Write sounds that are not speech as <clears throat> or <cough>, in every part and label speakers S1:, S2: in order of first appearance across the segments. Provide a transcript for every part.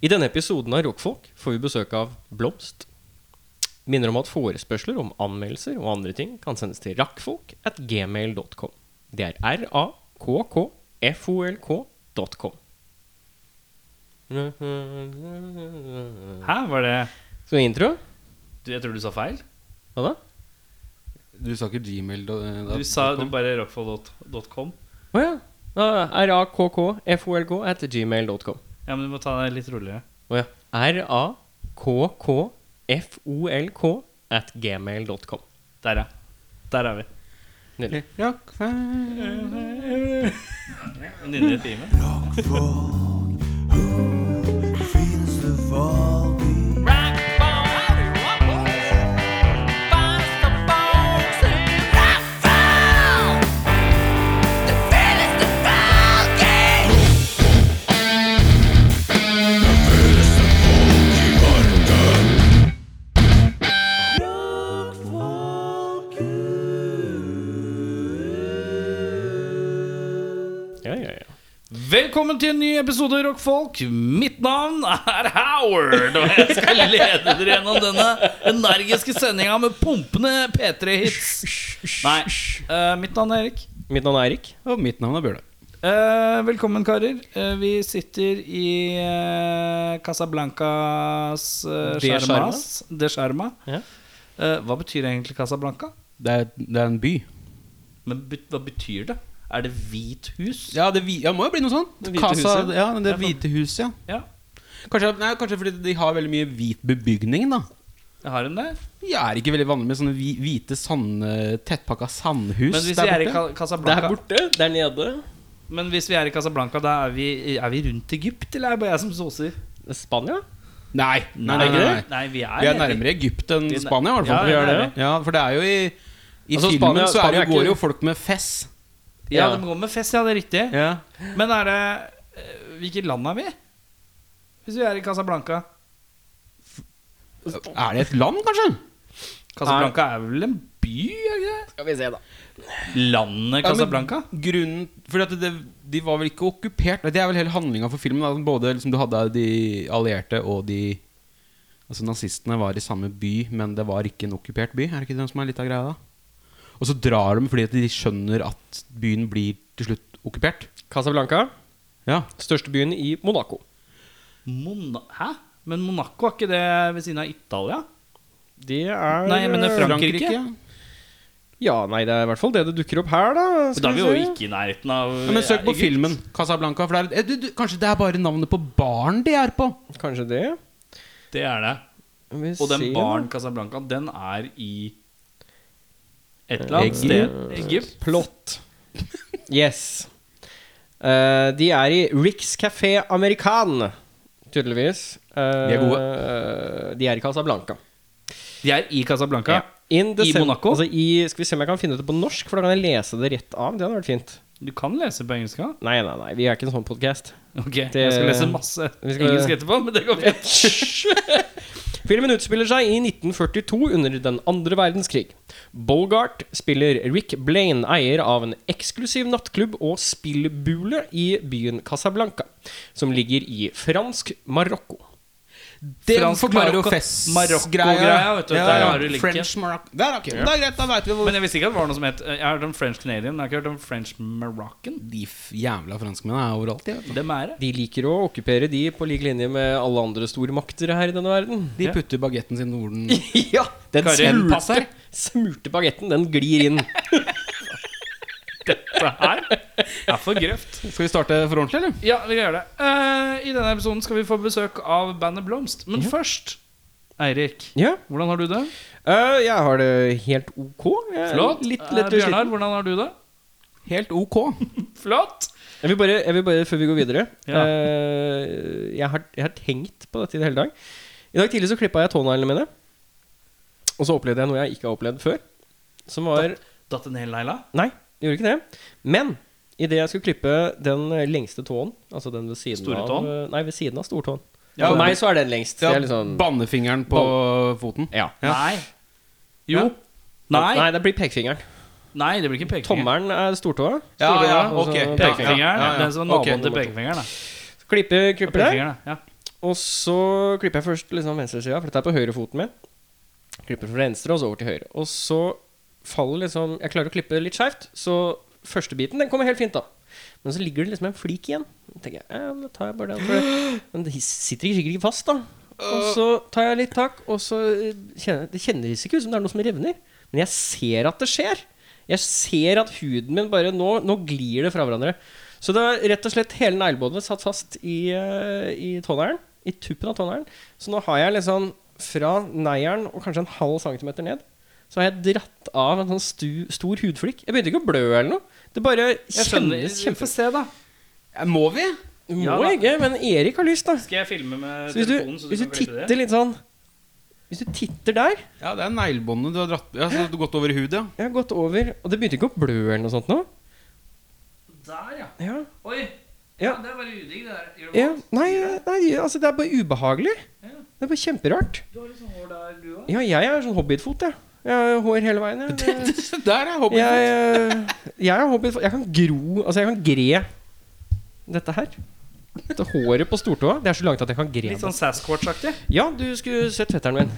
S1: I denne episoden av Rockfolk får vi besøk av Blomst. Minner om at forespørsler om anmeldelser og andre ting kan sendes til rakkfolk at gmail.com. Det er r-a-k-k-f-o-l-k.com.
S2: Hæ, var det
S1: Skal vi intro?
S2: du, Jeg tror du sa feil.
S1: Hva da?
S3: Du sa ikke Gmail da, eh, da,
S2: Du sa du bare rockfall.com.
S1: Å ja. Da er R-A-K-K-F-O-L-K at gmail.com.
S2: Ja, men du må ta det litt roligere.
S1: Å ja. R-A-K-K-F-O-L-K at gmail.com.
S2: Der, ja. Der er vi.
S1: Nydelig.
S2: Nynner i time.
S1: Ja, ja, ja.
S2: Velkommen til en ny episode Rockfolk. Mitt navn er Howard, og jeg skal lede dere gjennom denne energiske sendinga med pumpende P3-hits. Nei, eh, mitt navn er Erik.
S1: Mitt navn er Eirik.
S3: Og mitt navn er Bjørle.
S2: Eh, velkommen, karer. Eh, vi sitter i eh, Casablancas eh,
S1: Det
S2: skjermas. Det skjerma.
S1: Ja.
S2: Eh, hva betyr egentlig Casablanca?
S3: Det er, det er en by.
S2: Men bet- hva betyr det? Er det hvit hus?
S3: Ja, det vi, ja, må jo bli noe sånt.
S1: Det hvite
S3: Casa,
S1: huset.
S3: ja, det hvite huset, ja.
S2: Ja.
S3: Kanskje, nei, kanskje fordi de har veldig mye hvit bebygning, da.
S2: Jeg har en der.
S3: Jeg er ikke veldig vanlig med sånne hvi- hvite sand, tettpakka sandhus
S2: Men hvis vi
S3: der
S2: er i
S3: borte.
S2: Ca-
S1: Der
S2: Casablanca
S1: borte, der nede.
S2: Men hvis vi er i Casablanca, da er vi, er vi rundt Egypt, eller er det bare jeg som soser?
S1: Spania?
S3: Nei, nei, nei, nei, nei.
S2: Nei, vi er,
S3: Vi er nærmere Egypt enn
S2: Vi er nær-
S3: Spania, i hvert
S2: Ja,
S3: fall.
S2: vi er
S3: Ja,
S2: det.
S3: for det er jo i I
S1: Altså,
S3: filmen
S1: Spania-
S3: så er
S1: Spania
S3: det,
S1: er
S3: går
S1: ikke-
S3: jo folk med fess.
S2: Ja,
S1: Ja.
S2: de går med fest, ja, det er riktig.
S3: Ja.
S2: Men er det eh, Hvilket land er vi? Hvis vi er i Casablanca?
S3: Er det et land, kanskje?
S2: Casablanca er vel en by, er det ikke det?
S1: Skal vi se, da.
S2: Landet
S3: Ja, men
S2: Casablanca?
S3: grunnen Fordi at det, De var vel ikke okkupert? Det er vel hele handlinga for filmen. Da. Både liksom, Du hadde de allierte og de Altså Nazistene var i samme by, men det var ikke en okkupert by. Er det ikke det som er litt av greia da? Og så drar de fordi at de skjønner at byen blir til slutt okkupert.
S1: Casablanca,
S3: Ja,
S1: største byen i Monaco.
S2: Mona Hæ? Men Monaco, er ikke det ved siden av Italia?
S1: Det er
S2: Nei, jeg mener
S1: eh,
S2: Frankrike.
S1: Ja, nei, det er i hvert fall det det dukker opp her, da.
S2: Da er vi
S1: vi
S2: jo
S1: se.
S2: ikke i nærheten av
S3: Ja, men søk på
S2: Egypt.
S3: filmen Casablanca. For det er, eh, du, du, kanskje det er bare navnet på baren de er på?
S1: Kanskje det.
S2: Det er det.
S1: Vi
S2: Og den
S1: ser.
S2: baren Casablanca, den er i et eller annet sted.
S1: Egypt.
S2: Egypt.
S1: Plott. Yes. Eh, de er i Ricks Café American, tydeligvis. Eh,
S3: De er
S1: de er i Casablanca.
S2: De er i Casablanca.
S1: In the
S2: I
S1: sem-
S2: Monaco?
S1: Altså, i, skal vi se om jeg kan finne det på norsk, for da kan jeg lese det rett av. Det hadde vært fint.
S2: Du kan lese på engelsk òg.
S1: Nei, nei, nei, vi er ikke en sånn podkast.
S2: Ok, jeg skal lese masse
S1: Vi skal-
S2: engelsk etterpå, men det går fint.
S1: Filmen utspiller seg i 1942 under den andre verdenskrig. Bolgart spiller Rick Blaine, eier av en eksklusiv nattklubb og spillbule i byen Casablanca, som ligger i fransk Marokko.
S3: Det
S2: Fransk
S3: forklarer jo
S2: Marokko- Marokko-greia,
S3: festgreia.
S2: vet du, der har du linken.
S3: French Morocco. Der, ok, Det er greit, da vet vi hvor
S2: Men jeg visste ikke at det var noe som het Jeg har hørt om French Canadian, men jeg har ikke hørt om French Moroccan.
S3: De f- jævla franskmennene er overalt. De, vet du.
S2: Dem er det.
S1: De liker å okkupere de på lik linje med alle andre store makter her i denne verden.
S3: de
S2: Ja.
S3: putter bagetten sin hvor den
S1: <laughs> Ja, den
S2: Karin,
S1: smurte,
S2: passer.
S1: smurte bagetten, den glir inn.
S2: Det her er for grøft.
S3: Skal vi starte for ordentlig, eller?
S2: Ja, vi gjør det. Eh, I denne episoden skal vi få besøk av bandet Blomst. Men først, Eirik,
S1: Ja,
S2: hvordan har du det?
S1: øh, jeg har det helt ok. Jeg er Litt
S2: Eh,
S1: lett og sliten.
S2: Bjørnar, hvordan har du det?
S3: Helt ok.
S2: Flott.
S1: Jeg vil bare, jeg vil bare før vi går videre
S2: Ja.
S1: eh, jeg, har, jeg har tenkt på dette i det hele dag. I dag tidlig så klippa jeg tåneglene mine. Og så opplevde jeg noe jeg ikke har opplevd før. Som var
S2: Datt en hel negla?
S1: Nei, jeg gjorde ikke det. Men idet jeg skulle klippe den lengste tåen Altså den ved siden
S2: Store
S1: av eh,
S2: tåen?
S1: Nei, ved siden av stortåen.
S3: Ja,
S1: For
S3: men-
S1: meg så er den lengst. Det
S3: Ja,
S1: er litt sånn-
S3: Bannefingeren på foten.
S1: ja.
S2: Nei. Jo.
S1: Ja.
S2: Nei.
S1: Nei, det blir pekefingeren.
S2: Nei, det blir ikke pekefinger.
S1: Tommelen er stortåa.
S3: Ja,
S2: Store,
S3: ja,
S2: ja,
S3: ok.
S1: altså,
S3: Ja,
S2: Pekefingeren.
S3: ja, ja, ja.
S2: Den som er naboen
S3: Ok,
S2: til pekefingeren. da.
S1: Klippe, klipper det.
S2: Pekefingeren, ja.
S1: Og så klipper jeg først liksom venstresida, for dette er på høyrefoten min. Klipper fra venstre og så over til høyre. Og så faller liksom Jeg klarer å klippe litt skeivt, så første biten den kommer helt fint, da. Men så ligger det liksom en flik igjen. Da tenker jeg, ja, men da tar jeg bare den for det. Men det sitter sikkert ikke fast, da. Og så tar jeg litt tak, og så eh, kjenner Det kjennes ikke ut som det er noe som revner. Men jeg ser at det skjer. Jeg ser at huden min bare Nå, nå glir det fra hverandre. Så det er rett og slett hele neglebåndet satt fast i, eh, i tåneren. I tuppen av tåneren. Så nå har jeg liksom fra neglen og kanskje en halv centimeter ned, så har jeg dratt av en sånn stu, stor hudflikk. Jeg begynte ikke å blø eller noe. Det bare
S2: Jeg skjønner.
S1: kjennes kjempe...
S2: se, da.
S3: Må vi?
S1: Må
S2: Ja da.
S1: ikke, men Erik har lyst, da.
S2: Skal jeg filme med
S1: Så hvis du,
S2: telefonen? så du
S1: hvis du
S2: kan klippe det?
S1: titter litt sånn Hvis du titter der
S3: Ja, det er neglebåndet du har dratt ja, så du har gått over i hudet. Ja. <laughs>
S1: Jeg har gått over, og det begynte ikke å blø eller noe sånt nå.
S2: Der, ja.
S1: Ja.
S2: Oi.
S1: Ja.
S2: Det er bare udigg, det der. Gjør det
S1: Ja.
S2: vondt?
S1: Nei, nei, altså det er bare ubehagelig.
S2: Ja.
S1: Det er bare kjemperart.
S2: Du har litt sånn hår der, du òg.
S1: Ja, jeg er sånn hobbitfot, jeg. Jeg har hår hele veien.
S2: <laughs>
S1: Jeg,
S3: Der er hobbyen.
S1: jeg, eh, jeg er hobbitfot. Jeg kan gro Altså, jeg kan gre dette her. Dette håret på stortåa. Det er så langt at jeg kan gre
S2: Litt
S1: det.
S2: sånn Sasquatch-aktig.
S1: Ja, du skulle sett fetteren min.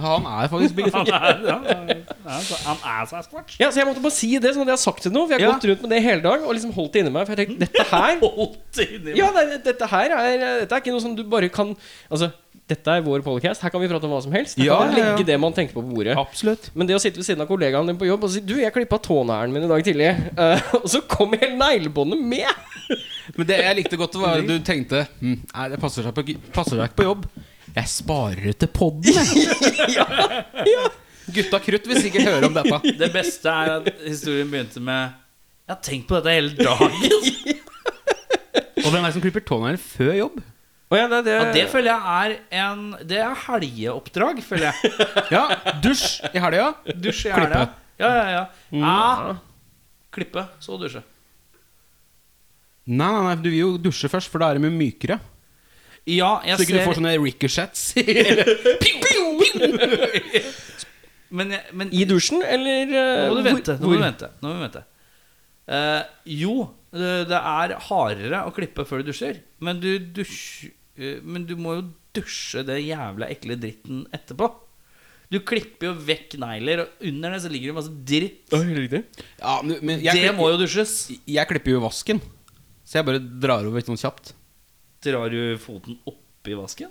S3: Han er faktisk
S2: <laughs>
S3: big
S2: Han er, ja, ja, så han er Sasquatch.
S1: Ja, så jeg måtte bare si det, sånn at jeg har sagt det nå. For jeg har
S3: Ja.
S1: gått rundt med det hele dag og liksom holdt det inni meg. For
S2: <laughs>
S1: jeg tenkte, dette her
S2: Holdt inni meg.
S1: Ja, det, dette her er eh, Dette er ikke noe som du bare kan Altså, dette er vår podcast, her kan vi prate om hva som helst. Her
S3: Ja,
S1: kan man
S3: ja, ja.
S1: legge det man tenker på på bordet.
S3: Absolutt.
S1: Men det å sitte ved siden av kollegaen din på jobb og si 'Du, jeg klippa tåneglen min i dag tidlig', eh, <laughs> og så kom hele neglebåndet med!
S3: Men det jeg likte godt, var at du tenkte hm, Nei, det passer seg, på, passer seg ikke på jobb. Jeg sparer det til podden, jeg. Gutta krutt vil sikkert høre om dette.
S2: Det beste er at historien begynte med Jeg har tenkt på dette hele
S3: <laughs>
S2: dagen.
S3: Og hvem er det som klipper tånegler før jobb?
S1: Og ja, det, det,
S2: Ja, det føler jeg er en Det er helgeoppdrag, føler jeg.
S3: Ja, dusj i helga.
S2: Dusje i
S3: Klippe. Mm.
S2: helga. Ja, ja, ja. ja. Klippe, så dusje.
S3: Nei, nei, nei, du vil jo dusje først, for da er det mye mykere.
S2: Ja, jeg
S3: Så ikke du
S2: ser
S3: får sånn sånne ricochets.
S2: Men, jeg- men
S1: I dusjen, eller eh,
S2: Nå må du
S1: hvor-
S2: vente. Nå må
S1: hvor-
S2: du vente. Nå må du vente. Eh, jo, det det er hardere å klippe før du dusjer, men du dusj... eh, Men du må jo dusje det jævla ekle dritten etterpå. Du klipper jo vekk negler, og under det så ligger det masse dritt.
S1: Oi, riktig.
S3: <laughs> Ja, men men jeg,
S2: Det
S3: klipper-
S2: må jo dusjes.
S3: jeg klipper jo vasken. Så jeg bare drar over sånn kjapt.
S2: Drar du foten oppi vasken?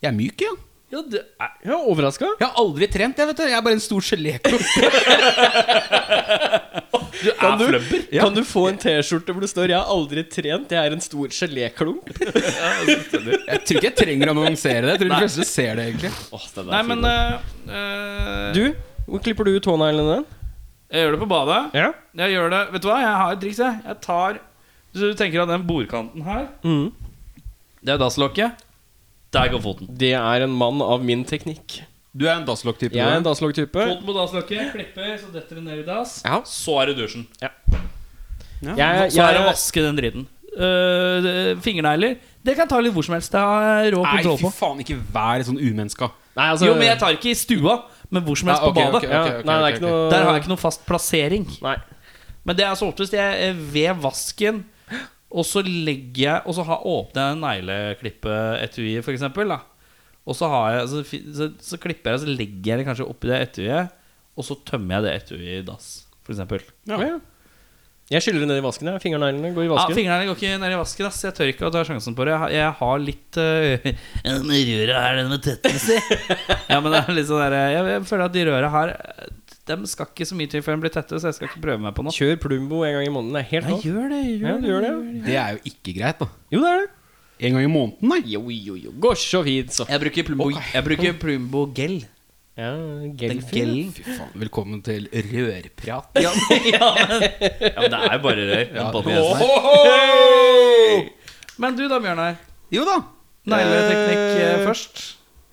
S3: Jeg er myk, ja.
S2: Ja, det er
S1: Ja, overraska.
S3: Jeg har aldri trent, jeg, vet du. Jeg er bare en stor geléklopp.
S2: <laughs> Du er flubber.
S3: Ja.
S1: Kan du få en T-skjorte hvor det står 'Jeg har aldri trent, jeg er en stor geléklump'?
S2: altså,
S1: <laughs>
S3: Jeg tror ikke jeg trenger å annonsere det. Jeg tror de fleste ser det, egentlig.
S2: Nei, men eh, eh,
S1: Du, hvor klipper du tåneglene din?
S2: Jeg gjør det på badet.
S1: Ja.
S2: Jeg gjør det, vet du hva, jeg har et triks jeg Jeg tar, hvis du tenker at den bordkanten her
S1: Mhm.
S2: Det er dasslokket Der går foten
S1: Det er en mann av min teknikk.
S3: Du er en dasslokk-type.
S1: Jeg er en
S3: du.
S1: dasslogg-type.
S2: Foten på dasslokket, klipper, så detter det ned i dass
S1: Ja.
S2: Så er det dusjen
S1: Jeg,
S2: Så er det å
S1: jeg,
S2: vaske den dritten Øh, det- Fingernegler Det kan jeg ta litt hvor som helst Det har jeg rå
S3: Nei,
S2: kontroll
S3: fy
S2: på
S3: faen, ikke vær sånn umenneska.
S1: nei, altså,
S2: Jo, men jeg tar ikke i stua Men hvor som helst
S3: Ja,
S2: på
S3: ok,
S2: badet
S3: ok,
S1: ja, Nei, det er ikke noe
S2: Der har jeg ikke noen fast plassering
S1: Nei.
S2: Men det er så oftest jeg eh, ved vasken Og så legger jeg Og så har åpner jeg negleklippeetuiet for eksempel da. Og så, har jeg, så, fi- så, så klipper jeg Og så legger jeg det kanskje oppi det etuiet Og så tømmer jeg det etuiet i dass For eksempel
S1: Ja. Ja. Jeg skyller det ned i vasken. jeg. Fingerneglene går i
S2: ja,
S1: vasken.
S2: Fingrene går ikke ned i vasken ass. Jeg tør ikke å ta sjansen på det Jeg har, jeg har litt <laughs> uh, Den røra her, den med tettelse <laughs> Ja, men det er litt sånn der Jeg, jeg føler at de røra her eh, Dem skal ikke så mye til før de blir tette Så jeg skal ikke prøve meg på noe
S1: Kjør Plumbo en gang i måneden. Det er helt
S2: Nei,
S1: lov.
S2: gjør det, gjør
S1: Ja, du gjør det, ja.
S3: Det er jo ikke greit, da.
S1: Jo, det er det.
S3: En gang i måneden, nei.
S1: Jo, jo, jo. Går så fint, så.
S2: Jeg bruker Plumbo, jeg bruker Plumbo gel.
S1: Ja,
S2: Den
S1: Gelfin.
S2: gelen.
S3: Fy faen, velkommen til rørprat.
S2: <laughs> Ja, men, ja, men, det er jo bare rør. Men du da, Bjørnar.
S3: Jo da.
S2: Negleteknikk eh,
S3: Eh,
S2: først.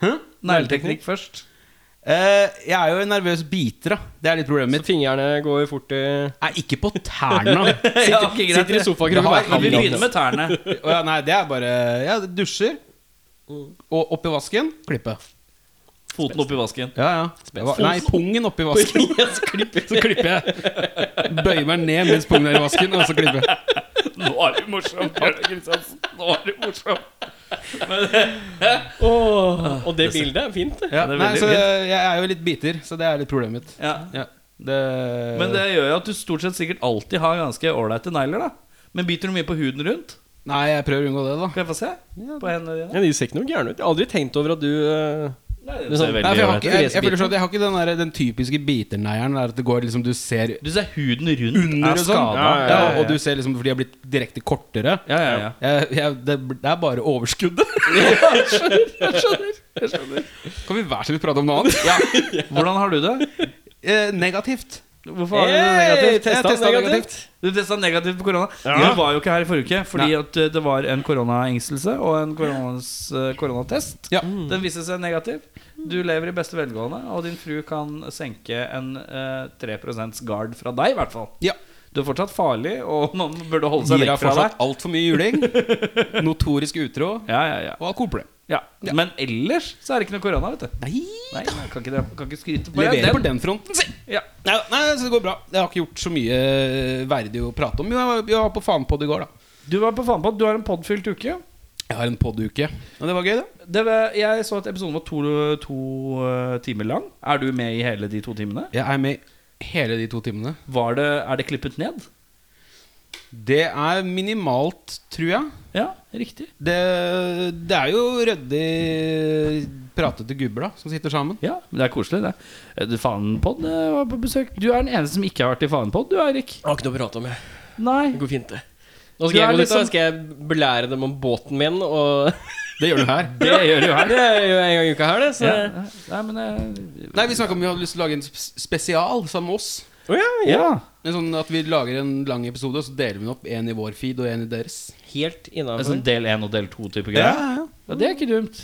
S3: Hæ?
S2: Negleteknikk først.
S3: Eh, jeg er jo en nervøs biter, da. Det er litt problemet
S1: Så
S3: mitt.
S1: fingrene går fort i
S3: Nei, ikke på tærne.
S2: Ja, ok, greit.
S1: Sitter i sofakroken
S3: Det har
S1: og
S3: jeg-
S1: bare
S2: Vi
S3: vi
S1: handler.
S2: begynner med tærne.
S3: Å ja, nei, det er bare Jeg dusjer, og oppi vasken klippe.
S2: Foten oppi vasken.
S3: Ja, ja. Det var- Nei, pungen oppi vasken. Så klipper jeg. Bøyer meg ned mens pungen er i vasken, og så klipper jeg.
S2: Nå er du morsom, Bjørnar Kristiansen. Nå er du morsom.
S1: Åh, og det bildet er fint, det.
S3: Ja,
S2: det er
S3: nei,
S2: veldig
S3: så
S2: fint.
S3: jeg er jo litt biter, så det er litt problemet mitt.
S2: Ja.
S3: Ja, det,
S2: Men det gjør jo at du stort sett sikkert alltid har ganske ålreite negler, da. Men biter du mye på huden rundt?
S3: Nei, jeg prøver å unngå det, da.
S2: Kan jeg få se? På hendene dine?
S1: Ja, de ser ikke noe gærne ut. Jeg har aldri tenkt over at du eh,
S2: Nei,
S1: det ser veldig
S3: Nei, for jeg, har ikke,
S1: ålreit ut.
S3: jeg, jeg føler sånn at jeg har ikke den, der, den typiske biterneieren der at det går liksom Du ser
S2: Du ser huden rundt
S3: under og
S2: er
S3: sånn.
S2: skada.
S3: Ja,
S1: ja, ja, ja.
S3: og du ser liksom fordi de har blitt direkte kortere.
S2: Ja, ja, ja.
S3: Jeg, jeg, det, det er bare <laughs> overskuddet. Kan vi hver sin prate om noe annet?
S2: Hvordan har du det?
S3: Eh, negativt.
S2: Hvorfor har du
S3: Eh!
S2: det negativt?
S1: testet
S3: Jeg testet
S1: negativt.
S2: Du testa negativt på korona. Jeg var jo ikke her i forrige uke fordi at eh, det var en koronaengstelse og en koronas- eh, koronatest.
S3: Ja.
S2: Den viste seg negativ. Du lever i beste velgående, og din fru kan senke en eh, 3 guard fra deg, i hvert fall.
S3: Ja.
S2: Du er fortsatt farlig, og <laughs> noen burde holde seg
S3: Gir
S2: vekk
S3: deg
S2: fra
S3: fortsatt
S2: deg.
S3: altfor mye juling. <laughs> Notorisk utro
S2: Ja, ja, ja.
S3: og alkoholproblem.
S2: Ja. Men ellers så er det ikke noe korona, vet du.
S3: Nei,
S2: Nei, jeg kan ikke, dra- kan ikke skryte på
S3: leverer på
S2: det.
S3: den fronten, si.
S2: Ja.
S3: Nei, nei, så det går bra. Jeg har ikke gjort så mye eh, verdig å prate om. Jo, jeg var, jeg var på Fanpod i går, da.
S2: Du var på faen på at du har en podfylt uke.
S3: Jeg har en poduke. Men det var gøy, det.
S2: Det var, jeg så at episoden var to, to eh, timer lang. Er du med i hele de to timene?
S3: Jeg er med hele de to timene.
S2: Var det, er det klippet ned?
S3: Det er minimalt, tror jeg.
S2: Ja, riktig.
S3: Det, det er jo ryddig pratete gubber da som sitter sammen.
S2: Ja, men Det er koselig, det. Eh, du, Fanenpod eh, var på besøk. Du er den eneste som ikke har vært i Fanenpod, du, Eirik.
S1: Jeg har ikke noe å prate om, jeg.
S2: Nei.
S1: Det går fint, det. Nå
S2: Du
S1: skal jeg
S2: er
S1: gå dit,
S2: liksom-
S1: og skal jeg belære dem om båten min, og
S3: Det gjør du her.
S2: Det gjør du her.
S1: Det gjør jeg jo en gang i uka her, det. <laughs> Så
S2: Ja. Nei, men eh,
S3: Nei, Vi snakka om vi hadde lyst til å lage en sp- spesial sammen med oss.
S1: Å ja, ja.
S2: Ja.
S3: Men sånn at vi lager en lang episode, og så deler vi den opp. En i vår feed og en i deres.
S1: Helt
S2: En
S1: innafor.
S2: sånn del én og del to-type
S3: Ja,
S2: greier?
S3: ja, ja.
S2: Ja, det er ikke dumt.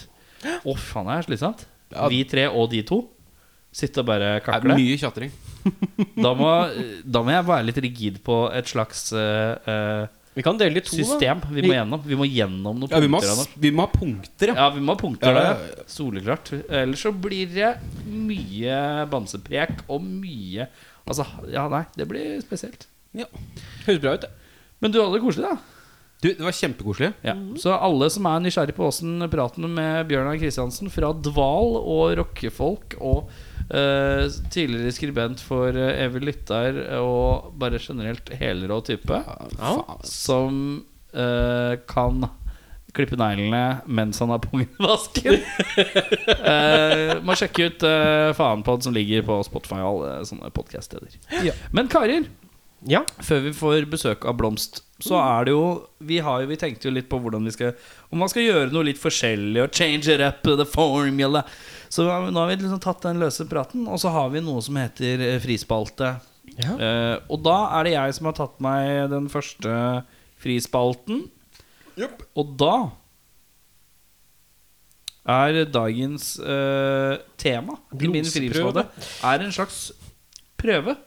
S2: Å, faen, det er slitsomt.
S3: Ja.
S2: Vi tre og de to. Sitte og bare
S3: Det er
S2: kakle.
S3: mye tjatring.
S2: Da må, eh, da må jeg være litt rigid på et slags eh, eh,
S1: Vi kan dele det i to, da.
S2: system vi må gjennom. Vi må gjennom noen
S3: Ja, vi må,
S2: punkter. av
S3: ha s- vi må ha punkter,
S2: noe.
S3: ja.
S2: Ja, vi må ha punkter
S3: Ja,
S2: der.
S3: ja,
S2: Soleklart. Ellers så blir det mye bamseprek og mye Altså, ja, nei, det blir spesielt.
S3: ja.
S1: Høres bra ut, det.
S2: Men du hadde det koselig, da.
S3: Du, det var kjempekoselig.
S2: Ja. Så alle som er nysgjerrig på åssen praten med Bjørnar Kristiansen fra Dval og rockefolk og eh, tidligere skribent for eh, Evy Lyttar og bare generelt helrå type
S3: Faen.
S2: som eh, kan klippe neglene mens han har pungen i vasken. Eh, må sjekke ut uh, Faenpod som ligger på Spotify og alle sånne podkaststeder.
S3: Ja.
S2: Men karer,
S1: Ja.
S2: før vi får besøk av Blomst, så er det jo Vi, har jo, vi tenkte jo litt på hvordan vi skal om man skal gjøre noe litt forskjellig og change it up the formula. Så nå har vi liksom tatt den løse praten, og så har vi noe som heter eh, frispalte.
S1: Ja.
S2: Eh, og da er det jeg som har tatt meg den første frispalten. Og da er dagens eh, tema i min
S1: Glosprøve.
S2: frispalte er en slags prøve. <laughs>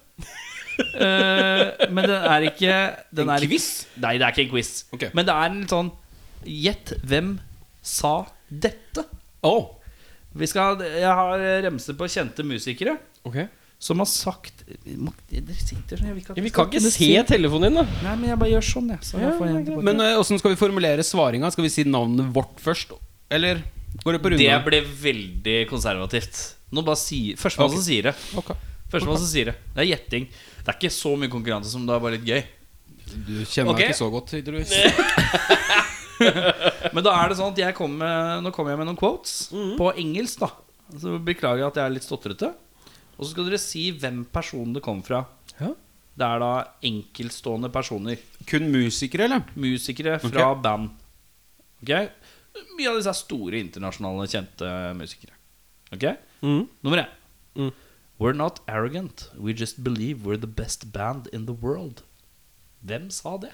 S2: Eh, men den er ikke den
S3: En
S2: er ikke-
S3: quiz?
S2: Nei, det er ikke en quiz.
S3: Ok.
S2: Men det er en litt sånn Gjett hvem sa dette?
S3: Å,
S2: Vi skal, jeg har remse på kjente musikere
S1: Ok
S2: som har sagt må- Dere sitter sånn, jeg vil ikke at
S1: Ja,
S2: dere
S1: vi
S2: skal
S1: kan ikke
S2: kunne
S1: se telefonen din, da.
S2: Nei, men jeg bare gjør sånn, jeg. Så jeg får en tilbake.
S3: Men eh, åssen skal vi formulere svaringa? Skal vi si navnet vårt først? Eller går det på
S2: det
S3: runden?
S2: ble veldig konservativt. Nå bare si, Førstemann
S3: Ok.
S2: som sier det.
S3: Ok.
S2: Førstemann som sier det. Det er gjetting. Det er ikke så mye konkurranse som det er bare litt gøy.
S3: Du kjenner
S2: Ok.
S3: meg ikke så godt, tydeligvis.
S2: Men da er det sånn at jeg kommer med, nå kommer jeg med noen quotes
S1: Mhm.
S2: på engelsk, da. Så beklager jeg at jeg er litt stotrete. Og så skal dere si hvem personen det kom fra.
S1: Ja.
S2: Det er da enkeltstående personer.
S3: Kun musikere, eller?
S2: Musikere fra band. Ok? Mye av disse er store internasjonale, kjente musikere. Ok? Nummer én.
S1: Mm.
S2: We're not arrogant. We just believe we're the best band in the world. Hvem sa det?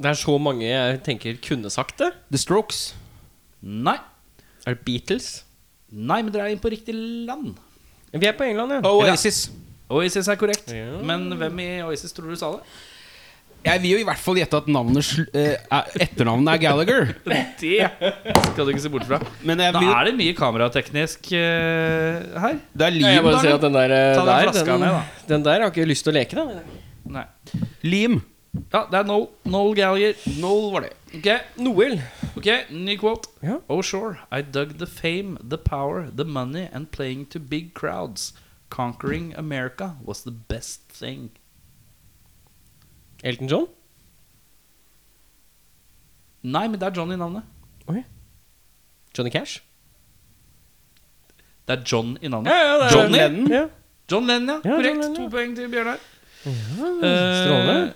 S1: Det er så mange jeg tenker kunne sagt det.
S3: The Strokes.
S2: Nei.
S1: Er det Beatles?
S2: Nei, men dere er inne på riktig land.
S1: Vi er på England, ja.
S3: Oasis.
S2: Oasis er korrekt.
S1: Ja.
S2: Men hvem i Oasis tror du sa det?
S3: Jeg vil jo i hvert fall gjette at navnet sl eh, er- etternavnet er Gallagher.
S2: Det skal du ikke se bort fra.
S3: Men jeg
S2: Da
S3: vil,
S2: er det mye kamerateknisk eh, her.
S3: det er
S1: Ja, jeg
S3: Lim,
S1: bare
S3: da.
S1: ser at
S3: eller?
S1: den der, eh,
S2: Ta den
S1: der
S2: flaska
S1: den,
S2: ned, da.
S1: den der har ikke lyst til å leke, da.
S2: Nei.
S3: Lim.
S2: Ja, det er Noel, Noel Gallagher.
S3: Noel var det.
S2: Ok,
S1: Noel.
S2: ok, ny quote.
S1: Ja.
S2: Oh sure, I dug the fame, the power, the money and playing to big crowds. Conquering America was the best thing.
S1: Elton John?
S2: Nei, men det er John i navnet.
S1: Johnny Cash?
S2: Det er John i navnet.
S1: Ja, ja, det er-
S2: Johnny?
S1: Lennon? Ja.
S2: John Lennon, ja.
S1: Ja, John
S2: Korrekt.
S1: Lennon, ja.
S2: To poeng til Bjørnar. Eh,
S1: Strålende.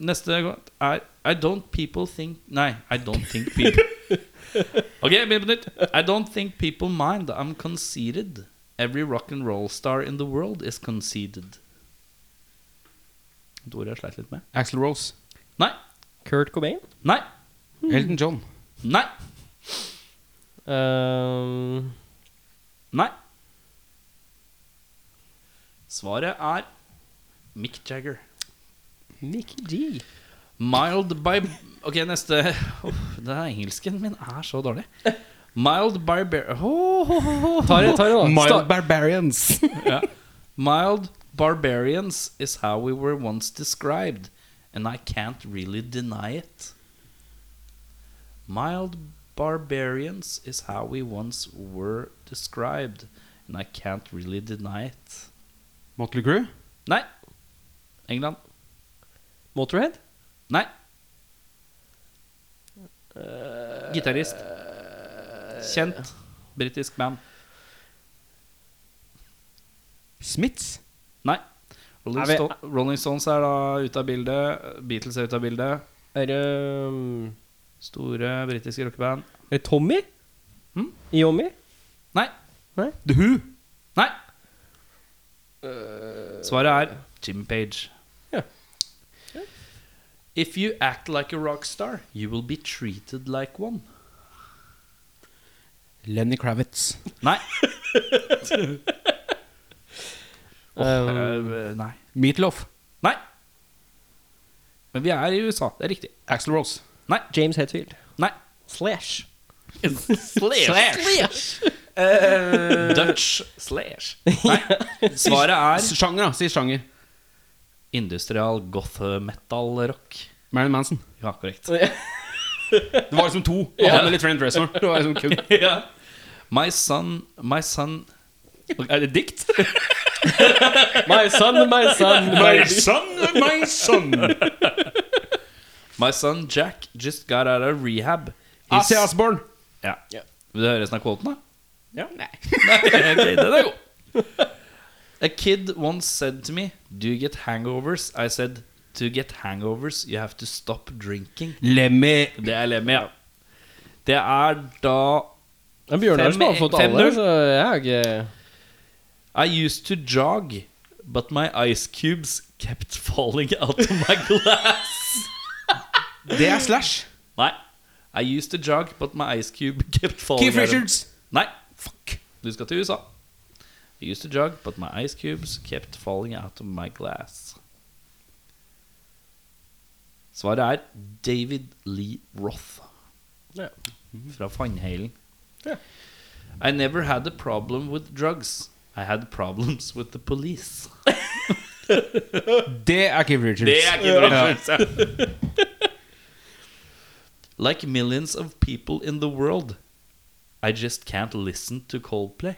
S2: Neste quote er I don't people think Nei, I don't think people Ok, begynn på nytt. I don't think people mind I'm conceited. Every rock and roll star in the world is conceited. Et ord jeg sleit litt med.
S3: Axel Rose.
S2: Nei.
S1: Kurt Cobain?
S2: Nei.
S3: Elton John.
S2: Nei.
S1: Ehm,
S2: Nei. Svaret er Mick Jagger.
S1: Mickey G.
S2: Mild by Ok, neste Uff, Det er engelsken min er så dårlig. Mild by bear...
S1: Ta det, ta det, da.
S3: Mild
S1: Sta-
S3: Barbarians.
S2: Ja. Mild barbarians is how we were once described, and I can't really deny it. Mild barbarians is how we once were described, and I can't really deny it.
S3: <laughs> Motley Crew.
S2: Nei. England.
S1: Motorhead?
S2: Nei. Eh, Gitarist. Kjent britisk band.
S3: Smiths.
S2: Nei. Rolling,
S1: Er vi-
S2: Sto- Rolling Stones er da ute av bildet. Beatles er ute av bildet.
S1: Er det ehm,
S2: Store britiske rockeband.
S1: Er det Tommy? Mm.
S2: Hm?
S1: Yomi?
S2: Nei.
S3: The Who.
S2: Nei. Svaret er Jim Page.
S1: Ja.
S2: If you act like a rock star, you will be treated like one.
S3: Lenny Kravitz.
S2: Nei.
S1: Ehm,
S2: Eh, nei.
S3: Meatloaf.
S2: Nei. Men vi er i USA. Det er riktig.
S3: Axel Rose.
S1: James Hetfield?
S2: Nei.
S1: Slash.
S2: Dutch slash. Nei. Svaret er
S3: Sjanger, da. Si sjanger.
S2: industrial goth metal rock.
S3: Marilyn Manson.
S2: Ja, korrekt.
S3: Det var liksom to. Og han er litt Friend Dresser. Det var liksom <laughs> kun
S2: My son My son Er det dikt?
S1: My son, my <laughs> son, my
S3: son, my son.
S2: My son Jack just got out of rehab. His-
S3: Asse Asborn.
S2: Ja. Vil du høre resten av quoten, da?
S1: Ja. Nei.
S2: okay, den er god. A kid once said to me, Do you get hangovers? I said, To get hangovers, you have to stop drinking.
S3: Lemmy.
S2: Det er Lemmy, ja. Det er da
S1: Men Bjørnar som har fått alle,
S2: 5-0.
S1: så jeg har ikke
S2: I used to jog, but my ice cubes kept falling out of my <laughs> glass.
S3: Det er Slash.
S2: Nei. I used to jog, but my ice cube kept falling
S3: Keith
S2: out of-
S3: Richards.
S2: Nei. Fuck. Du skal til USA. I used to jog, but my ice cubes kept falling out of my glass. Svaret er David Lee Roth.
S1: Ja.
S2: Fra Fannheilen.
S1: Ja.
S2: I never had a problem with drugs. I had problems with the police.
S3: Det er Keith Richards.
S2: Like millions of people in the world, I just can't listen to Coldplay.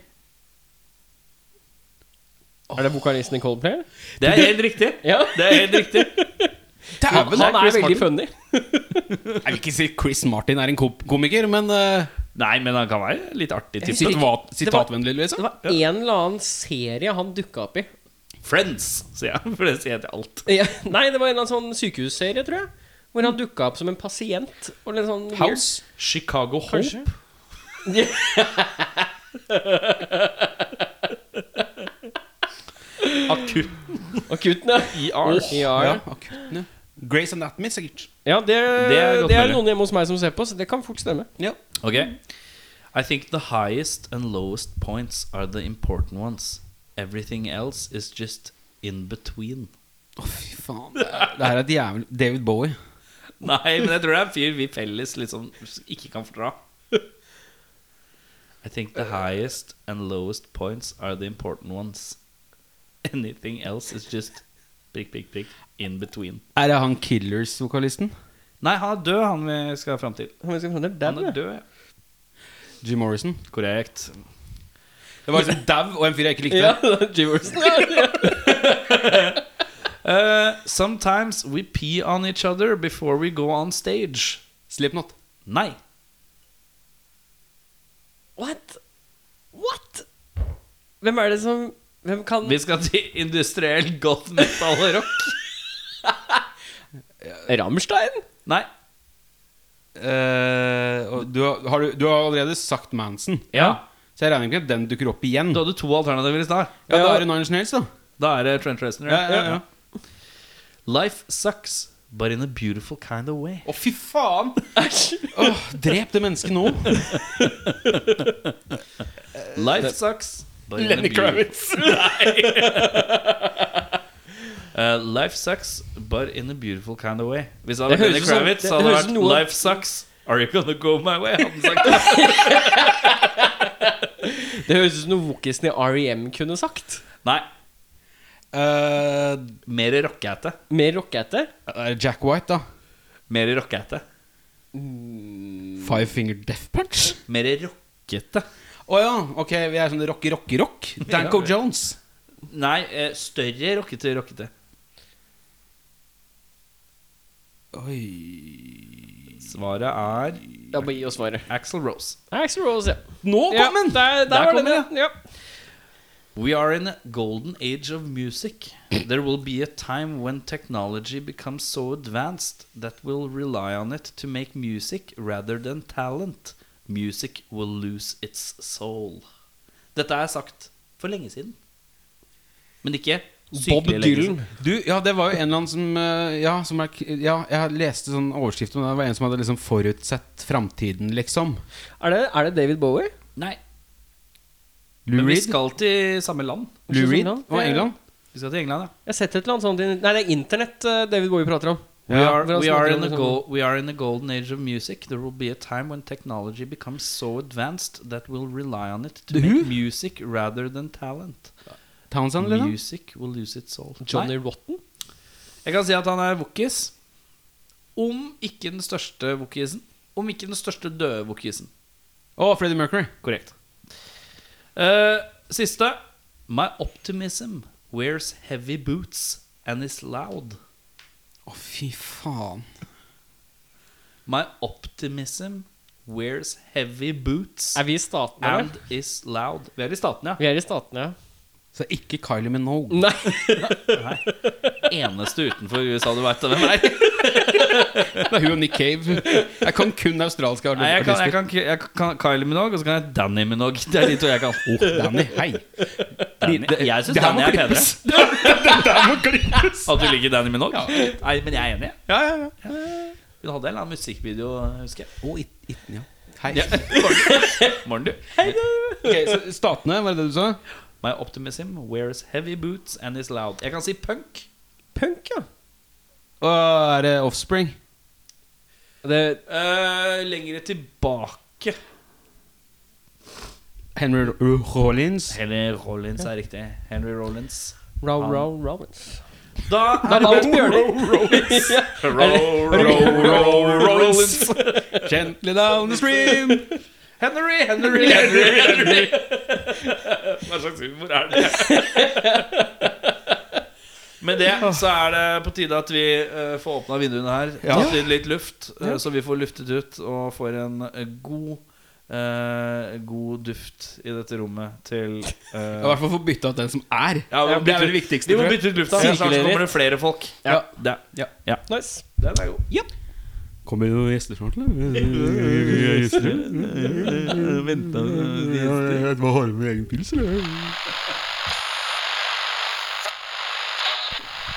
S1: Er det vokalisten i Coldplay?
S2: Det er helt riktig.
S1: <laughs> Ja.
S2: Det er helt riktig.
S1: Han,
S3: Dæven, det
S1: han er
S3: Chris
S1: veldig
S3: Martin.
S1: funny.
S3: Jeg vil ikke si Chris Martin er en kom- komiker, men eh,
S2: Nei, men han kan være litt artig type.
S3: sitat,
S1: det var-
S3: sitatvennlig, liksom.
S1: Det var en eller annen serie han dukka opp i.
S2: Friends, sier jeg. <laughs> For det sier jeg til alt.
S1: Ja, Nei, det var en eller annen sånn sykehusserie, tror jeg. Hvor han dukka opp som en pasient. Og litt sånn weird.
S3: House.
S2: Chicago Hope. <laughs>
S1: Kanskje.
S2: Akutt <laughs>
S1: Akutten, ja.
S2: IR.
S1: Ja.
S3: Ja, akkurat. Ja. Grace Anatomy, sikkert.
S1: Ja, det, det
S2: Det er
S1: er,
S2: godt mulig.
S1: noen hjemme hos meg som ser på, så det kan fort stemme.
S3: Ja.
S2: Ok. I think the highest and lowest points are the important ones. Everything else is just in between.
S3: Å, fy faen. Det er- det her er et jævlig David Bowie.
S2: Nei, men jeg tror det er en fyr vi felles liksom ikke kan fordra. I think the highest and lowest points are the important ones. Anything else is just prikk, prikk, prikk in between.
S3: Er det han Killers-vokalisten?
S2: Nei, han er død, han vi skal fram til.
S1: Han skal fram til
S2: Han
S1: dau,
S2: er
S1: ja.
S2: død, ja.
S3: Jim Morrison.
S2: Korrekt.
S3: Det var liksom dau og en fyr jeg ikke
S1: <laughs>
S3: likte.
S1: Ja, det er Jim
S2: <laughs>
S1: Morrison. Ja, ja.
S2: Eh, sometimes we pee on each other before we go on stage.
S3: Slipknot.
S2: Nei.
S1: What? What? Hvem er det som Hvem kan
S2: Vi skal til industriell goth metal og rock.
S1: Rammstein?
S2: Nei.
S3: Eh, og du, har- har, du, du har allerede sagt Manson,
S2: Ja.
S3: så jeg regner ikke med at den dukker opp igjen.
S2: Du hadde to alternativer i stad.
S3: Ja, Da er det Nine Inch Nails, da.
S2: Da er det Trent Reznor.
S3: Ja, ja, ja.
S2: Life sucks, but in a beautiful kind of way.
S3: Å, fy faen! Åh, drep det mennesket nå. <laughs>
S1: Eh,
S2: Life sucks, but in a
S1: Lenny
S2: beautiful-
S1: Kravitz.
S2: <laughs> Eh, life sucks, but in a beautiful kind of way. Hvis det hadde
S1: Det
S2: vært Lenny
S1: høres ut som-
S2: Kravitz,
S1: det-
S2: så hadde
S1: det
S2: det
S1: høres
S2: vært
S1: noe-
S2: Life sucks. Are you gonna go my way? Hadde han
S1: <laughs>
S2: sagt.
S1: Det høres ut som noe vokisen i REM kunne sagt.
S2: Nei.
S3: Eh,
S2: Mer rockete.
S1: Mer rockete.
S3: eh, Jack White, da.
S2: Mer rockete.
S3: Five Finger Death Punch.
S2: Mer rockete.
S3: Å ja, ok, vi er sånn rock, rock, rock.
S2: <laughs>
S3: Danko
S2: Ja.
S3: Jones.
S2: Nei, eh, større rockete rockete. Svaret er
S1: Ja, bare gi oss svaret.
S2: Axel Rose.
S1: Axel Rose, ja.
S3: Nå kom den!
S1: der, der, var
S2: kom
S1: det det.
S2: den,
S1: Ja.
S2: We are in a golden age of music. There will be a time when technology becomes so advanced that we'll rely on it to make music rather than talent. Music will lose its soul. Dette er sagt for lenge siden. Men ikke
S1: Bob
S2: sykelig lenge
S1: Dylan.
S2: siden.
S3: Du, ja, det var jo en eller annen som eh, Ja, som er, k- ja jeg leste sånn overskrift om det. Det var en som hadde liksom forutsett framtiden, liksom.
S1: Er, det, er det David Bowie?
S2: Nei,
S3: Lou
S2: men vi
S3: Reed.
S2: skal til samme land.
S3: Lou Reed
S1: England?
S3: var England.
S2: Vi skal til England, ja.
S1: Jeg har sett et eller annet sånt i- Nei, det er Internett eh, David Bowie prater om.
S2: We are,
S1: Hvordan
S2: we, are
S1: snakker liksom?
S2: in
S1: de
S2: a
S1: om
S2: go- we are in a golden age of music. There will be a time when technology becomes so advanced that we'll rely on it to
S3: The
S2: make
S3: Who?
S2: music rather than talent.
S3: Townsend, liksom.
S2: Music will lose its soul.
S1: sånn? Johnny Rotten?
S2: Nei, jeg kan si at han er wokis. Om ikke den største wokisen. Om ikke den største døde wokisen.
S3: Å, Freddie Mercury.
S2: Korrekt. Eh, siste. My optimism wears heavy boots and is loud.
S3: Å, fy faen.
S2: My optimism wears heavy boots.
S1: Er vi i staten, eller?
S2: And is loud. Vi er i Statene,
S1: Vi er i statene, ja.
S3: Så ikke Kylie
S2: <laughs>
S3: Minogue.
S1: <laughs> Nei,
S2: ja. Eneste utenfor USA du veit hvem er.
S3: Det er hun og Nick Cave. Jeg kan kun australske
S2: <laughs> Nei, jeg kan, jeg kan, jeg kan Kylie Minogue, og så kan jeg Danny Minogue. Det er de to jeg kan.
S3: Å, Danny, hei.
S2: Danny. Jeg syns
S3: det
S2: Danny
S3: her må
S2: er <laughs> penere.
S3: klippes. Det her må klippes.
S2: At du liker Danny Minogue? Nei, men jeg er enig.
S3: Ja, ja, ja.
S2: Hun hadde en eller annen musikkvideo, husker jeg.
S3: Å, it, it, ja. Hei.
S2: <laughs> Morgen, du.
S3: Ok, så Statene, var det det du sa?
S2: My optimism wears heavy boots and is loud. Jeg kan si punk.
S1: punk, ja.
S3: Og er det Offspring?
S1: Det,
S2: Eh, lengre tilbake.
S3: Henry Rollins?
S2: Henry Rollins er riktig. Henry Rollins.
S1: row,
S2: Han-
S1: row, Rollins.
S2: Da
S1: Det er Lars Bjørner. Ja.
S2: Row, row, row, Rollins.
S3: Gently down the stream.
S2: Henry, Henry, Henry, Henry. Hva slags humor er det? Med det så er det på tide at vi eh, får åpna vinduene her,
S3: Ja.
S2: tatt inn litt luft, eh, så vi får luftet ut og får en eh, god eh, god duft i dette rommet til eh,
S3: <laughs> I hvert fall få bytte av den som er.
S2: Ja, vi må
S3: det er
S2: bytte-
S3: vel det viktigste.
S2: Vi må
S3: tror jeg.
S2: bytte ut lufta, ellers så
S1: Sirkulerer.
S2: kommer det flere folk.
S3: Ja.
S2: Det,
S3: Ja.
S2: ja.
S1: Nice.
S2: Den er god.
S3: Kommer det noen gjester snart, <laughs> eller? Hva har du med egen pils, eller?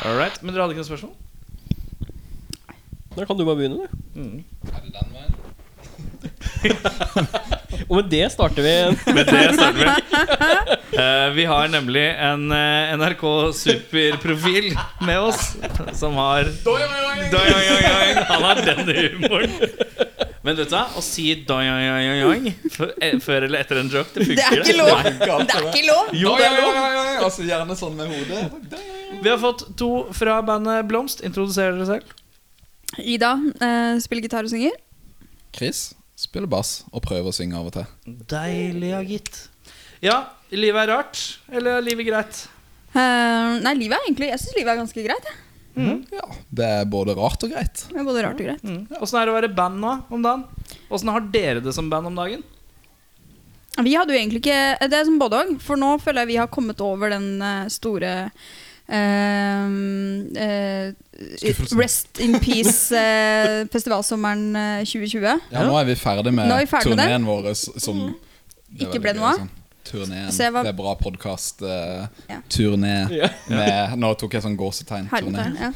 S2: All right. Men dere hadde ikke noe spørsmål?
S1: Da kan du bare begynne, du.
S2: Mm.
S1: Og med det starter vi
S2: <laughs>
S1: en
S2: Men det starter vi. Eh, vi har nemlig en eh, NRK Super-profil med oss, som har Doing-oing-oing, Han har den humoren. Men vet du hva, å si doing-oing-oing før eh, før eller etter en joke, det funker.
S4: Det er ikke lov! Det er ikke lov!
S2: Jo, det er lov.
S5: Altså gjerne sånn med hodet.
S2: Vi har fått to fra bandet Blomst. Introduserer dere selv.
S5: Ida eh, spiller gitar og synger.
S6: Chris spiller bass og prøver å synge av og til.
S2: Deilig, ja, gitt. Ja, livet er rart. Eller er livet greit?
S5: Eh, nei, livet er egentlig Jeg syns livet er ganske greit. jeg.
S6: Ja, Det er både rart og greit.
S5: Det er både rart og greit.
S2: Mm. Åssen er det å være band nå om dagen? Åssen har dere det som band om dagen?
S5: Vi hadde jo egentlig ikke eh, Det er som både òg, for nå føler jeg vi har kommet over den eh, store eh, eh,
S6: Skuffelsen.
S5: Rest in eh, peace-festivalsommeren 2020.
S6: Ja, Nå er vi ferdig med
S5: Nå er vi ferdig med Mm.
S6: turneen vår s- som Det er
S5: Ikke
S6: veldig
S5: ble
S6: gøy,
S5: noe av.
S6: sånn. Turneen.
S5: Så jeg var-
S6: Det er bra podkast.
S5: Ja.
S6: Turné med Nå tok jeg sånn gåsetegn. Turné.
S5: Hermetegn. Ja.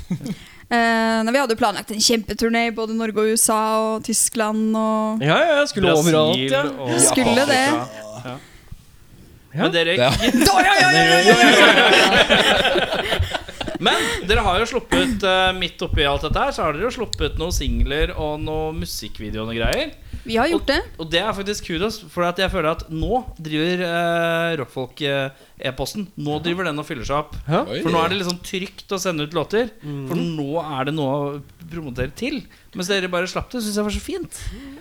S5: Eh, nei, vi hadde jo planlagt en kjempeturné i både Norge og USA og Tyskland og
S1: Ja, ja, jeg skulle overalt, ja.
S5: Skulle det.
S1: Ja.
S2: Men dere,
S6: Det er,
S2: men dere har jo sluppet eh, midt oppi alt dette her, så har dere jo sluppet noen singler og noen musikkvideo og noen greier.
S5: Vi har gjort det.
S2: Og det er faktisk kudos, for at jeg føler at nå driver eh, rockfolk-e-posten Nå driver den og fyller seg opp.
S1: Ja.
S6: Oi.
S2: For nå er det liksom trygt å sende ut låter.
S1: Mm.
S2: For nå er det noe å promotere til. Mens dere bare slapp det. Syns jeg var så fint.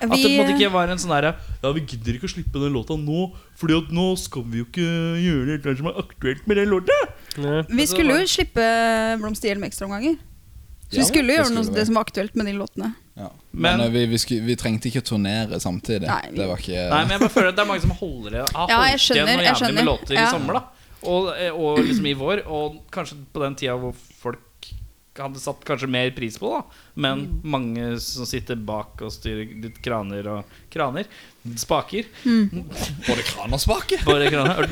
S2: At det på en måte
S5: Vi,
S2: ikke var en sånn derre Ja, vi gidder ikke å slippe den låta nå, Fordi at nå skal vi jo ikke gjøre noe som er aktuelt med den låta.
S1: Ja.
S5: vi skulle jo slippe Blomst i hjelm ekstraomganger. Så
S6: Ja,
S5: vi skulle jo
S6: det
S5: gjøre noe
S6: skulle
S5: det
S6: vi.
S5: som var aktuelt med de låtene.
S6: ja.
S2: Men-
S6: Men eh, vi, vi, sku, vi trengte ikke å turnere samtidig.
S5: Nei, vi-
S6: Det var ikke
S2: Nei, men jeg bare føler at det er mange som holder det har
S5: Ja, jeg
S2: holdt igjen
S5: skjønner,
S2: noe
S5: jeg
S2: jævlig med
S5: skjønner.
S2: låter i
S5: Ja.
S2: sommer, da. Og, og liksom i vår. Og kanskje på den tida hvor folk hadde satt kanskje mer pris på det, da. Men mange som sitter bak og styrer litt kraner og kraner. Spaker.
S6: Både kran og spake!
S2: Bare kraner. <laughs> Og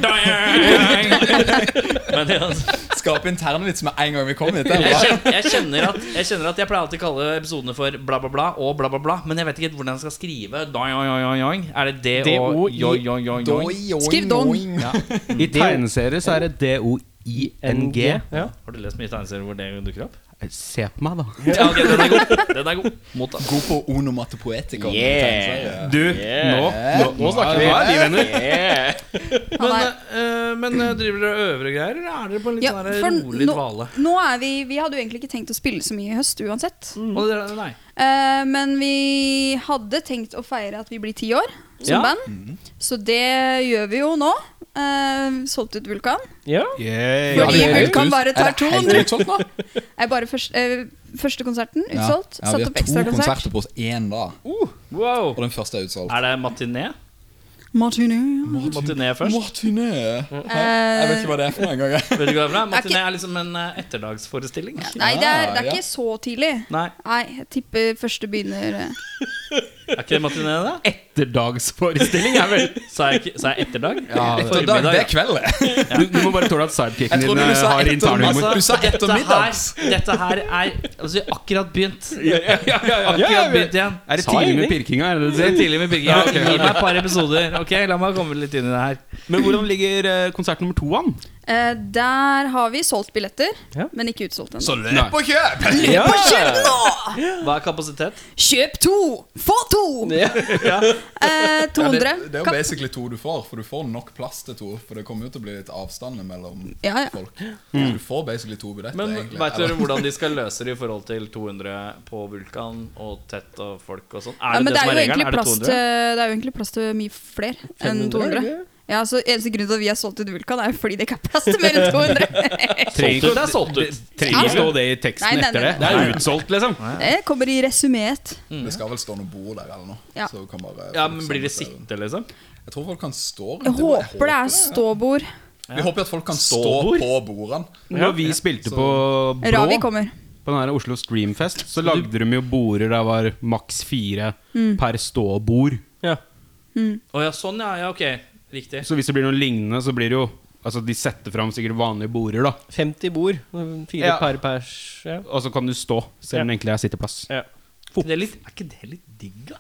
S2: dang! <laughs> Men ja, altså.
S6: <laughs> Skape internvits med en gang vi kom hit. Det er
S2: Jeg
S6: bra.
S2: kjenner, jeg, kjenner at, jeg kjenner at jeg pleier alltid å kalle episodene for bla, bla, bla og bla, bla, bla. Men jeg vet ikke helt hvordan jeg skal skrive. Doing, oing, oing, oing. Er det det og
S1: D-O-I-
S2: joing, joing, joing, joing?
S6: Doi, oi,
S5: Skriv don.
S6: oi.
S3: I tegneserier så er det D-O-I-N-G.
S1: Ja.
S2: Har du lest mye tegneserier hvor det dukker opp?
S3: Se på meg, da.
S2: Ja, ok, den er god. Den er god. Mottatt.
S6: God på onomatopoetikon.
S1: Yeah.
S6: sånn,
S3: Du, nå
S6: Nå, nå snakker vi.
S5: Han
S2: Men,
S5: er-
S2: eh, men eh, driver dere og øver og greier, eller er dere på en litt
S5: Ja,
S2: sånn
S5: for
S2: der rolig
S5: nå,
S2: dvale?
S5: nå er vi Vi hadde jo egentlig ikke tenkt å spille så mye i høst uansett.
S6: Mm.
S2: Og dere- Nei.
S5: Eh, men vi hadde tenkt å feire at vi blir ti år som
S2: Ja.
S6: Mm.
S5: band. Så det gjør vi jo nå. Eh, solgt ut Vulkan.
S1: Ja.
S5: Fordi
S6: Ja, det er
S5: Vulkan
S6: helt
S5: bare
S6: ut. Er
S5: tar
S6: det
S5: to
S6: helt
S5: nå.
S6: utsolgt
S5: <laughs>
S6: nå?
S5: Nei, bare først, eh, første konserten utsolgt. satt
S6: Ja, vi har
S5: opp
S6: to
S5: ekstrakonsert.
S6: konserter på oss én dag,
S2: Uh, wow.
S6: og den første er utsolgt.
S2: Er det matiné?
S5: Martini.
S2: Matiné først?
S6: Martine! Jeg vet
S5: Eh,
S6: ikke hva det er for noe <laughs> engang.
S2: Vet du hva det er for noe?
S5: Er ikke-
S2: Matiné er liksom en eh, etterdagsforestilling.
S5: nei, det er, det er
S6: Ja, ja.
S5: ikke så tidlig.
S2: Nei,
S5: Nei, jeg tipper første begynner eh.
S2: er ikke det matiné, det?
S3: Etterdagsforestilling er vel
S2: Sa jeg, ikke- sa jeg etterdag?
S3: Ja,
S2: Formiddag,
S6: Ettermiddag, det er kveld, det.
S3: du, du må bare tåle at sidekicken
S6: Jeg
S3: din
S6: trodde du
S3: eh,
S6: sa
S3: har
S6: etter-
S3: internhumor.
S6: altså- Du sa
S2: dette
S6: ettermiddags.
S2: her- Dette her er Altså, vi har akkurat begynt.
S1: Ja, ja,
S2: Akkurat
S1: vi-
S2: begynt igjen.
S3: Er det
S1: Sa
S3: tidlig med
S1: ingenting.
S3: pirkinga? Er det
S2: Det
S3: det
S2: er
S3: du sier?
S2: tidlig med Birgit. Ja, Gi meg et par episoder. Ok, La meg komme litt inn i det her.
S3: Men hvordan ligger eh, konsert nummer to an?
S5: Eh, Der har vi solgt billetter,
S1: Ja.
S5: men ikke utsolgt ennå.
S6: <laughs> Så løp og kjøp!
S1: Ja.
S5: Kjøp nå!
S2: Hva er kapasitet?
S5: Kjøp to! Få to! Eh, 200.
S6: det, det er jo
S5: Kan-
S6: basically to du får, for du får nok plass til to. For det kommer jo til å bli litt avstand mellom
S5: Ja, Mm. ja.
S6: folk. Du får basically to billetter,
S2: Men
S6: egentlig.
S2: Veit
S6: Eller-
S2: dere hvordan de skal løse det i forhold til 200 på Vulkan og tett og folk og sånn?
S5: Ja,
S2: Er
S5: men
S2: det
S5: det
S2: det
S5: er,
S2: som
S5: jo
S2: er regelen?
S5: egentlig
S2: Er det
S5: plass
S2: 200?
S5: til, det er jo egentlig plass til mye flere enn
S1: 500, er
S5: 200.
S1: det ikke?
S5: Ja, så Eneste grunnen til at vi er solgt ut Vulkan, er jo fordi det ikke er plass til mer enn 200.
S2: Solgt ut er solgt ut.
S3: Trenger ikke stå det i
S5: Nei,
S3: teksten
S5: nei,
S3: etter det.
S5: nei,
S3: Det
S5: nei.
S3: er utsolgt, liksom.
S5: <laughs> Det kommer i resumeet.
S6: Det skal vel stå noe bord der eller noe.
S5: Ja.
S6: Så kan bare
S2: Ja,
S6: folk
S2: men Blir det
S6: samle seg rundt.
S2: sitte, liksom?
S6: Jeg tror folk kan stå rundt.
S5: Jeg
S6: det bor- jeg
S5: håper det er
S6: ja.
S5: ståbord.
S6: Vi håper at folk kan stå
S2: Ståbord?
S6: på bordene.
S3: Når vi spilte på Blå,
S5: Ravi kommer.
S3: på den her Oslo Streamfest, så lagde de jo border der var maks fire per ståbord.
S1: Ja.
S2: Å ja, sånn ja. Ja, ok. Riktig.
S3: Så hvis det blir noe lignende, så blir det jo Altså, de setter fram sikkert vanlige border, da.
S1: 50 bord. Fire
S3: Ja.
S1: par pers. Ja.
S3: Og så kan du stå, selv om det egentlig er sitteplass.
S1: Ja.
S2: Er ikke det litt, er ikke det litt digg, da?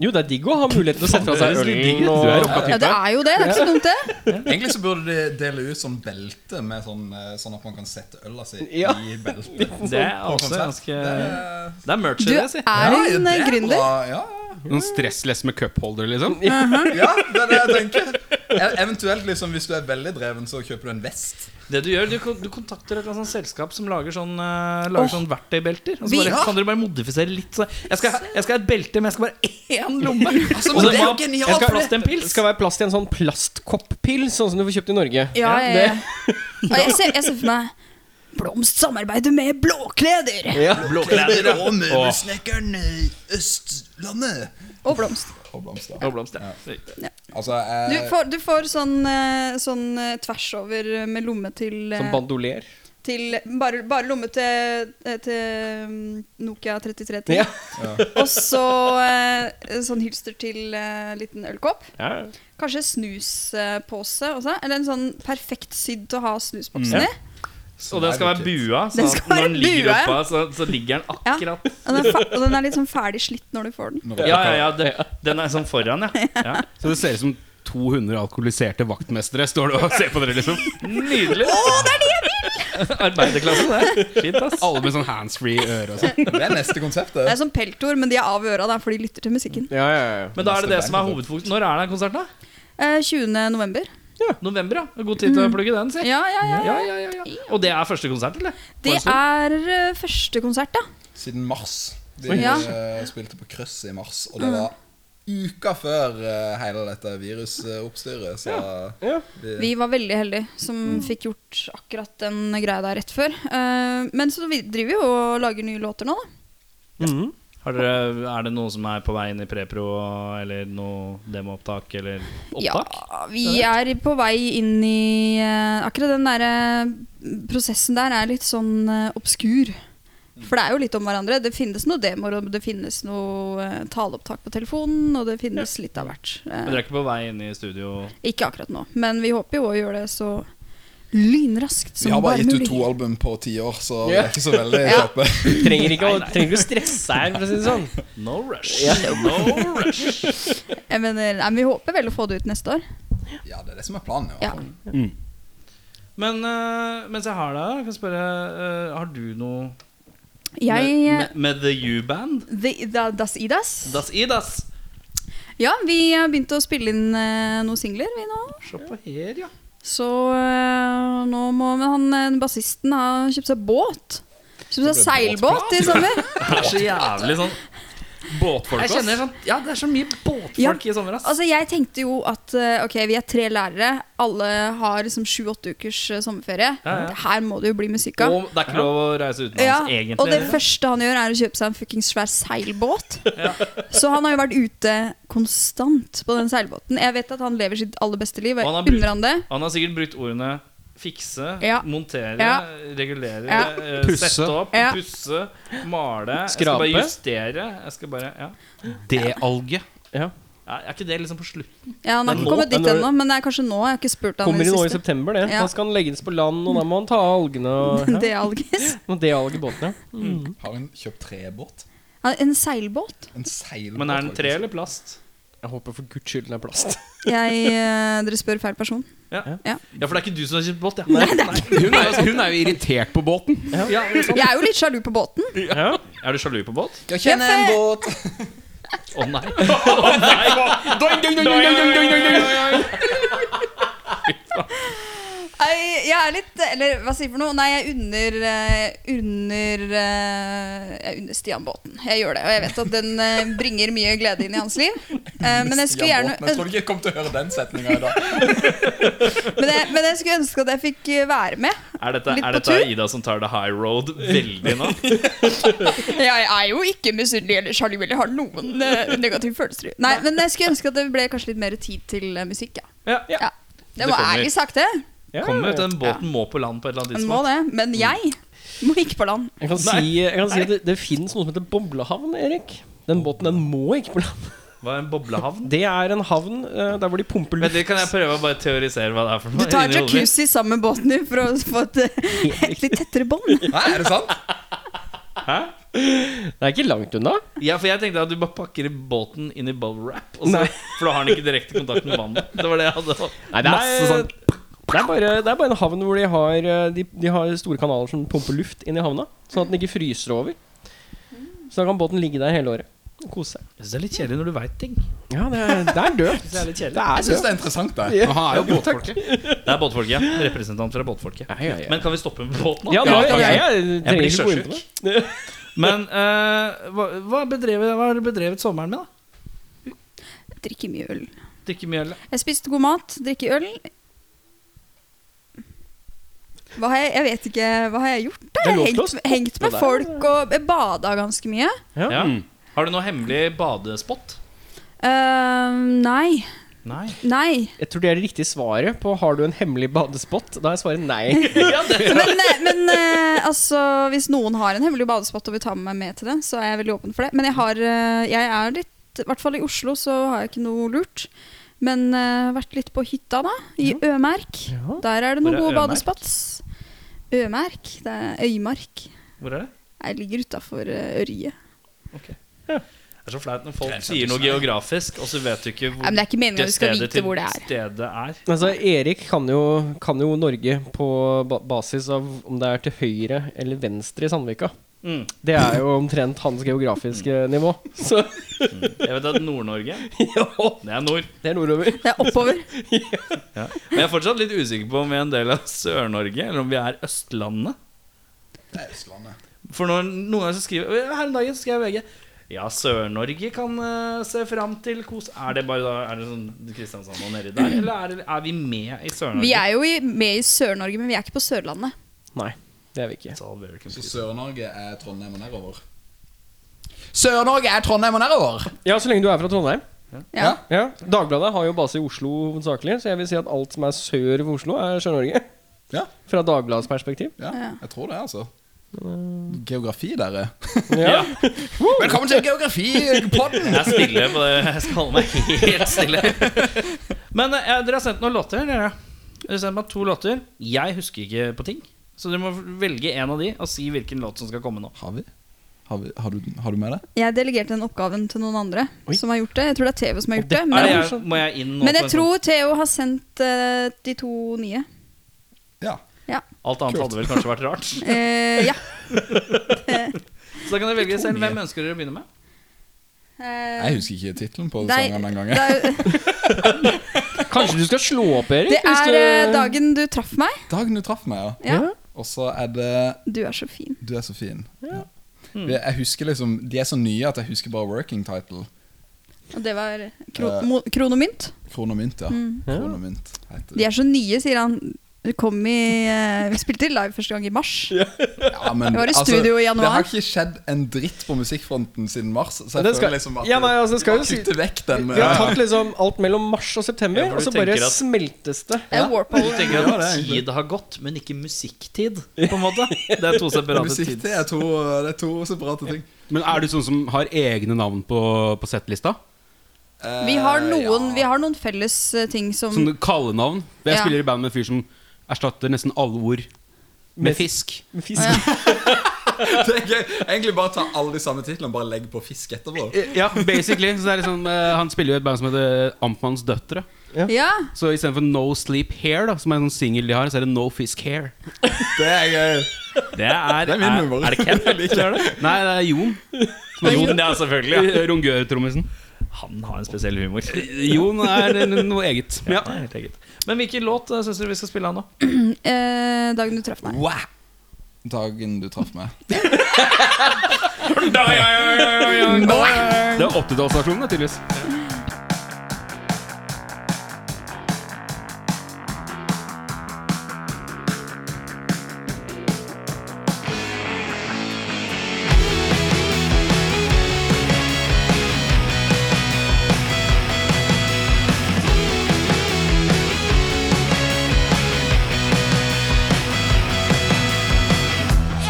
S1: Jo, det er digg å ha muligheten til å sette fra seg
S2: Faen, det er litt
S1: ølen.
S2: digg,
S3: Du er
S1: Og...
S3: rocka
S5: Ja, det
S3: type.
S5: er jo det. Det er ikke så dumt, det.
S6: Egentlig så burde de dele ut sånn belte, med sånn, eh, sånn at man kan sette øla si
S1: Ja.
S6: i beltet.
S2: Det er
S6: På sånn
S2: også
S6: konsert.
S2: ganske
S6: Eh,
S2: Det er merch i
S5: Du
S2: det, si.
S5: er
S6: ja,
S5: en
S6: det
S5: eh, gründer.
S6: bra, Ja, ja.
S3: Noen stressless med cupholder, liksom.
S6: Ja, det er det jeg tenker. E- Eventuelt liksom hvis du er veldig dreven, så kjøper du en vest.
S2: Det du gjør, du, kon- du kontakter et eller annet sånt selskap som lager sånn, eh, lager sånn verktøybelter. Og så
S5: Vi-
S2: bare, kan dere bare modifisere litt. Så jeg, skal, ha- jeg skal ha et belte, men jeg skal bare ha én
S5: <laughs>
S2: lomme.
S6: Altså,
S2: og
S6: men
S2: så må
S6: det er jo
S2: jeg
S6: genialt,
S2: jeg skal ha
S6: for
S2: plass til en
S1: Det
S2: pils.
S1: skal være plass til en sånn plastkopppils, sånn som du får kjøpt i Norge.
S5: Ja, ja,
S1: det-
S5: ja. Og jeg ser, jeg ser for meg Blomst samarbeider med blåkleder!
S2: Blåkleder
S6: Og møbelsnekkeren i Østlandet.
S5: Og blomst.
S6: Og blomster.
S2: og blomster.
S6: Altså,
S5: Du
S6: jeg,
S5: får, du får sånn, eh, sånn eh, tvers over eh, med lomme til, eh,
S1: Som Sånn bandoler.
S5: til bare, bare lomme til, eh, til mm, Nokia 3310.
S1: Ja.
S5: <laughs> Og så eh, sånn hylster til eh, liten ølkopp.
S1: Ja.
S5: Kanskje snuspose også. Eller en sånn perfekt sydd til å ha
S1: Mm.
S5: snusboksen i.
S2: Og den skal være bua,
S5: Den
S2: så at
S5: skal
S2: når den
S5: være
S2: ligger
S5: bua, ja.
S2: oppa, så, så ligger den akkurat
S5: Og den, er fa og den er litt sånn ferdig slitt når du får den.
S2: Ja, ja, ja det, Den er sånn foran, ja. ja.
S3: Så det ser ut som 200 alkoholiserte vaktmestere står og ser på dere, liksom.
S2: Nydelig. <laughs> Arbeiderklasse, det. Fint, ass.
S3: Alle med sånn handsfree øre og sånn.
S6: Det er neste konseptet.
S5: Det er sånn peltor, men de er av øra, da, for de lytter til musikken.
S1: Ja, ja, ja.
S2: Men da er det det som er hovedfokus. Når er den konserten, da?
S5: Eh, 20. november.
S2: November, ja. God tid til
S5: Mm.
S2: å plugge den, si.
S5: Ja, ja, ja.
S2: Ja, ja, ja, ja. Og det er første konsert, eller?
S5: Det er eh, første konsert, da.
S6: Siden mars. De
S5: Oi. Ja. Mm.
S6: eh, spilte på Krøss i mars, og det var uka før eh, hele dette virusoppstyret. Så
S5: Vi var veldig heldige som
S2: Mm.
S5: fikk gjort akkurat den greia der rett før. Eh, men så vi driver jo og lager nye låter nå, da.
S1: Mhm.
S2: Har dere, er det noen som er på vei inn i prepro, eller noe demoopptak, eller opptak?
S5: Ja, vi er på vei inn i eh, Akkurat den der eh, prosessen der er litt sånn eh, obskur.
S2: Mm.
S5: For det er jo litt om hverandre. Det finnes noen demoer, og det finnes noe eh, taleopptak på telefonen, og det finnes litt av hvert. Eh,
S2: Men dere er ikke på vei inn i studio?
S5: ikke akkurat nå, men vi håper jo å gjøre det så lynraskt som
S6: vi har bare gitt ut
S5: mulig.
S6: to album på ti år, så vi
S1: Ja.
S6: er ikke så veldig
S5: Ja.
S6: kjappe.
S1: Trenger ikke å trenger ikke å stresse her, for å si det sånn.
S2: No rush. No rush.
S5: Jeg mener, nei, men vi håper vel å få det ut neste år.
S6: Ja, det er det som er planen. i hvert
S5: Ja.
S6: fall.
S2: Men eh, mens jeg har deg, kan jeg spørre eh, Har du noe
S5: Jeg eh,
S2: med, med, med The U-Band?
S5: The, da, Das Idas.
S2: Das Idas.
S5: Ja, vi har begynt å spille inn eh, noen singler, vi nå.
S2: Se på her, ja.
S5: Så eh, nå må men han eh, bassisten ha kjøpt seg båt. Kjøpt seg seilbåt i sommer.
S2: Det er så jævlig sånn
S3: Båtfolk,
S2: Jeg kjenner sånn Ja, det er så mye båtfolk i sommer, ass.
S5: Altså, jeg tenkte jo at eh, ok, vi er tre lærere. Alle har liksom sju-åtte ukers eh, sommerferie.
S2: Ja, ja.
S5: Her må det jo bli musikk av.
S2: Og det er ikke lov å reise utenlands,
S5: Ja,
S2: egentlig.
S5: og det første han gjør, er å kjøpe seg en fuckings svær seilbåt. Så han har jo vært ute konstant på den seilbåten. Jeg vet at han lever sitt aller beste liv, og
S2: Og han har
S5: jeg
S2: brukt-
S5: unner han det.
S2: Han har sikkert brukt ordene fikse,
S5: Ja.
S2: montere,
S5: Ja.
S2: regulere,
S5: Ja.
S2: eh,
S3: Pusse.
S2: sette opp,
S5: Ja.
S2: pusse, male. Jeg skal
S1: Skrape.
S2: bare justere. Jeg skal bare, ja.
S3: D-alge.
S1: Ja.
S2: Ja, er ikke det liksom på slutt?
S5: Ja, Han har
S1: Men
S5: ikke
S1: nå-
S5: kommet dit
S1: men når-
S5: ennå, men det er kanskje nå. Jeg har ikke spurt han i
S1: Kommer
S5: det
S1: i nå i
S5: siste.
S1: september, det.
S5: Ja.
S1: Da skal den legges på land, og da må han ta av algene og
S5: <laughs> Det er algis.
S1: ja. det alge i båten, ja.
S6: Har hun kjøpt trebåt?
S5: Ja, En seilbåt.
S6: En seilbåt?
S2: Men er den tre
S6: faktisk.
S2: eller plast?
S1: Jeg håper for guds skyld den er plast.
S5: Jeg, eh, dere spør feil person.
S2: Ja, for det er ikke du som har kjøpt båt, ja. Nei.
S3: Hun er, jo- hun er jo irritert på båten.
S2: Ja, det er sant.
S5: Jeg er jo litt sjalu på båten.
S1: Ja.
S2: Er du sjalu på
S5: <laughs>
S2: båt?
S6: Jeg kjenner
S5: Ja,
S6: en båt.
S2: Å nei. Å nei.
S3: Doing, doing, doing, doing, doing, doing, doing, doing.
S5: Nei, jeg er litt Eller hva sier jeg for noe? Nei, jeg unner eh, Unner eh, Jeg unner Stian båten. Jeg gjør det. Og jeg vet at den eh, bringer mye glede inn i hans liv. Eh, Men jeg skulle
S6: Stian
S5: gjerne
S6: Båten. Jeg tror ikke jeg kommer til å høre den setninga <laughs> i dag.
S5: men jeg, men jeg skulle ønske at jeg fikk eh, være med.
S2: Er dette,
S5: Litt på
S2: er dette
S5: tur.
S2: Ida som tar the high road veldig nå?
S5: Jeg er jo ikke misunnelig eller sjalu eller har noen eh, negative følelser. Nei, men jeg skulle ønske at det ble kanskje litt mer tid til eh, musikk, <laughs> ja.
S2: Ja, ja.
S5: ja.
S2: Det
S5: Det var
S2: kommer.
S5: ærlig sagt, det.
S1: Ja.
S2: Kommer, vet du, Den båten må på land på et eller annet
S5: Den må
S2: tidspunkt.
S5: det. Men jeg må ikke på land.
S1: Jeg kan si, jeg kan si at det, det fins noe som heter boblehavn, Erik. Den båten den må ikke på land.
S2: Hva er en boblehavn?
S1: Det er en havn eh, der hvor de pumper
S2: Vent
S1: luft.
S2: litt, Kan jeg prøve å bare teorisere hva det er for noe?
S5: Du tar
S2: inni hodet mitt?
S5: jacuzzi sammen med båten din for å få et eh, et litt tettere bånd.
S2: <laughs>
S6: Nei, er det sant?
S1: Det er ikke langt unna.
S2: Ja, for jeg tenkte at du bare pakker i båten inn i bubble wrap. og så- For da har den ikke direkte kontakt med vannet. Det var det jeg hadde.
S1: Nei, det,
S2: Masse
S1: er,
S2: sånn
S1: det, er bare, det er bare en havn hvor de har, eh, de, de har store kanaler som pumper luft inn i havna. Sånn at den ikke fryser over. Så da kan båten ligge der hele året. Kose seg.
S2: Jeg synes det er litt kjedelig når du veit ting.
S1: Ja, det er, det er død. <laughs> det er litt kjedelig.
S6: Jeg syns det er interessant, det.
S1: Ja.
S3: Og han er jo
S1: Jo, takk.
S3: båtfolket.
S2: Det er båtfolket. ja. Representant fra båtfolket.
S1: Ja, ja, ja.
S2: Men kan vi stoppe med båten? nå?
S1: Ja, nå, jeg, jeg, jeg
S2: Jeg
S1: trenger
S2: blir
S1: ikke gå inn på det.
S2: Men eh, hva, hva, bedrevet, hva har du bedrevet sommeren med, da?
S5: Jeg drikker mye øl.
S2: Drikke mye øl?
S5: Jeg spiste god mat, drikker øl. Hva har jeg, jeg vet ikke Hva har jeg gjort? da?
S1: Det er
S5: Jeg
S1: lov
S5: har
S1: til å
S5: hengt,
S1: stoppe
S5: hengt med
S1: der.
S5: folk og jeg bada ganske mye.
S2: Ja.
S3: Mm.
S2: Har du noe hemmelig badespott?
S5: Ehm, nei.
S2: Nei.
S5: Nei.
S1: Jeg tror det er det riktige svaret på har du en hemmelig badespott. Da er svaret <laughs> nei.
S2: <laughs> Ja, det,
S5: Men, eh, men eh, altså, hvis noen har en hemmelig badespott og vil ta med meg med til det, så er jeg veldig åpen for det. Men jeg har eh, Jeg er litt I hvert fall i Oslo så har jeg ikke noe lurt. Men eh, vært litt på hytta, da. I Ømerk.
S1: Ja.
S5: Der er det
S2: Hvor
S5: noen
S2: er
S5: gode
S2: Ømerk?
S5: badespots. Ømerk. Det er Øymark.
S2: hvor er det?
S5: Jeg ligger utafor eh, Ørje.
S2: Det er så flaut når folk sier noe geografisk, og så vet du ikke hvor
S5: Nei, men det er ikke meningen
S2: det
S5: at du skal
S2: stedet
S5: vite
S2: til
S5: hvor det er.
S2: stedet er.
S1: Altså, Erik kan jo, kan jo Norge på ba basis av om det er til høyre eller venstre i Sandvika.
S2: Mm.
S1: Det er jo omtrent hans geografiske nivå. <laughs> Så
S2: Jeg vet at Nord-Norge,
S1: ja,
S2: det er nord.
S1: det er nordover.
S5: Det er
S2: <laughs>
S5: oppover.
S2: Men jeg er fortsatt litt usikker på om vi er en del av Sør-Norge, eller om vi er Østlandet.
S6: Det er Østlandet.
S2: For når, noen ganger så skriver Her en dag så skrev VG Ja, Sør-Norge kan eh, se fram til kos Er det bare da Er det sånn Kristiansand og nedi
S5: <clears throat>
S2: der? Eller er, det, er vi med i Sør-Norge?
S5: Vi er jo i, med i Sør-Norge, men vi er ikke på Sørlandet.
S1: Nei, det er vi ikke.
S2: It's all very
S6: Så
S2: confusing.
S6: Sør-Norge er Trondheim og nedover. Sør-Norge er Trondheim og nedover!
S1: Ja, så lenge du er fra Trondheim.
S5: Ja.
S1: Ja, Dagbladet har jo base i Oslo hovedsakelig, så jeg vil si at alt som er sør for Oslo, er Sør-Norge.
S6: Ja.
S1: Fra Dagbladets perspektiv.
S6: Ja, Mm. jeg tror det, altså. Geografi, dere.
S1: Ja.
S6: Velkommen til Geografipodden!
S2: Jeg er stille på det. Jeg skal holde meg helt stille. <laughs> Men eh, dere har sendt noen låter. Dere Dere har sendt meg to låter. Jeg husker ikke på ting. Så dere må velge en av de og si hvilken låt som skal komme nå.
S6: <laughs> Har vi? Har, vi, har, du, har du med det?
S5: Jeg delegerte den oppgaven til noen andre som har gjort det. Jeg tror det er Theo som har gjort det.
S2: Er det
S5: Men,
S2: jeg, må jeg inn nå?
S5: men
S2: på en
S5: jeg
S2: sånn-
S5: tror Theo har sendt eh, de to nye.
S6: Ja.
S5: Ja.
S2: Alt annet hadde vel kanskje vært rart.
S5: Eh, ja.
S2: Så da kan dere velge selv. Hvem ønsker dere å begynne med?
S6: Jeg
S5: Eh,
S6: husker ikke tittelen på
S5: det er-
S6: sangen
S5: det
S6: den gangen. <laughs>
S5: er,
S1: Kanskje du skal slå opp, Erik?
S5: det
S1: hvis
S5: er
S1: du-
S5: eh, dagen du traff meg.
S6: Dagen du traff meg, ja.
S5: Ja.
S6: Og så er det
S5: Du er så fin.
S6: Du er så fin. Ja.
S5: Hmm.
S6: Jeg jeg husker liksom De er så nye at jeg husker bare working title.
S5: Og det var kro
S6: Eh.
S5: mo- kronomynt.
S6: Kron og mynt, ja. Kron og mynt
S5: Hmm.
S6: heter
S5: De
S6: det.
S5: er så nye, sier han. Vi Kom i, eh, vi spilte live første gang i mars.
S6: Ja, men,
S5: Vi
S6: altså,
S5: var i studio i januar.
S6: Det har ikke skjedd en dritt på musikkfronten siden mars. Så jeg
S1: Den
S6: føler
S1: skal-
S6: liksom at
S1: Ja, nei, altså, det skal jo
S6: vi
S1: si-
S6: kutter vekk den. eh,
S1: Vi har tatt liksom alt mellom mars og september,
S2: Ja, for
S1: og
S2: du
S1: så bare
S2: tenker at-
S1: smeltes det.
S5: Ja.
S2: Du
S5: Warpole.
S2: tenker
S6: Ja, det
S2: at
S6: er egentlig-
S2: tid har gått, men ikke musikktid, på en måte? Det er to separate
S6: <laughs> Musikk det
S2: tids...
S6: er, to, det er to separate ting. <laughs>
S3: Men er du sånn som har egne navn på, på settlista?
S6: Eh,
S5: Vi har noen,
S6: ja.
S5: vi har noen felles eh, ting som
S3: Som kallenavn? Jeg
S5: Ja.
S3: spiller i band med en fyr som erstatter nesten alle ord med fisk.
S1: Med fisk. <laughs>
S6: Det er gøy. Egentlig bare ta alle de samme titlene og bare legg på fisk etterpå.
S3: Eh, Ja, basically. Så det er liksom, eh, han spiller jo i et band som heter Amtmanns Døtre.
S5: Ja,
S3: Så istedenfor No Sleep Hair, da, som er en sånn singel de har, så er det No Fisk Hair.
S6: Det er gøy.
S2: Det er,
S6: Det er min humor.
S2: Er det
S3: <laughs>
S2: Ken? eller ikke er det?
S3: Nei, det er Jon.
S2: Jon, ja, selvfølgelig.
S3: Rongør-trommisen.
S2: Ja. Han har en spesiell humor.
S3: Jon er noe eget.
S2: Ja, det er helt eget. Men hvilken låt syns dere vi skal spille av nå?
S5: eh, dagen du traff meg.
S6: Wow. Dagen du traff meg.
S3: Det er 80-tallsversjonen, da, tydeligvis.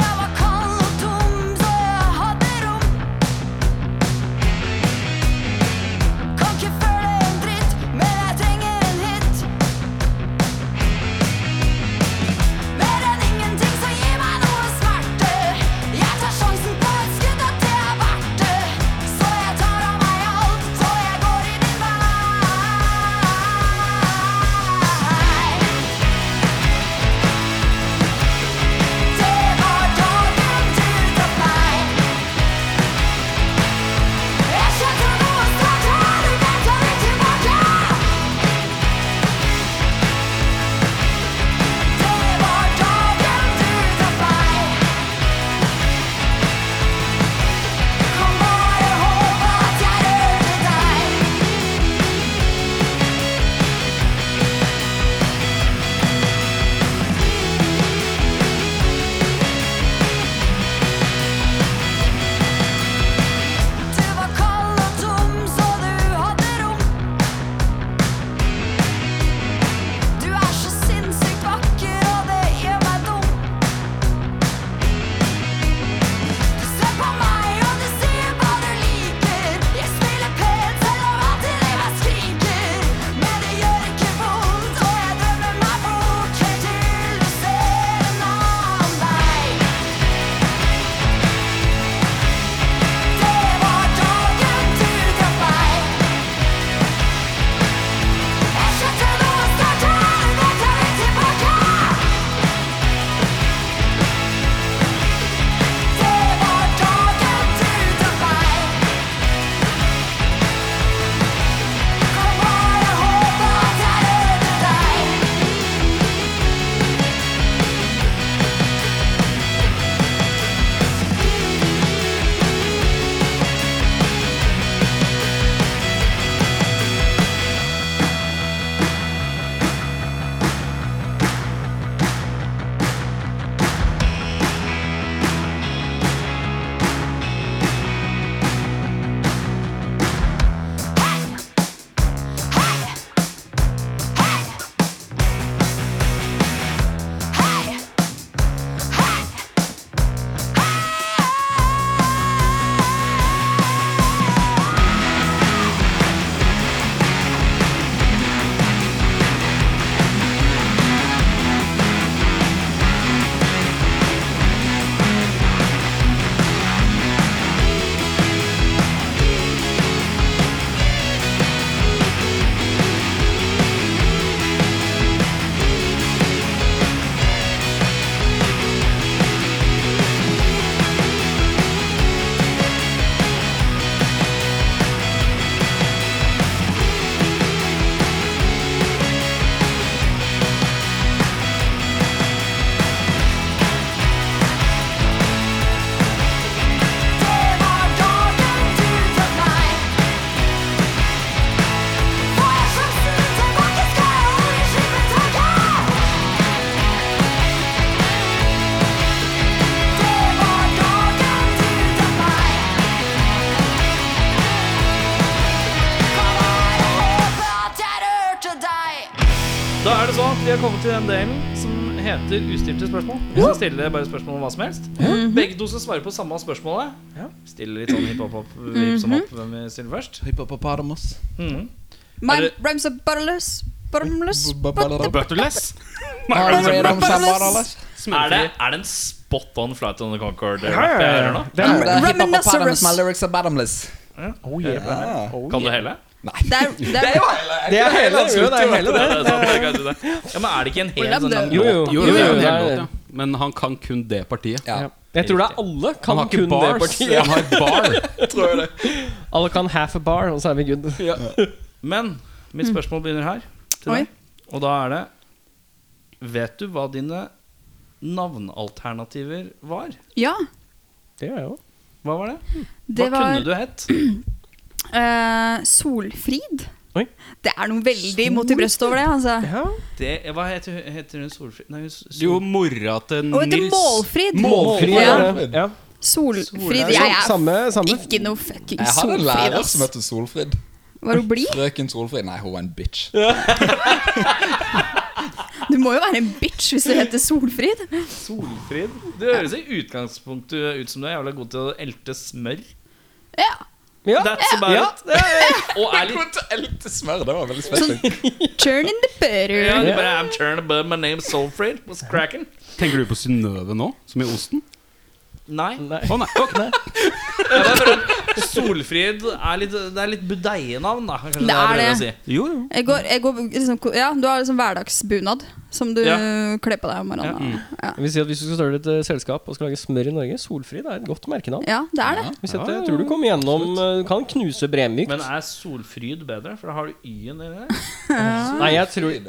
S7: Jeg var kald og tom, så jeg hadde rom.
S2: Da er det sånn at vi har kommet til den delen som heter ustilte spørsmål. Vi skal stille bare spørsmål om hva som helst.
S6: Mhm.
S2: Begge to skal svare på samme spørsmålet. Stille litt sånn hiphop-hop,
S6: Mhm.
S2: hipp som hopp, hvem vi stiller først.
S6: Hypopoparamus.
S2: Mhm.
S5: My
S2: Er det-
S5: rhymes are butterless.
S2: Butterless?
S5: Bottomless.
S6: Hypopoparamus.
S2: Er det, er det en spot on flight on the Concord?
S1: Ja, ja, ja. Det er-
S5: Rum and Lazarus.
S6: My lyrics are bottomless.
S1: Oh, yeah,
S6: Ah.
S2: Kan du hele?
S5: Det er, det er,
S1: Det er hele, jo, det er hele det.
S2: Ja, <laughs> det er sant, det kan jeg si det. ja, men er det ikke en hel
S5: Hvordan
S2: sånn lang
S5: dø?
S1: Jo, jo.
S3: Jo,
S1: jo,
S3: det
S1: jo,
S3: er jo en
S1: det
S3: hel
S1: er-
S3: låt, ja. Men han kan kun det partiet.
S6: Ja.
S1: Jeg tror det er alle
S3: Han
S1: kan
S3: har ikke
S1: kun det
S3: bars,
S1: partiet.
S3: han har bar.
S1: Alle kan half a bar, og så er vi good.
S2: Men mitt spørsmål begynner her. Til
S5: Mm. Oi.
S2: deg. Og da er det Vet du hva dine navnalternativer var?
S5: ja,
S1: Det gjør jeg òg.
S2: Hva var det? Hva
S5: det var
S2: kunne du hett?
S5: eh, Solfrid.
S1: Oi.
S5: Det er noe veldig mot i brøstet over det, altså.
S2: Det, hva heter, hun- heter hun Solfrid? Nei, hun, Sol-
S3: <laughs> Jo, mora til
S5: Og heter
S3: Nils.
S5: Målfrid.
S1: Målfri.
S5: Ja.
S1: Ja. Ja.
S5: Solfrid. Jeg er
S1: Samme, samme.
S5: ikke noe fucking
S6: Jeg hadde en
S5: Solfrid,
S6: lærer
S5: ass.
S6: som het Solfrid.
S5: Var hun blid?
S6: Frøken Solfrid. Nei, hun var en bitch.
S5: Du må jo være en bitch hvis du heter Solfrid.
S2: Solfrid? Det høres i utgangspunktet ut som du er jævla god til å elte smør.
S5: Ja.
S1: Ja.
S2: That's about
S1: Ja.
S2: it. Og er litt
S6: Godt å elte smør, det var veldig spesielt.
S5: Turn in the butter.
S2: ja, du bare, I'm turned above my name Solfrid. What's cracking?
S3: Tenker du på Synnøve nå, som i osten? Sånn,
S2: Nei.
S1: Nei.
S3: Å nei, ok.
S2: Jeg bare prøver- Solfrid er litt, det er litt budeie-navn, da. Kanskje det er det. Jeg prøver å si.
S3: Jo, jo.
S5: Jeg går, jeg går liksom, ja, du har liksom hverdagsbunad som du
S2: Ja.
S5: kler på deg om morgenen. Ja.
S1: Det vil si at Hvis du skal starte et eh, selskap og skal lage smør i Norge, Solfrid er et godt merkenavn.
S5: ja, det er det.
S1: Hvis jeg, jeg tror du kommer gjennom eh, Du kan knuse Bremyk.
S2: Men er Solfryd bedre? For da har du Y-en inni der.
S5: Ah.
S1: Nei, jeg tror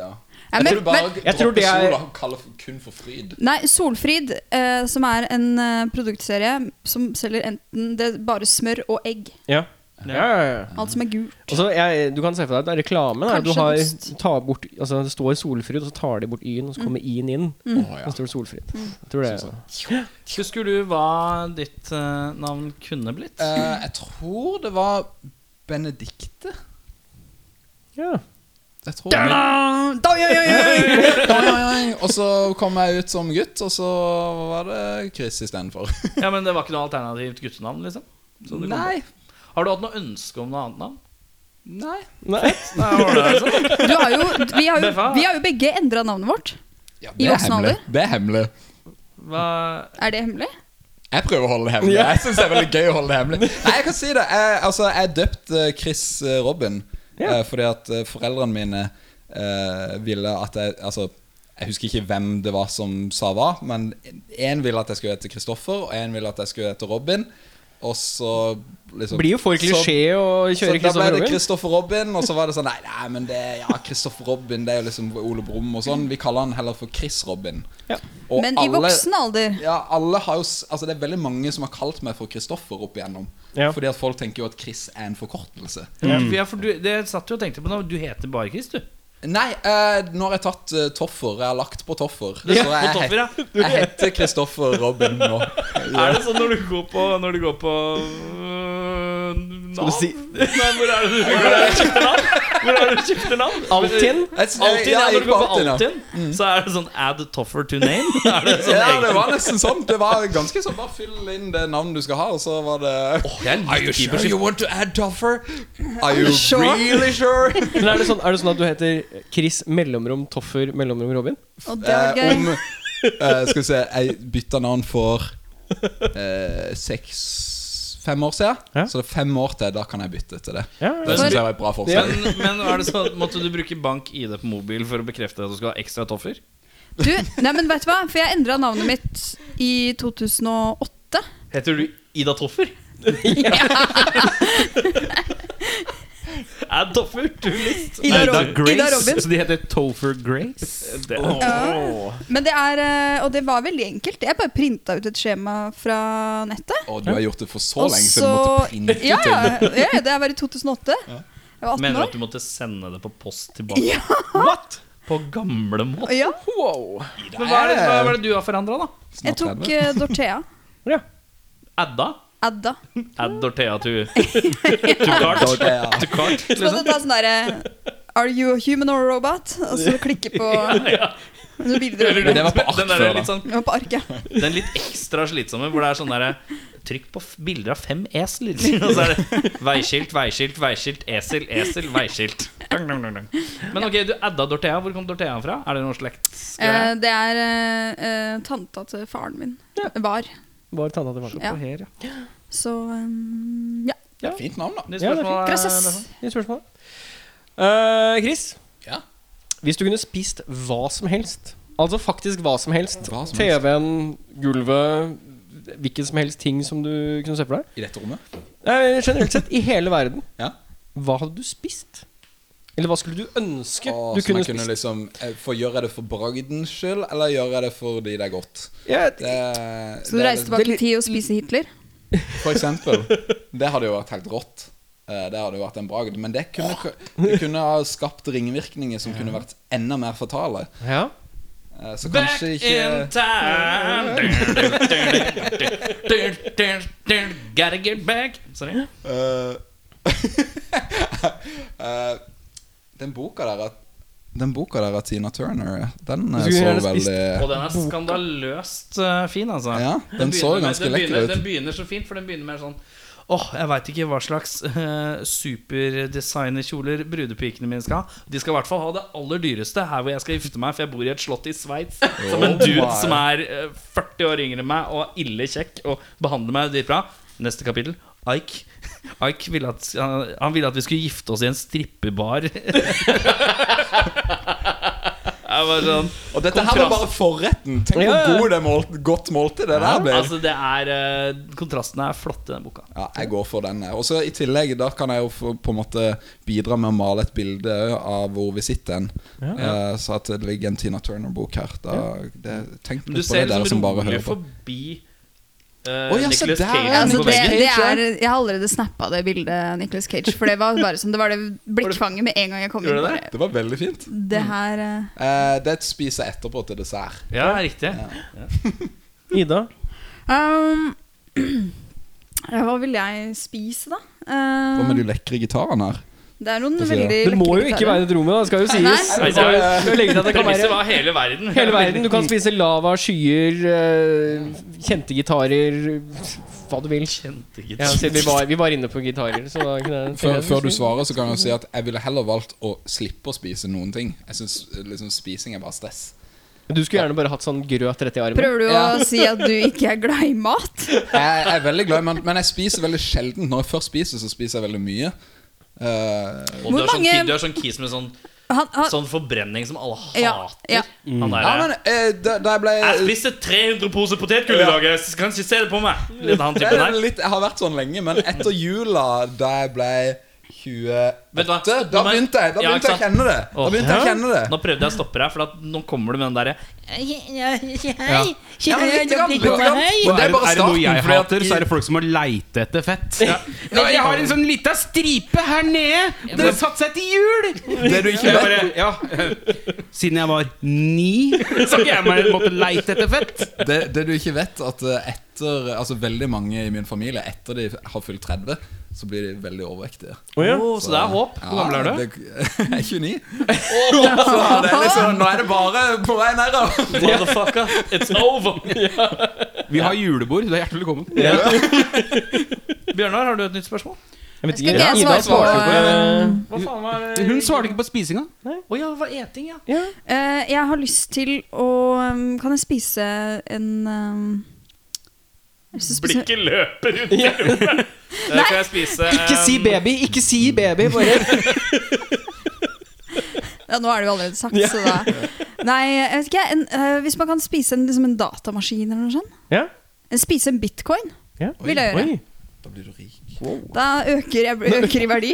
S5: Ja,
S6: Jeg
S5: men,
S6: tror du bare
S5: men,
S1: Jeg tror det
S6: dropper
S1: er-
S6: sola og kaller for- kun for fryd.
S5: nei, Solfrid, eh, som er en eh, produktserie som selger enten det er bare smør og egg.
S1: Ja. Ja, ja, ja.
S5: Alt som er gult.
S1: Og så jeg, du kan se for deg at det er reklamen. er at Du
S5: Kanskje
S1: har,
S5: ost. Mm.
S1: tar bort, altså, det står Solfrid, og så tar de bort Y-en, og så kommer Y-en inn.
S6: Å, ja.
S1: Og så står det Solfrid. Jeg tror det er
S2: Husker du hva ditt eh, navn kunne blitt?
S5: Mm.
S6: Eh, jeg tror det var Benedikte.
S1: ja.
S6: Jeg tror <laughs> Oi, oi, oi. Og så kom jeg ut som gutt, og så var det Chris istedenfor.
S2: Ja, men Det var ikke noe alternativt guttenavn? liksom Som du kom på.
S6: Nei.
S2: Har du hatt noe ønske om noe annet navn?
S6: Nei.
S1: Nei.
S2: sånn?
S5: Du har jo, vi, har jo,
S2: Beffa.
S5: vi har jo begge endra navnet vårt.
S6: Ja,
S5: I
S6: det er
S5: voksen
S6: hemmelig.
S5: alder?
S6: Det er hemmelig.
S2: Hva
S5: Er det hemmelig?
S6: Jeg prøver å holde det hemmelig. Jeg synes det er veldig gøy å holde det
S1: <laughs>
S6: hemmelig. Nei, jeg kan si det. Jeg, altså, jeg døpte Chris eh, Robin
S1: Ja.
S6: eh, fordi at eh, foreldrene mine eh, ville at jeg Altså, jeg husker ikke hvem det var som sa hva, men én ville at jeg skulle hete Kristoffer, og én ville at jeg skulle hete Robin. Og så liksom
S1: Blir jo for
S6: så-
S1: klisjé å kjøre
S6: så
S1: Kristoffer
S6: da ble det
S1: Robin.
S6: Kristoffer Robin, og så var det sånn Nei, nei men det ja, Kristoffer Robin Det er jo liksom Ole Brumm og sånn. Vi kaller han heller for Chris Robin.
S1: Ja.
S6: Og
S5: Men i
S6: alle-
S5: voksen alder.
S6: ja, alle har jo s- Altså det er veldig mange som har kalt meg for Kristoffer opp igjennom.
S1: Ja.
S6: Fordi at folk tenker jo at Chris er en forkortelse.
S2: ja, for du, det satt du og tenkte på nå. Du heter bare Chris, du.
S6: Nei, eh, nå har jeg tatt eh, Toffer. Jeg har lagt på Toffer. Så
S2: Ja,
S6: jeg,
S2: på
S6: he-
S2: toffer, ja.
S6: jeg heter Kristoffer Robin nå.
S2: Er det sånn når du går på Når du går på øh, Nav?
S1: si-
S2: Nei, hvor er det du hvor er det du skifter navn? Hvor er det du skifter navn?
S1: Altinn?
S6: Jeg-
S2: Altinn, ja,
S6: ja, jeg
S2: når
S6: gikk
S2: du går på
S6: på Altinn, ja.
S2: Altinn, så er det sånn add toffer to name. Er det sånn
S6: Ja,
S2: egen-
S6: det var nesten sånn. Det var ganske sånn Bare fyll inn det navnet du skal ha, og så var det Are you sure you want to add Toffer? Are you
S5: Sure.
S6: really sure?
S1: Men er det, sånn, er det sånn at du heter Chris mellomrom Toffer mellomrom Robin?
S5: Og det var
S6: Eh, om
S5: gøy.
S6: eh, Skal vi se Jeg bytta navn for eh, seks Fem år siden.
S1: Ja.
S6: Så det er fem år til. Da kan jeg bytte til det.
S1: Ja,
S6: Det synes jeg var et bra forslag.
S2: Men, men er det sånn, at måtte du bruke bank-ID på mobil for å bekrefte at du skal ha ekstra toffer?
S5: Du, nei, men vet du hva? For jeg endra navnet mitt i 2008.
S2: Heter du Ida Toffer? <laughs> Add toffer to list.
S5: Ida, Rob- Ida Robin.
S3: Så de heter Tolfer Grace?
S2: Det er-
S5: Men det er, eh, og det var veldig enkelt. Jeg bare printa ut et skjema fra nettet.
S6: Og du har gjort det for så
S5: Og
S6: lenge siden. Du måtte printe
S5: ja,
S6: ting.
S5: ja, ja, det var i 2008. Jeg var 18
S2: Mener du at
S5: år.
S2: du måtte sende det på post tilbake?
S5: Ja.
S2: What? På gamle måte?
S5: Ja,
S2: Men hva er det, hva er det du har forandra, da?
S5: jeg tok eh, Dorthea.
S2: Adda?
S6: <laughs>
S5: Adda.
S2: Add Dorthea to, to cart?
S6: Dorthea.
S2: To cart
S5: Så måtte
S2: liksom.
S5: jeg ta sånn derre Are you a human or a robot? Og så klikke på
S6: <laughs>
S5: Så bilder
S6: Men det var på ark
S2: den, der
S6: før, da.
S2: litt sånn,
S5: det var på arket.
S2: den litt ekstra slitsomme, hvor det er sånn derre Trykk på f- bilder av fem esler. Og så er det veiskilt, veiskilt, veiskilt, esel, esel, veiskilt. Dang, dang, dang, dang. Men ok, du adda Dorthea. Hvor kom Dorthea fra? Er det noen slektsgreie?
S5: Eh, det er eh, eh, tanta til faren min. Var.
S1: Bare ta deg tilbake.
S5: Ja.
S2: Her, ja.
S5: Så eh, ja.
S6: Fint navn, da.
S2: Nytt
S1: Ja, det er
S2: spørsmål, eh,
S5: Krasses.
S1: Nytt spørsmål. Eh, Chris,
S6: Ja.
S1: hvis du kunne spist hva som helst, altså faktisk hva som helst,
S6: Hva som helst.
S1: TV-en, gulvet, hvilken som helst ting som du kunne se for deg
S6: I dette rommet.
S1: Eh, Generelt sett, i hele verden,
S6: <laughs> Ja.
S1: hva hadde du spist? Eller hva skulle du ønske
S6: Og
S1: du
S6: så
S1: kunne
S6: jeg kunne
S1: spist?
S6: liksom eh, For Gjør jeg det for bragdens skyld, eller gjør jeg det fordi det er godt?
S1: Ja,
S6: Det,
S5: Skal du
S6: det er
S5: reise
S6: litt-
S5: tilbake i tid og spise Hitler?
S6: For eksempel. Det hadde jo vært helt rått. Eh, Det hadde jo vært en bragd. Men det kunne, det kunne ha skapt ringvirkninger som kunne vært enda mer fatale.
S1: ja.
S6: Eh, Så
S2: Back
S6: kanskje
S2: in
S6: ikke
S2: time Dun, dun, dun, Gotta get back Sorry
S6: Eh, <laughs> eh, Den boka der at- Den boka der av Tina Turner, den eh,
S1: Du skulle
S6: så
S1: gjerne spist
S6: veldig
S2: Og den er skandaløst eh, fin altså
S6: Ja, den
S2: begynner
S6: så
S2: med-
S6: ganske
S2: den begynner-
S6: lekker ut.
S2: Den begynner så fint For den begynner med sånn Åh, jeg vet ikke hva slags <laughs> eh, superdesignerkjoler brudepikene mine skal ha De skal i hvert fall ha det aller dyreste Her hvor jeg skal gifte meg For jeg bor i et slott i
S6: <laughs>
S2: Schweiz Som en
S6: Oh
S2: dude
S6: my.
S2: som er eh, 40 år yngre enn meg Og ille kjekk Og behandler meg dritbra Neste kapittel Ike <laughs> Ike ville at, han, han ville at vi skulle gifte oss i en strippebar <laughs> Jeg var sånn
S6: Og dette her var
S2: Kontrast.
S6: bare forretten. Tenk
S1: Ja, ja.
S6: hvor god det målt, godt måltid det der blir.
S2: Altså det er eh, Kontrastene er flotte i den boka
S6: Ja, jeg går for den. jeg. Og så I tillegg da kan jeg jo få- på en måte bidra med å male et bilde av hvor vi sitter hen. Eh, så at det ligger en Tina Turner-bok her. Da, det, tenk
S2: Men du
S6: litt på
S2: ser
S6: det, dere som
S2: liksom
S6: bare
S2: rolig
S6: hører på.
S2: forbi uh,
S6: Å, ja, se
S2: Nicholas
S6: der,
S2: Cage
S6: ja,
S5: Altså,
S2: på
S5: det,
S2: veggen.
S5: det er, jeg har allerede snappa det bildet, Nicholas Cage. For det var bare som det var det blikkfanget med en gang jeg kom inn.
S2: Gjorde det
S5: Bare,
S6: Det var veldig fint.
S5: det her eh,
S6: Eh, det spiser jeg etterpå til dessert.
S2: Ja, riktig.
S1: Ida?
S5: Um, <clears throat> ja, hva vil jeg spise, da?
S6: Hva med
S5: Um,
S6: de lekre gitarene her?
S5: det er noen
S6: Hva sier
S5: veldig
S1: Det må jo ikke være et rom, da, det skal jo
S5: Nei.
S1: sies.
S2: Nei,
S1: Det
S2: det
S1: skal jo-
S2: er-
S1: skal jo legge til at <laughs> det kan
S2: Premisset
S1: være
S2: var hele verden.
S1: Hele verden. Du kan spise lava, skyer, eh, kjente gitarer Hva du vil.
S2: Kjente
S1: Ja,
S2: gitar.
S1: siden vi, var, vi var inne på gitarer. Så da kunne jeg
S6: Før, før du svarer, så kan jeg jo si at jeg ville heller valgt å slippe å spise noen ting. Jeg synes, liksom Spising er bare stress.
S1: Men Du skulle gjerne bare hatt sånn grøt rett i armen.
S5: Prøver du
S6: Ja.
S5: å si at du ikke er glad i mat?
S6: Jeg, jeg er veldig glad i mat, men jeg spiser veldig sjelden. Når jeg først spiser, så spiser jeg veldig mye. Eh,
S2: Og du
S5: Hvor
S2: er sånn,
S5: mange-
S2: kid, du er sånn kis med sånn,
S5: Han, han,
S2: sånn forbrenning som alle hater.
S5: Ja, ja.
S2: Han der,
S6: Ja, men eh, da, da jeg ble
S2: jeg spiste 300 poser potetgull i
S6: Ja.
S2: dag. Jeg kan ikke se det på meg. Litt han
S6: Det
S2: typen der.
S6: er litt, Jeg har vært sånn lenge, men etter jula, da jeg ble 28
S2: Vet du hva?
S6: Da
S2: Men-
S6: begynte jeg Da
S2: Ja,
S6: begynte
S2: ikke
S6: jeg å kjenne det. Da
S2: Åh.
S6: begynte jeg å kjenne det
S2: Nå prøvde jeg å stoppe deg, for at nå kommer du med den derre
S4: Hei.
S6: Ja, men litt grann, litt grann. Men det
S3: Er,
S6: er bare
S3: er det noe jeg
S6: starten. fordi at
S3: hater, så er det folk som må leite etter fett. Ja, jeg har en sånn lita stripe her nede! Den har satt seg til hjul!
S6: Det du ikke
S3: Jeg
S6: vet
S3: bare, ja. eh, Siden jeg var ni, så har jeg meg måtte leite etter fett.
S6: det, det du ikke vet, at eh, etter Altså veldig mange i min familie, etter de har fylt 30, så blir de veldig overvektige.
S2: Åh, Så det er håp. Hvor gammel er du?
S6: det- <laughs> Jeg er 29. <laughs> Så det er liksom, nå er det bare på vei nedover.
S2: Motherfucker, it's over!
S3: Vi har julebord, du er hjertelig velkommen.
S2: Bjørnar, har du et nytt spørsmål?
S1: Jeg vet
S5: Skal ikke jeg svare på, eh,
S1: svarte jo på-
S2: Hva faen var
S3: Hun svarte ikke på spisinga.
S2: Å ja, det var eting, ja.
S5: eh, jeg har lyst til å um, Kan jeg spise en um, jeg har lyst til å spise-
S2: Blikket løper rundt <laughs> i rommet. Eh, Kan jeg spise
S1: Ikke si
S2: eh,
S1: baby! Ikke si baby! Bare
S5: Ja, nå er det jo allerede sagt, så da Nei, jeg vet ikke. En, eh, hvis man kan spise en, liksom en datamaskin eller noe sånt.
S1: Ja.
S5: Spise en bitcoin
S1: <laughs> Ja.
S5: vil jeg gjøre.
S1: Oi.
S6: Da blir du rik.
S5: Da øker jeg øker i verdi.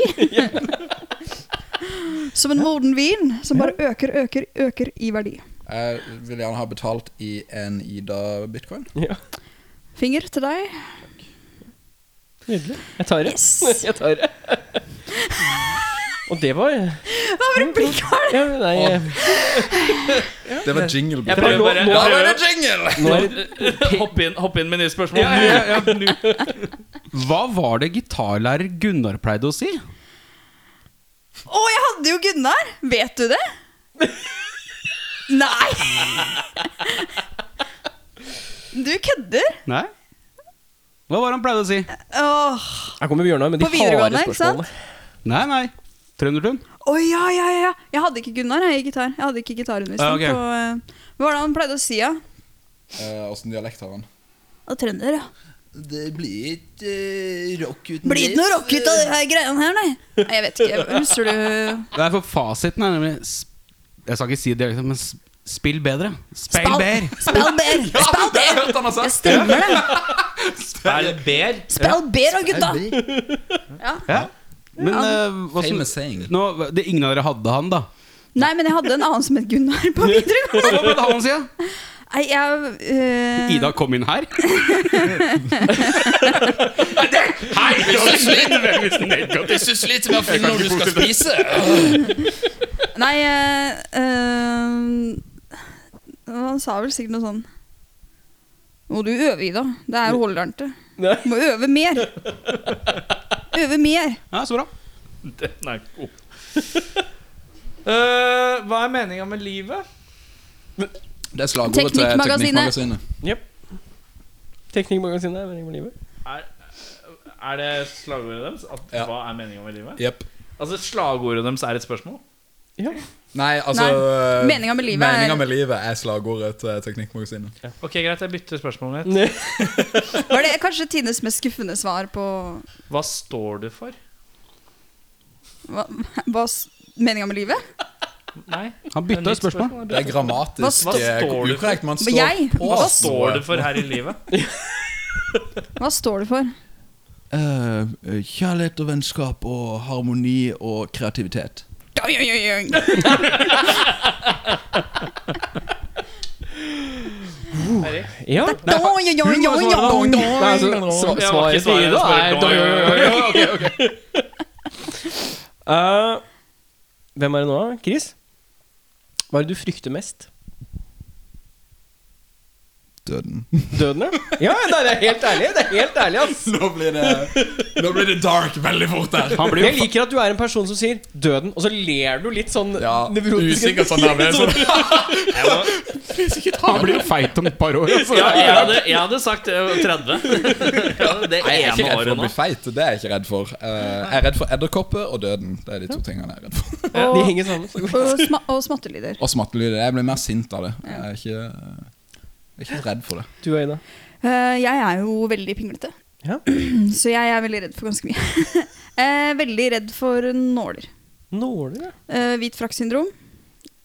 S5: Som en moden vin som bare øker, øker, øker i verdi.
S6: Jeg vil gjerne ha betalt i en Ida-bitcoin.
S5: Finger til deg.
S1: Nydelig. Jeg tar det.
S5: Yes.
S1: <laughs> Jeg tar det. Og det var
S5: Hva var det blikket var?
S1: ja, Nei, eh,
S6: Det var jingle.
S1: Det var
S2: Jeg prøver
S1: lov-
S2: bare
S1: lov-
S2: jeg prøver-
S6: jingle!
S1: nå er det
S2: Hopp inn, hopp inn med nye spørsmål. Nå.
S3: Hva var det gitarlærer Gunnar pleide å si?
S5: Å, jeg hadde jo Gunnar! Vet du det? Nei! Du kødder!
S3: Nei? Hva var det han pleide å si?
S5: Åh.
S1: Her kommer Bjørnar med de
S5: På videregående,
S1: harde
S5: ikke sant?
S1: spørsmålene.
S3: Nei, nei. Trøndertun?
S5: Å ja, ja, ja, ja. Jeg hadde ikke Gunnar jeg, i gitar. Jeg hadde ikke
S3: Ja,
S5: gitarundervisning.
S3: ok.
S5: på, eh, Hva var det han pleide å si, da? Ja?
S6: Eh, Åssen dialekt har han?
S5: Og trønder, ja.
S6: Det blir ikke eh, rock uten
S5: Blir det ikke noe rock ut av de her greiene her, nei? nei? Jeg vet ikke. Husker du
S3: Det er for fasiten er nemlig sp- Jeg skal ikke si dialekten, men sp- spill bedre. Spill
S5: Spall-
S3: bedre.
S5: Spell <laughs> bear! Spell bear! Det stemmer, det.
S2: Spill ber.
S5: Spell bear og gutta!
S3: Ja. Men eh, hva som,
S6: Famous saying.
S3: nå, det, ingen av dere hadde han, da?
S5: Nei, men jeg hadde en annen som het Gunnar
S3: <laughs>
S5: på videregående.
S3: Hva ble det han sier?
S5: Nei, jeg eh,
S3: Ida kom inn her?
S6: Jeg syns litt mer for når du skal spise.
S5: Nei eh, eh, Han sa vel sikkert noe sånn Må du øve, Ida. Det er jo holdernte.
S1: Nei.
S5: Du må øve mer. Øve mer.
S3: Ja, så bra.
S2: Den er god. <laughs> Eh, hva er meninga med livet?
S6: Det er slagordet til
S5: Teknikkmagasinet.
S6: Teknikkmagasinet.
S1: Teknikkmagasinet er meningen med livet.
S2: Er det slagordet deres? At,
S6: Ja.
S2: Hva er meninga med livet?
S6: Jep.
S2: Altså Slagordet deres er et spørsmål?
S1: Ja.
S6: Nei, altså
S5: Nei, meningen med livet er-
S6: meningen med livet er slagordet til Teknikkmagasinet.
S2: Ok, Greit, jeg bytter spørsmålet mitt.
S1: Nei.
S5: Var det kanskje Tines mest skuffende svar på
S2: Hva står du for?
S5: hva, hva s- meninga med livet?
S2: Nei. det
S3: Han
S2: er
S3: bytta
S2: nytt
S3: spørsmål.
S6: Det er grammatisk
S2: Hva
S6: eh,
S2: står det for?
S6: ukorrekt. Man står
S5: Jeg?
S6: på
S5: Hva
S2: Hva står du for her i livet?
S5: Hva står det for?
S6: Eh, kjærlighet og vennskap og harmoni og kreativitet.
S5: Oi, oi, oi, oi.
S1: Ja.
S5: Oi, oi, oi, oi, oi, oi.
S1: Nei, altså, sva-
S2: Det var
S1: Svaret
S2: ikke
S1: til
S2: svaret,
S1: Ida er
S2: det var ikke
S1: Eh, Hvem er det nå, Chris? Hva er det du frykter mest?
S6: Døden.
S1: Døden, ja? Ja, nei, det er helt ærlig. Det er helt ærlig, ass.
S6: Nå blir det, nå blir det dark veldig fort her.
S3: Han blir
S1: Jeg
S3: jo
S1: liker at du er en person som sier 'døden', og så ler du litt sånn
S6: Ja,
S1: nevrotisk.
S6: usikker sånn der, men sånn.
S3: Han blir jo feit om et par år. Altså.
S2: Ja, jeg, hadde, jeg hadde sagt eh, 30. Ja, Det
S6: Nei, jeg er
S2: ene
S6: ikke redd for
S2: året
S6: å
S2: nå.
S6: bli feit. Det er jeg ikke redd for. Eh, jeg er redd for edderkopper og døden. Det er de to tingene jeg er redd for.
S1: De henger sammen. så godt.
S5: Og, sma og smattelyder.
S6: Og smattelyder. Jeg blir mer sint av det. Jeg er ikke, jeg er ikke redd for det.
S1: Du og Ida.
S5: Eh, jeg er jo veldig pinglete,
S1: Ja.
S5: <clears throat> så jeg er veldig redd for ganske mye. <laughs> Eh, veldig redd for nåler.
S1: Nåler, ja.
S5: Eh, hvit frakksyndrom.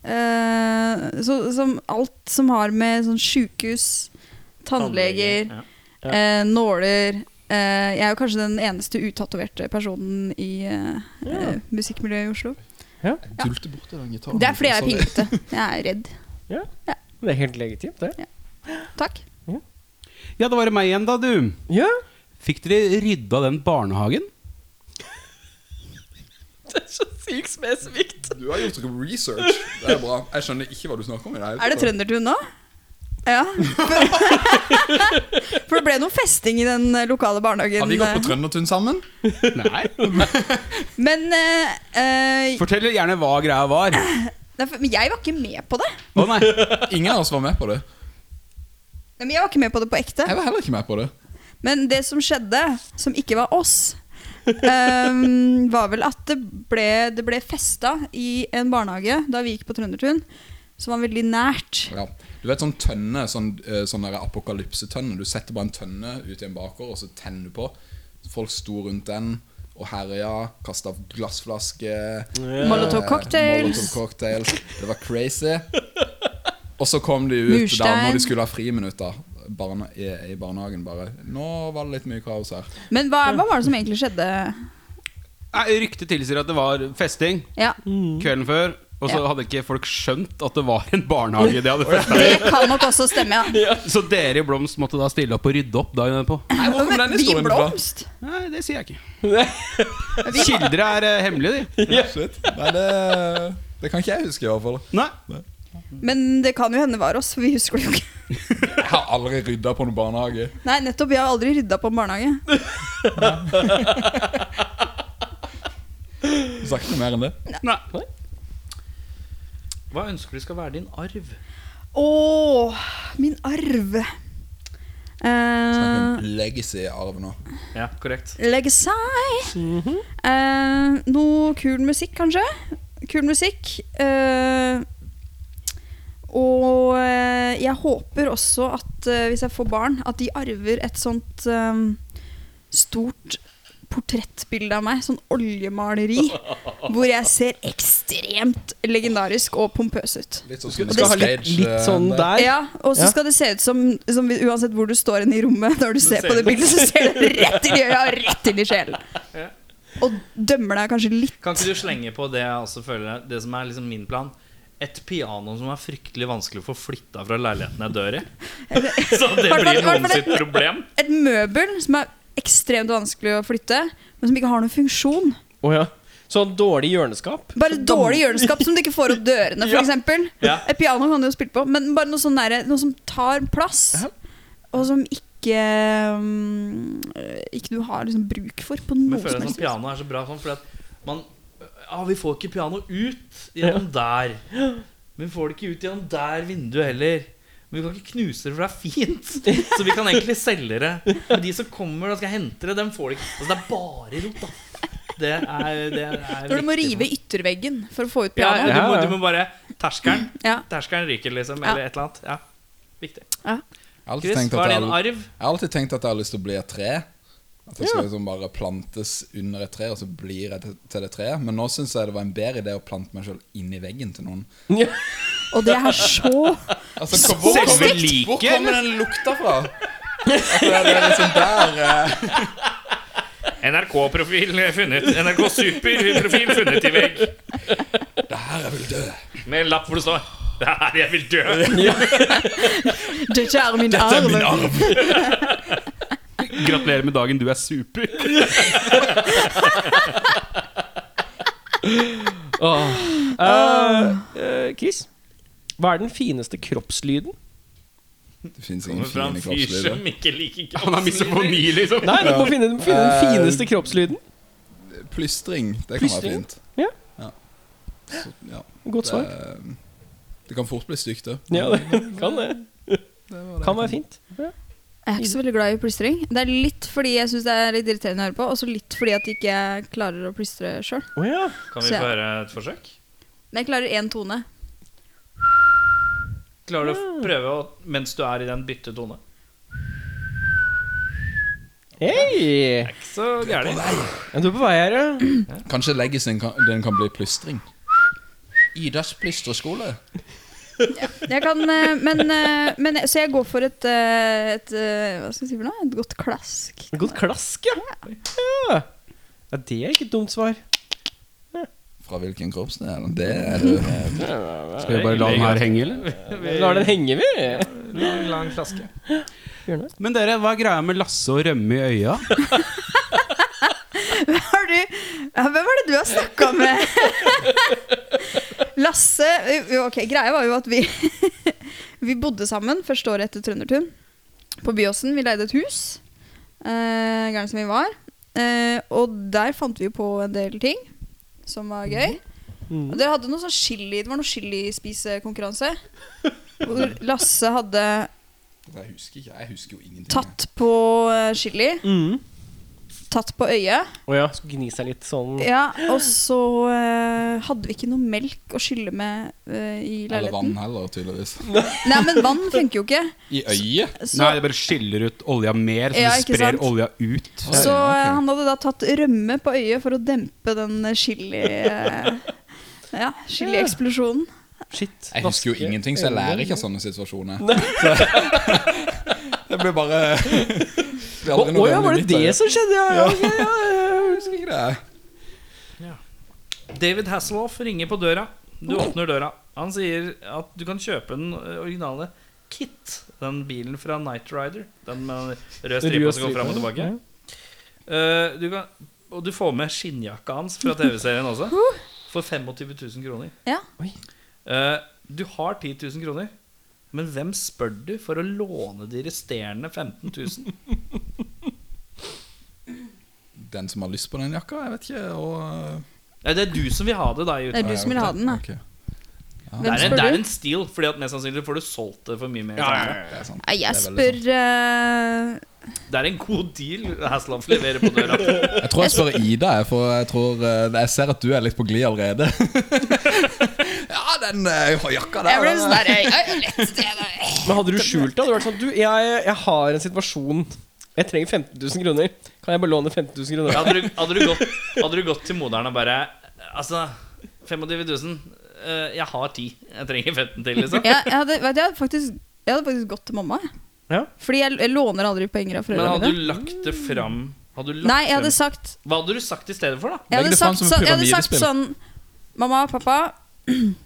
S5: Eh, så, som alt som har med sånn sjukehus, tannleger,
S2: Ja.
S1: Ja.
S5: eh, nåler eh, Jeg er jo kanskje den eneste utatoverte personen i eh, eh, musikkmiljøet i Oslo.
S6: Jeg dulte bort i den gitaren.
S5: Det er fordi jeg er
S6: Sorry.
S5: pinglete. Jeg er redd.
S1: Det er helt legitimt, det.
S5: Takk.
S3: Ja, da var det meg igjen, da, du.
S1: Ja.
S3: Fikk dere rydda den barnehagen?
S1: Det er så sykt spesifikt.
S6: Du har gjort research. Det er bra. Jeg skjønner ikke hva du snakker om. i hele
S5: Er det
S6: tatt.
S5: trøndertun nå? Ja. <laughs> For det ble noe festing i den eh, lokale barnehagen. eh.
S6: Har vi gått på Trøndertun sammen?
S3: Nei.
S5: Men eh, eh,
S3: Fortell gjerne hva greia var.
S5: nei, for- men jeg var ikke med på det.
S3: Å nei.
S6: Ingen av oss var med på det.
S5: Nei, men jeg var ikke med på det på ekte.
S6: Jeg var heller ikke med på det.
S5: Men det som skjedde, som ikke var oss, ehm, var vel at det ble, det ble festa i en barnehage da vi gikk på Trøndertun, som var veldig nært.
S6: Ja. Du vet sånn tønne, sånn, eh, sånn der apokalypsetønne. Du setter bare en tønne ut i en bakgård, og så tenner du på. Folk sto rundt den og herja, kasta glassflasker.
S5: Molotov cocktails.
S6: Molotov cocktails. Det var crazy. Og så kom de ut da
S5: Murstein.
S6: når de skulle ha friminutt da, barne, i, i barnehagen. bare Nå var det litt mye kaos her.
S5: Men hva, hva var det som egentlig skjedde?
S3: Nei, Ryktet tilsier at det var festing
S5: Ja,
S3: kvelden før. Og så
S5: Ja.
S3: hadde ikke folk skjønt at det var en barnehage de hadde festa i.
S5: Det kan nok også stemme,
S6: <laughs>
S5: ja.
S3: <laughs> Så dere i Blomst måtte da stille opp og rydde opp dagen etterpå.
S6: Nei, hvor kom den
S5: Men vi
S6: historien fra?
S5: blomst!
S3: Nei, det sier jeg ikke. Kilder er eh, hemmelige, de.
S6: Shit. Nei, det, det kan ikke jeg huske, i hvert fall.
S3: Nei.
S5: Men det kan jo hende var oss, for vi husker det <laughs> jo ikke.
S6: Jeg har aldri rydda på noen barnehage.
S5: Nei, nettopp. Vi har aldri rydda på en barnehage.
S6: sagt noe mer enn det.
S2: Nei. Hva ønsker du skal være din arv?
S5: Å, min arv.
S6: Snakk
S5: Eh,
S6: om legacy-arv nå.
S2: Ja, korrekt.
S5: Legge seg. Eh, noe kul musikk, kanskje. Kul musikk. Eh, og eh, jeg håper også at eh, hvis jeg får barn, at de arver et sånt eh, stort portrettbilde av meg. Sånn oljemaleri. hvor jeg ser ekstremt legendarisk og pompøs ut.
S6: Litt sånn
S1: Skal,
S6: som
S1: skal ha litt,
S6: stage,
S1: litt
S6: eh,
S1: sånn der.
S5: Ja, Og så
S1: Ja.
S5: skal det se ut som, som uansett hvor du står hen i rommet, når du ser på det bildet, så ser du rett inn i øya og rett inn i sjelen. Og dømmer deg kanskje litt.
S2: Kan ikke du slenge på det jeg også føler Det som er liksom min plan? Et piano som er fryktelig vanskelig å få flytta fra leiligheten jeg dør i. Så det
S5: Hvertfall-
S2: blir noen
S5: hvertfall
S2: sitt
S5: et-
S2: problem.
S5: Et møbel som er ekstremt vanskelig å flytte, men som ikke har noen funksjon.
S1: Å, ja. Så dårlig hjørneskap.
S5: Bare dårlig hjørneskap som du ikke får opp dørene,
S1: Ja.
S5: f.eks.
S2: Ja.
S5: Et piano kan du jo spille på, men bare noe, sånn derre- noe som tar plass, og som ikke mm, Ikke du har liksom bruk for på
S2: Men
S5: noe
S2: jeg føler at
S5: som
S2: sånn
S5: helst.
S2: piano er så bra sånn, fordi at man Ja, vi får ikke piano ut gjennom der. Men vi får det ikke ut gjennom der vinduet heller. Men vi kan ikke knuse det, for det er
S5: <laughs>
S2: fint. Så vi kan egentlig selge det. Men de som kommer og skal hente det, dem får det ikke. Altså, det er bare rot, da. Det er, det
S5: <laughs>
S2: er
S5: Når du
S2: viktig
S5: må
S2: for-
S5: rive ytterveggen for å få ut
S2: Ja,
S5: pianoet.
S2: du, må,
S1: Ja, ja.
S2: du må bare Terskelen
S5: Ja.
S2: Terskelen ryker, liksom.
S5: Ja.
S2: Eller et eller annet. Ja. Viktig.
S6: Jeg har alltid
S2: Chris,
S6: tenkt
S2: hva
S6: at
S2: er
S6: jeg
S2: din
S6: har-
S2: arv?
S6: jeg har alltid tenkt at jeg har lyst til å bli et tre. At jeg skal liksom bare plantes under et tre, og så blir jeg til- til det treet. Men nå syns jeg det var en bedre idé å plante meg sjøl inn i veggen til noen.
S1: Ja.
S5: Og det er så
S6: Altså, hvor, hvor,
S2: Selve
S6: kommer,
S2: liket,
S6: hvor kommer den lukta
S3: <laughs>
S6: fra? At det er- det er liksom der eh,
S2: NRK-profil funnet. NRK Super-profil funnet i vegg.
S6: Det her jeg vil dø.
S2: Med en lapp hvor det står 'Det er her jeg vil dø'.
S5: Dette er min arv.
S3: Gratulerer med dagen, du er super.
S1: Eh, eh, Chris, hva er den fineste kroppslyden?
S6: Det fins ingen
S2: Kommer fra en
S6: fine
S2: fyr
S6: kroppslyder.
S2: som ikke liker
S3: Han har
S2: kroppslyder.
S3: misofoni, liksom.
S1: Nei, du må finne, finne den
S6: Eh,
S1: fineste kroppslyden.
S6: Plystring. Det kan være
S1: Plystring?
S6: fint.
S1: Ja.
S6: Så, ja.
S1: Godt svar.
S6: Det, det kan fort bli stygt, det.
S1: Ja, det kan det. Kan være fint.
S5: Jeg er ikke så veldig glad i plystring. Det er litt fordi jeg syns det er litt irriterende å høre på, og så litt fordi at jeg ikke klarer å plystre sjøl.
S1: Å ja.
S2: Kan vi få høre et forsøk?
S5: Men jeg klarer én tone.
S2: Klarer du å prøve å, mens du er i den bytte tone?
S1: Hei!
S2: Det er ikke så gærent.
S1: Ja, Du er på vei her, ja.
S6: Kanskje leggisen kan, den kan bli plystring. Idas plystreskole.
S5: Jeg kan, eh, men, eh, men, så jeg går for et, eh, et eh, Hva skal jeg si for noe? Et godt klask.
S1: Godt klask, ja. ja. Ja, Det er ikke et dumt svar.
S6: Fra hvilken kroppsdel? Det er det.
S2: Mm.
S3: Skal vi bare la den her henge, eller?
S1: Vi lar den henge, vi.
S2: Lang, lang flaske.
S3: Men dere, hva er greia med Lasse og rømme i øya?
S5: Har du, ja, hvem er det du har snakka med? Lasse jo, ok, Greia var jo at vi, <laughs> vi bodde sammen første året etter Trøndertun. På Byåsen. Vi leide et hus. Uh, Gærne som vi var. Eh, og der fant vi jo på en del ting som var gøy.
S1: Mm.
S5: Og dere hadde noe sånn chili Det var noe chilispisekonkurranse. Hvor Lasse hadde
S6: Jeg husker ikke, jeg husker jo ingenting.
S5: tatt på eh, chili.
S1: Mm.
S5: Tatt på øyet.
S1: Å ja, skulle gni seg litt sånn.
S5: Ja, og så eh, hadde vi ikke noe melk å skylle med eh, i
S6: Eller
S5: leiligheten.
S6: vann heller, tydeligvis.
S5: Nei, men vann funker jo ikke.
S6: I øyet?
S5: Så,
S3: Nei, det bare skiller ut olja mer, så
S5: Ja,
S3: det
S5: ikke
S3: sprer
S5: sant?
S3: olja ut.
S5: så
S6: Oi, ok.
S5: eh, han hadde da tatt rømme på øyet for å dempe den eh, chili... eh, ja, chilieksplosjonen.
S1: Shit.
S5: eh,
S6: Jeg husker jo
S1: vaske
S6: ingenting, så jeg
S1: øynene.
S6: lærer ikke av sånne situasjoner. <laughs> det blir bare det blir
S1: Å
S6: aldri noe
S1: å ja, var det
S6: nytt av
S1: det som skjedde? Ja, ja, ok, ja, ja.
S6: Jeg husker ikke det.
S2: David Hasselhoff ringer på døra. Du åpner døra. Han sier at du kan kjøpe den eh, originale Kit. Den bilen fra Night Rider. Den med den røde
S1: Rød
S2: stripa som går
S1: stripe,
S2: fram og tilbake.
S1: ja.
S2: Eh, du kan, og du får med skinnjakka hans fra TV-serien også. For 25 000 kroner.
S5: Ja.
S1: Oi.
S2: Eh, du har 10 000 kroner. Men hvem spør du for å låne de resterende 15 000?
S6: Den som har lyst på den jakka, jeg vet ikke. Og
S2: Nei, det er du som vil ha det, da. i
S5: Det er
S2: utlandet.
S5: du som vil ha den, da.
S6: Ok.
S5: Hvem
S2: Det er en, det
S5: spør
S2: er
S5: du?
S2: en steal, Fordi at mest sannsynlig får du solgt det for mye mer.
S6: Det er sant.
S5: Nei, jeg
S6: Det er
S5: spør
S6: veldig
S5: eh,
S2: Det er en god deal Hasselhoff leverer på døra.
S6: Jeg tror jeg spør Ida, jeg, for jeg tror eh, Jeg ser at du er litt på glid allerede. <laughs> ja, den eh, jakka der
S5: Jeg ble
S6: den,
S5: sånn der «Ei, ei, lett sted, ei».
S1: Men hadde du skjult det? Hadde du vært sånn Du, jeg, jeg har en situasjon. Jeg trenger 15 000 kroner. Kan jeg bare låne 15 000 kroner?
S2: Hadde du, hadde, du gått, hadde du gått til moderen og bare Altså, 25 000. eh, jeg har 10. Jeg trenger 15 til, liksom.
S5: Jeg, jeg, hadde, vet du, jeg, hadde faktisk, jeg hadde faktisk gått til mamma. jeg.
S1: Ja.
S5: Fordi jeg, jeg låner aldri penger av
S2: Men
S5: foreldrene
S2: hadde
S5: mine.
S2: du lagt det fram hadde du lagt
S5: Nei, jeg hadde
S2: frem-
S5: sagt
S2: Hva hadde du sagt i stedet for, da?
S5: Jeg
S6: Legg
S5: hadde
S6: det fram
S5: sagt,
S6: som et
S5: så, jeg hadde sagt
S6: pyramidespill.
S5: sånn Mamma, pappa <clears throat>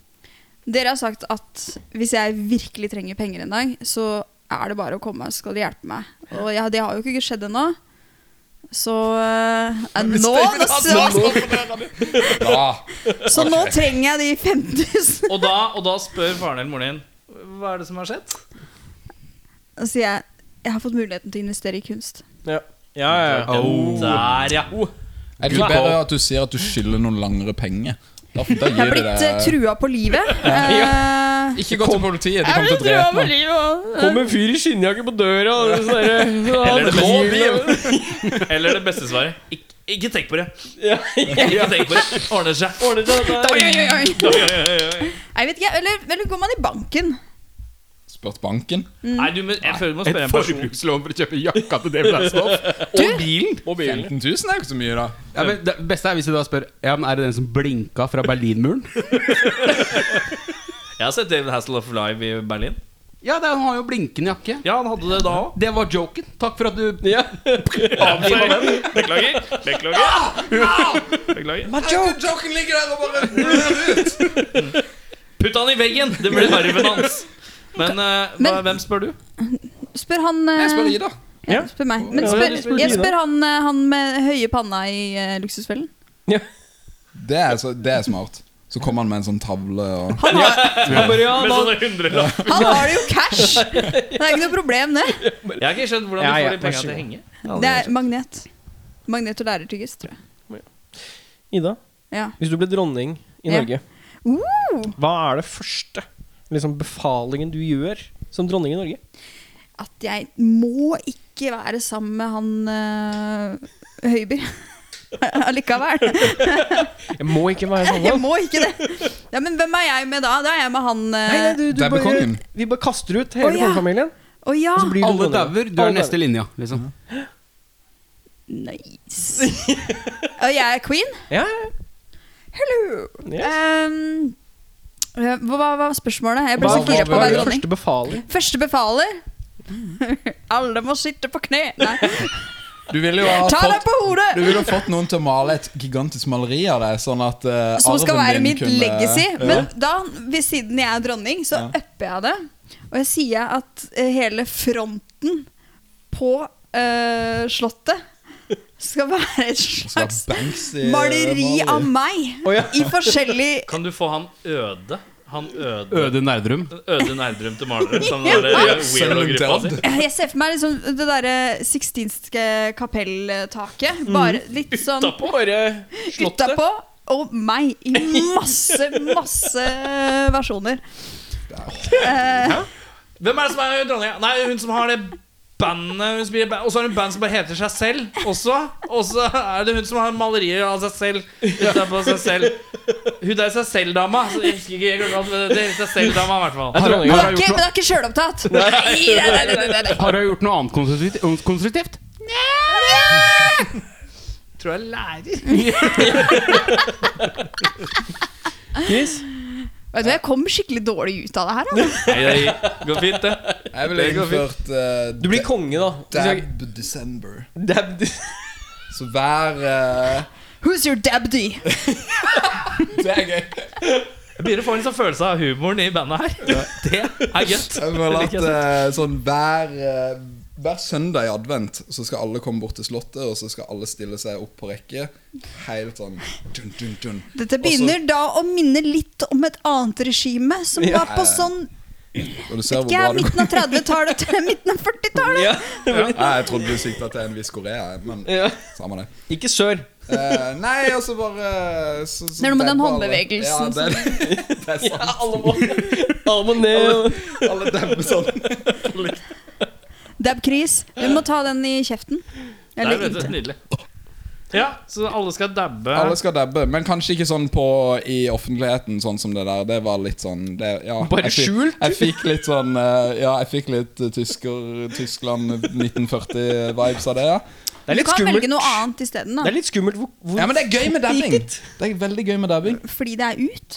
S5: Dere har sagt at hvis jeg virkelig trenger penger en dag, så er det bare å komme, så skal de hjelpe meg. Og jeg, det har jo ikke skjedd ennå. Så eh, nå, nå, så,
S6: Ja,
S5: så nå trenger jeg de <laughs> 5000.
S2: Og da, og da spør faren eller moren din hva er det som har skjedd?
S5: Og så sier jeg jeg har fått muligheten til å investere i kunst.
S1: Ja, ja,
S2: Eh,
S1: ja. ja.
S2: oh. Der, ja.
S6: Er det ikke bedre at du sier at du skylder noen langere penger? Da, da
S5: Jeg har
S6: gir de
S5: blitt eh,
S6: deg
S5: trua på livet.
S6: <laughs>
S5: Eh,
S6: Ikke gå til politiet, de kommer til å
S5: trua
S6: drepe
S5: på
S6: meg.
S5: livet og-
S1: Kom en fyr i skinnjakke på døra og sånn derre
S2: Eller det
S1: Rå
S2: beste, eller det beste svaret. Ikke, ikke tenk på det.
S1: Ja,
S2: Ikke tenk på det. Ordner seg.
S1: ordner seg, det
S5: Oi,
S1: er-
S5: oi, oi.
S2: Oi, oi, oi, oi.
S5: Jeg vet ikke, eller, eller går man i banken?
S6: Spurt banken.
S5: Mm.
S2: Nei, du, må- jeg føler du må
S3: Et
S2: spørre en person.
S3: forbrukslån for å kjøpe jakka til David Hasselhoff.
S1: Og bilen. Og bilen.
S6: 15 000 er jo ikke så mye, da.
S3: Ja, men det beste er hvis du da spør Ja, men er det den som blinka fra Berlinmuren.
S2: Jeg har sett David Hasselhoff live i Berlin.
S3: Ja, det er, han har jo blinkende jakke.
S2: Ja, han hadde det da òg.
S3: Det var joken. Takk for at du
S1: Ja.
S2: <laughs> Beklager. Beklager. Ah! Beklager.
S6: Joken ligger der og bare blør ut.
S2: Putt han i veggen! Det blir arven hans. Men, eh, hva,
S5: Men-
S2: hvem spør du?
S5: Spør han eh,
S6: Jeg spør Ida.
S5: Ja, spør meg. Men
S1: Ja,
S5: spør,
S1: du spør
S5: jeg
S1: Tina.
S5: spør han, eh, han med høye panna i eh, luksusfellen.
S1: Ja.
S6: Det er, så, det er smart. Så kommer han med en sånn tavle og
S5: Han har,
S1: Han bare, ja,
S2: Med
S1: da-
S2: sånne hundrelapper.
S5: han har det jo
S1: <laughs>
S5: cash! Det er ikke noe problem, det.
S2: Jeg har ikke skjønt hvordan
S1: Ja, ja,
S2: du får de
S1: vær
S2: penga
S1: så
S2: til å
S1: god.
S2: henge.
S5: Det er magnet. Magnet og lærertyggis, tror jeg.
S1: Ida,
S5: Ja.
S1: hvis du ble dronning i
S5: Ja.
S1: Norge,
S5: Uh,
S1: hva er det første liksom, befalingen du gjør som dronning i Norge?
S5: at jeg må ikke være sammen med han eh, Høiby. <laughs> Allikevel.
S1: Jeg <laughs> må ikke være
S5: Jeg må ikke sånn. det. Ja, men hvem er jeg med da? Da er jeg med han eh,
S1: du,
S6: Det er
S1: bare-
S6: kongen.
S1: Vi bare kaster ut hele
S5: Å, ja.
S1: kongefamilien.
S5: Å ja!
S1: Og så blir du
S3: <laughs> Alle
S1: dronning.
S3: dauer, du er
S1: Alle
S3: neste
S1: dauer. Mhm.
S3: linja. Liksom.
S5: Nice. Og jeg er queen?
S1: Ja, ja.
S5: Hello!
S1: Yes.
S5: Ehm, eh, hva, hva var spørsmålet? Jeg ble
S1: Hva,
S5: så gira på å
S1: hva er
S5: være
S1: det
S5: dronning.
S1: første befaling?
S5: Første befaler? <laughs> Alle må sitte på kne! Nei.
S6: <laughs> Du ville jo ha
S5: Ta deg
S6: fått
S5: på
S6: du
S5: hodet!
S6: ville ha fått noen til å male et gigantisk maleri av deg, sånn at uh,
S5: Som skal være mitt legacy. Men da, ved siden jeg er dronning, så
S6: Ja.
S5: upper jeg det. Og jeg sier at eh, hele fronten på eh, Slottet skal være et slags
S6: eh,
S5: maleri av meg.
S1: Å, ja.
S5: I forskjellig
S2: Kan du få han Øde? Han Øde
S3: Øde Nerdrum.
S2: Øde Nerdrum til maler? Som den der weirdo-gruppa si?
S5: Jeg ser for meg liksom det derre sixtinske kapelltaket. Bare litt sånn
S1: Utapå bare slottet.
S5: utapå. Og meg i masse, masse versjoner. Eh,
S2: Hvem er det som er dronninga? Nei, hun som har det bandet hun spiller i band- Og så har hun band som bare heter seg selv også. Og så er det hun som har malerier av seg selv. Utenpå seg selv Hun der seg selv-dama. Så jeg husker ikke helt hva det heter. Seg selv-dama, i hvert fall.
S1: Er dronninga
S5: Men det
S3: har
S5: er ikke,
S3: gjort
S5: men det er ikke sjølopptatt. Nei, nei, nei, nei, nei, nei.
S3: Har du gjort noe annet konstruktivt? konstruktivt?
S2: Tror jeg lærer.
S1: Yes.
S5: Vet du, hva, jeg kom skikkelig dårlig ut av det her. altså. da.
S2: Nei, det går fint, det.
S6: Jeg ville innført eh,
S1: Du blir konge, da. Hvis jeg-
S6: Dab December.
S1: Dab.
S6: Så hver eh,
S5: Who's your dabdy?
S6: Det er gøy.
S2: Jeg begynner å få en sånn følelse av humoren i bandet her. Det er gøtt.
S6: Jeg føler
S2: Det
S6: at
S2: liker jeg
S6: eh, sånn hver, eh, hver søndag i advent så skal alle komme bort til Slottet, og så skal alle stille seg opp på rekke. Helt sånn dun, dun, dun.
S5: Dette begynner da å minne litt om et annet regime, som var på sånn
S6: Og du ser hvor
S5: ikke
S6: bra det går.
S5: midten av 30-tallet til midten av 40-tallet.
S1: Ja.
S6: Nei, jeg trodde du sikta til en viss Korea, men
S1: Ja.
S6: samme det.
S1: Ikke sør.
S6: Eh, nei, og så bare eh, så, så
S5: Det er noe med den
S6: dabber alle.
S5: håndbevegelsen
S6: Ja, det, det er <laughs>
S1: Ja,
S6: sant.
S1: alle må, alle må ned. og-
S6: Alle dabber sånn.
S5: Dab Chris, du må ta den i kjeften.
S2: Nei,
S5: Eller
S2: vet du,
S5: inntil.
S2: nydelig. Ja, så alle skal dabbe.
S6: Alle skal dabbe, men kanskje ikke sånn på i offentligheten, sånn som det der. Det var litt sånn det, ja,
S1: Bare
S6: jeg fikk-
S1: skjult?
S6: Jeg fikk litt sånn eh, Ja, jeg fikk litt eh, tysker, Tyskland 1940-vibes av det, ja.
S1: Det er
S5: Du
S1: litt
S5: kan velge
S1: skummelt.
S5: noe annet isteden,
S1: Det er
S5: da.
S1: litt skummelt hvor, hvor
S6: Ja, men det er gøy med dabbing.
S1: Fittet.
S6: Det er veldig gøy med dabbing.
S5: Fordi det er ut.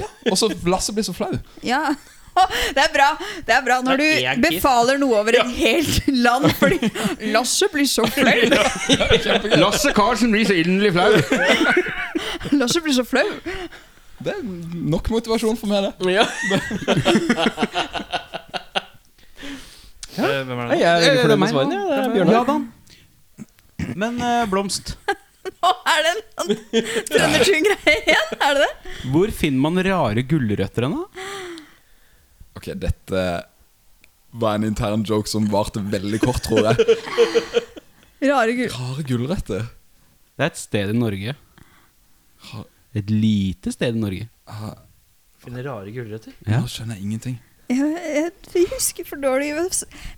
S6: Ja. Og så Lasse blir så flau.
S5: Ja. <laughs> Det er bra Det er bra når
S2: Det er én
S5: du befaler noe over et helt <laughs> land,
S1: <laughs>
S5: fordi Lasse blir så flau.
S3: Lasse Karlsen blir så inderlig flau.
S5: Lasse blir så flau.
S6: Det er nok motivasjon for meg, det.
S1: Ja.
S2: Eh, Hvem er
S1: Nei,
S2: det?
S1: jeg er veldig
S3: Det er
S1: fornøyd med
S3: meg,
S1: svarene.
S3: da.
S1: Ja, det er
S3: Det er meg.
S1: Bjørnar.
S3: Men eh, Blomst,
S5: Nå er det en trøndertun-greie igjen, er det det?
S3: hvor finner man rare gulrøtter hen, da?
S6: Ok, dette var en intern joke som varte veldig kort, tror jeg.
S5: Rare gul...
S6: Rare gulrøtter.
S3: Det er et sted i Norge. Et lite sted i Norge.
S2: Finne rare gulrøtter.
S3: Ja.
S6: Nå skjønner jeg ingenting.
S5: Jeg, jeg, jeg husker for dårlig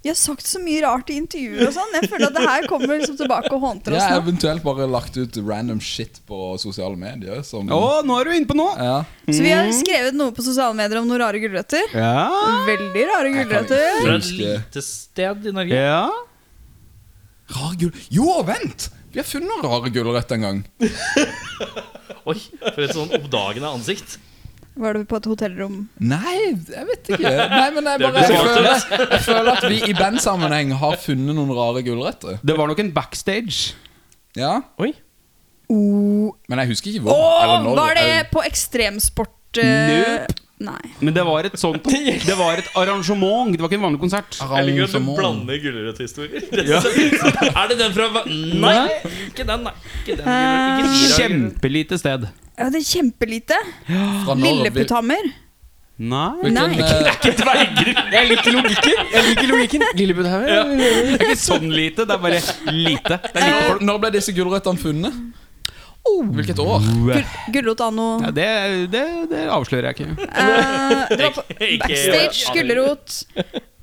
S5: Vi har sagt så mye rart i intervjuer og sånn. Jeg føler at det her kommer liksom tilbake og hånter
S6: Jeg har
S5: oss nå.
S6: eventuelt bare lagt ut random shit på sosiale medier. Som,
S3: Å, nå er du inne på noe!
S6: ja.
S5: Så vi har skrevet noe på sosiale medier om noen rare gulrøtter.
S3: Ja.
S5: Veldig rare
S6: Jeg kan
S5: gulrøtter.
S2: Fra et
S6: Husker-
S2: lite sted i Norge.
S3: ja.
S6: Rar gul... Jo, vent! Vi har funnet rare gulrøtter en gang.
S2: Oi, for et sånn oppdagende ansikt.
S5: Var det på et hotellrom?
S6: Nei, jeg vet ikke. Nei, men jeg,
S2: Det er
S6: bare, jeg,
S2: besvart,
S6: føler, jeg føler at vi i bandsammenheng har funnet noen rare gulrøtter.
S3: Det var nok en backstage.
S6: Ja,
S1: Oi.
S5: Oh,
S6: Men jeg husker ikke hvor. eller
S5: Åh,
S6: når.
S5: var det
S6: Jeg-
S5: på ekstremsport eh, Nei.
S3: Men det var et
S1: <laughs>
S3: sånt Det var et arrangement. Det var ikke en vanlig konsert.
S2: Jeg liker at du
S6: Arrangement.
S2: blander gulrøtthistorier. Det ser- Er det den fra Va- Nei, ikke den, nei. Ikke den gulrøtten. Ikke de rare gulrøttene.
S3: Kjempelite sted.
S5: Ja, det er kjempelite.
S6: Fra når og hvil-
S5: Lilleputthammer.
S3: Nei.
S6: Hvilken,
S5: Nei.
S6: eh,
S1: Jeg liker logikken. Jeg liker logikken Lillebudhaugen.
S3: Det er ikke sånn lite, det er bare lite. Det er lite folk.
S6: når- Når ble disse gulrøttene funnet?
S2: Oh.
S6: Hvilket år?
S5: Gul Gulrot anno
S3: Ja, det, det, det avslører jeg ikke.
S5: eh, Det var på
S2: Ikke-
S5: backstage,
S2: ikke-
S5: gulrot.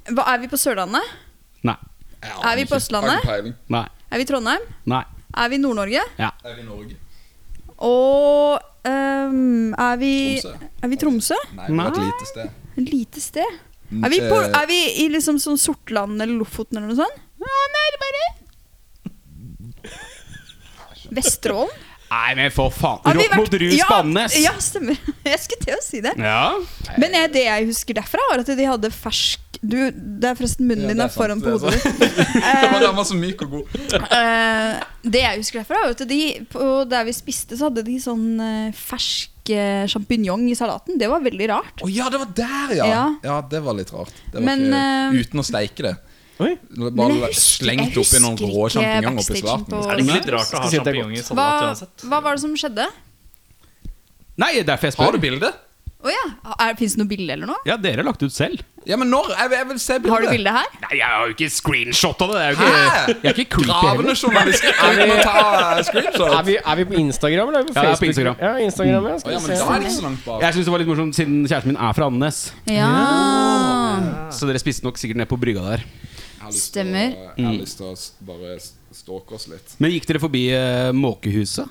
S5: Hva, er vi på Sørlandet?
S3: Nei.
S5: Er vi på Østlandet?
S3: Nei.
S5: Er vi i Trondheim?
S3: Nei.
S5: Er vi i Nord-Norge?
S6: Er vi i Norge?
S5: Og ehm, er vi
S6: Tromsø.
S5: Er vi i Tromsø?
S6: Nei, vi er et
S3: Nei.
S6: lite sted.
S5: Et lite sted. Er vi, på,
S6: Eh,
S5: er vi i liksom sånn Sortland eller Lofoten eller noe sånt? Ja, nærmere.
S6: <laughs>
S5: Vesterålen?
S3: Nei, men for faen.
S5: Har vi
S3: Rock mot
S5: vært-
S3: rus
S5: ja,
S3: Spannes.
S5: Ja, stemmer. <laughs> Jeg skulle til å si det.
S3: Ja.
S5: Men jeg, det jeg husker derfra, var at de hadde fersk du, Det er forresten munnen
S6: Ja,
S5: din
S6: det
S5: er
S6: er sant,
S5: foran
S6: det
S5: på
S6: er
S5: hodet <laughs> ditt.
S6: Den var-
S5: Eh,
S6: den var så myk og god.
S5: <laughs> eh, det jeg husker derfra, var at de på der vi spiste, så hadde de sånn eh, fersk eh, sjampinjong i salaten. Det var veldig rart.
S6: Å ja, det var der, ja! Ja,
S5: Ja.
S6: Det var litt rart. Det var
S5: Men,
S6: ikke,
S5: eh,
S6: uten å steike det.
S1: Oi.
S5: Men
S6: Bare
S5: jeg husker-
S6: slengt
S5: jeg
S6: oppi noen
S5: husker
S6: rå
S5: ikke
S6: sjampinjonger oppi
S5: backstagen på-
S6: salaten.
S2: Er det ikke litt rart å ha
S1: Skal si at det er
S2: sjampinjong i salat
S5: Hva,
S2: Sånn uansett?
S5: hva var det som skjedde?
S3: Nei, derfor jeg
S6: liksom.
S3: spør.
S6: Har du bilde?
S5: Å ja. Fins det noe bilde eller noe?
S3: Ja, dere har lagt ut selv.
S6: Ja, men når? Jeg vil, jeg vil se bildet.
S5: Har du bilde her?
S3: Nei, jeg har jo ikke screenshot av det. det er jo
S6: Hæ?
S3: ikke, jeg er ikke creepy
S6: Gravende
S3: heller.
S6: journalister uten å ta
S5: <laughs>
S6: eh,
S1: Er
S6: screenshot.
S1: vi, er vi på Instagram eller er vi på
S3: Ja, jeg er på
S1: Facebook?
S3: Instagram.
S1: Ja, Instagram ja.
S6: Å
S1: Skal
S6: ja, men
S1: vi
S6: da
S1: se.
S6: er det ikke så langt bak.
S3: Jeg syns det var litt morsomt siden kjæresten min er fra Andenes.
S5: Ja.
S3: Så dere spiste nok sikkert ned på brygga der.
S5: Stemmer.
S6: Jeg
S3: Mm.
S6: har lyst til å s- bare s- stalke oss litt.
S3: Men gikk dere forbi eh, Måkehuset?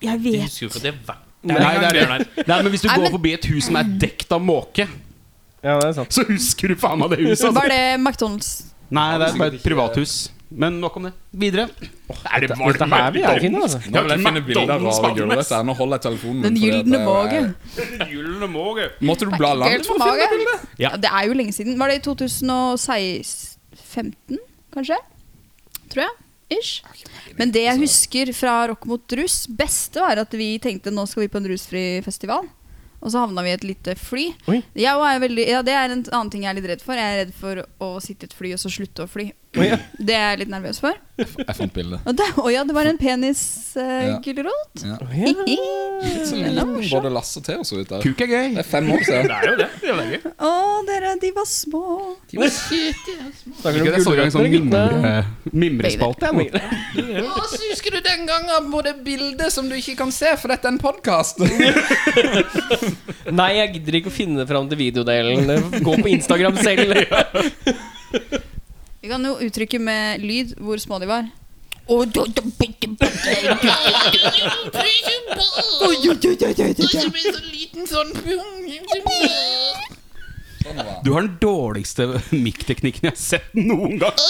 S5: Jeg
S2: De
S5: vet
S2: husker jo ikke at de har vært
S3: Nei, det er det. Nei, men hvis du
S5: Nei,
S3: går
S5: men-
S3: forbi et hus som er dekt av måke,
S1: Ja, det er sant.
S3: så husker du faen meg det huset. Altså.
S5: Var det McDonald's?
S3: Nei, det er bare
S6: sikkert
S3: et
S6: ikke-
S3: privathus. Men nok om det. Videre. Er det
S1: Dette her vil jeg finne, altså.
S6: Nå vil jeg finne bilder av rare gulrøtter. Nå holder jeg telefonen.
S5: Den
S6: min, fordi at
S5: gylne
S6: jeg-
S5: mage.
S6: Måtte du bla langt for å finne bildet?
S3: Ja.
S5: Ja. Det er jo lenge siden. Var det i 2015, kanskje? Tror jeg. Ish. Men det jeg husker fra Rock mot rus beste, var at vi tenkte nå skal vi på en rusfri festival. Og så havna vi i et lite fly.
S1: Oi.
S5: Jeg er jo veldig, ja, det er en annen ting jeg er litt redd for. Jeg er redd for å sitte i et fly og så slutte å fly. Det er jeg litt nervøs for.
S6: Jeg fant bildet.
S5: Og det, å ja, det var en
S6: Ja.
S5: penisgulrot.
S6: Ja. Så
S5: Den er
S6: liten
S5: morsom.
S6: både Lasse og Theo så ut der.
S3: Kuk er gøy.
S6: Det er fem år siden.
S2: Det er jo det. det, er jo det.
S5: Å, dere, de var små.
S1: Snakker
S3: Ikke
S1: du om
S3: det jeg så i
S1: gulrøtter,
S3: gang sånn
S1: guttene?
S3: mimre, mimrespalte, jeg nå.
S6: Husker du den gangen på det bildet som du ikke kan se, for dette er en podkast?
S1: Nei, jeg gidder ikke å finne fram til videodelen. Gå på Instagram
S6: <laughs>
S1: selv.
S5: Vi kan jo uttrykke med lyd hvor små de var.
S7: Som en sånn liten sånn Og
S3: Du har den dårligste <laughs> mikkteknikken jeg har sett noen gang.
S7: så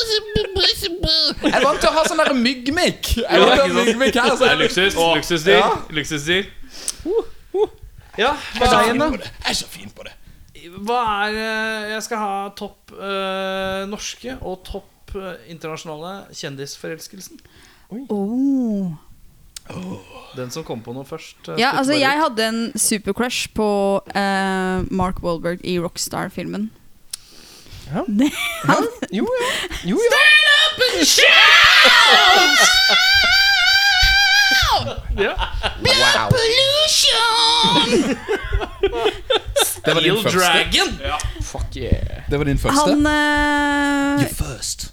S6: Jeg vant til å ha sånn der myggmikk. Jeg vant til å ha myggmikk her, så
S2: Det er luksus. Luksusdyr.
S6: Ja.
S2: Luksusdyr.
S1: Ja, hva er det?
S6: Jeg er så fin på det.
S2: Hva er eh, Jeg skal ha topp eh, norske og topp eh, internasjonale kjendisforelskelsen.
S5: Oh.
S2: Den som kom på noe først. eh,
S5: Ja,
S2: spilte
S5: altså,
S2: bare
S5: jeg
S2: ut.
S5: hadde en supercrush på eh, Mark Wahlberg i Rockstar-filmen.
S1: Jo, ja. Jo, ja.
S6: Det var din
S2: Steel
S6: første.
S2: Dragon!
S1: Fuck yeah.
S6: Det var din første.
S5: <laughs> Han eh,
S6: First.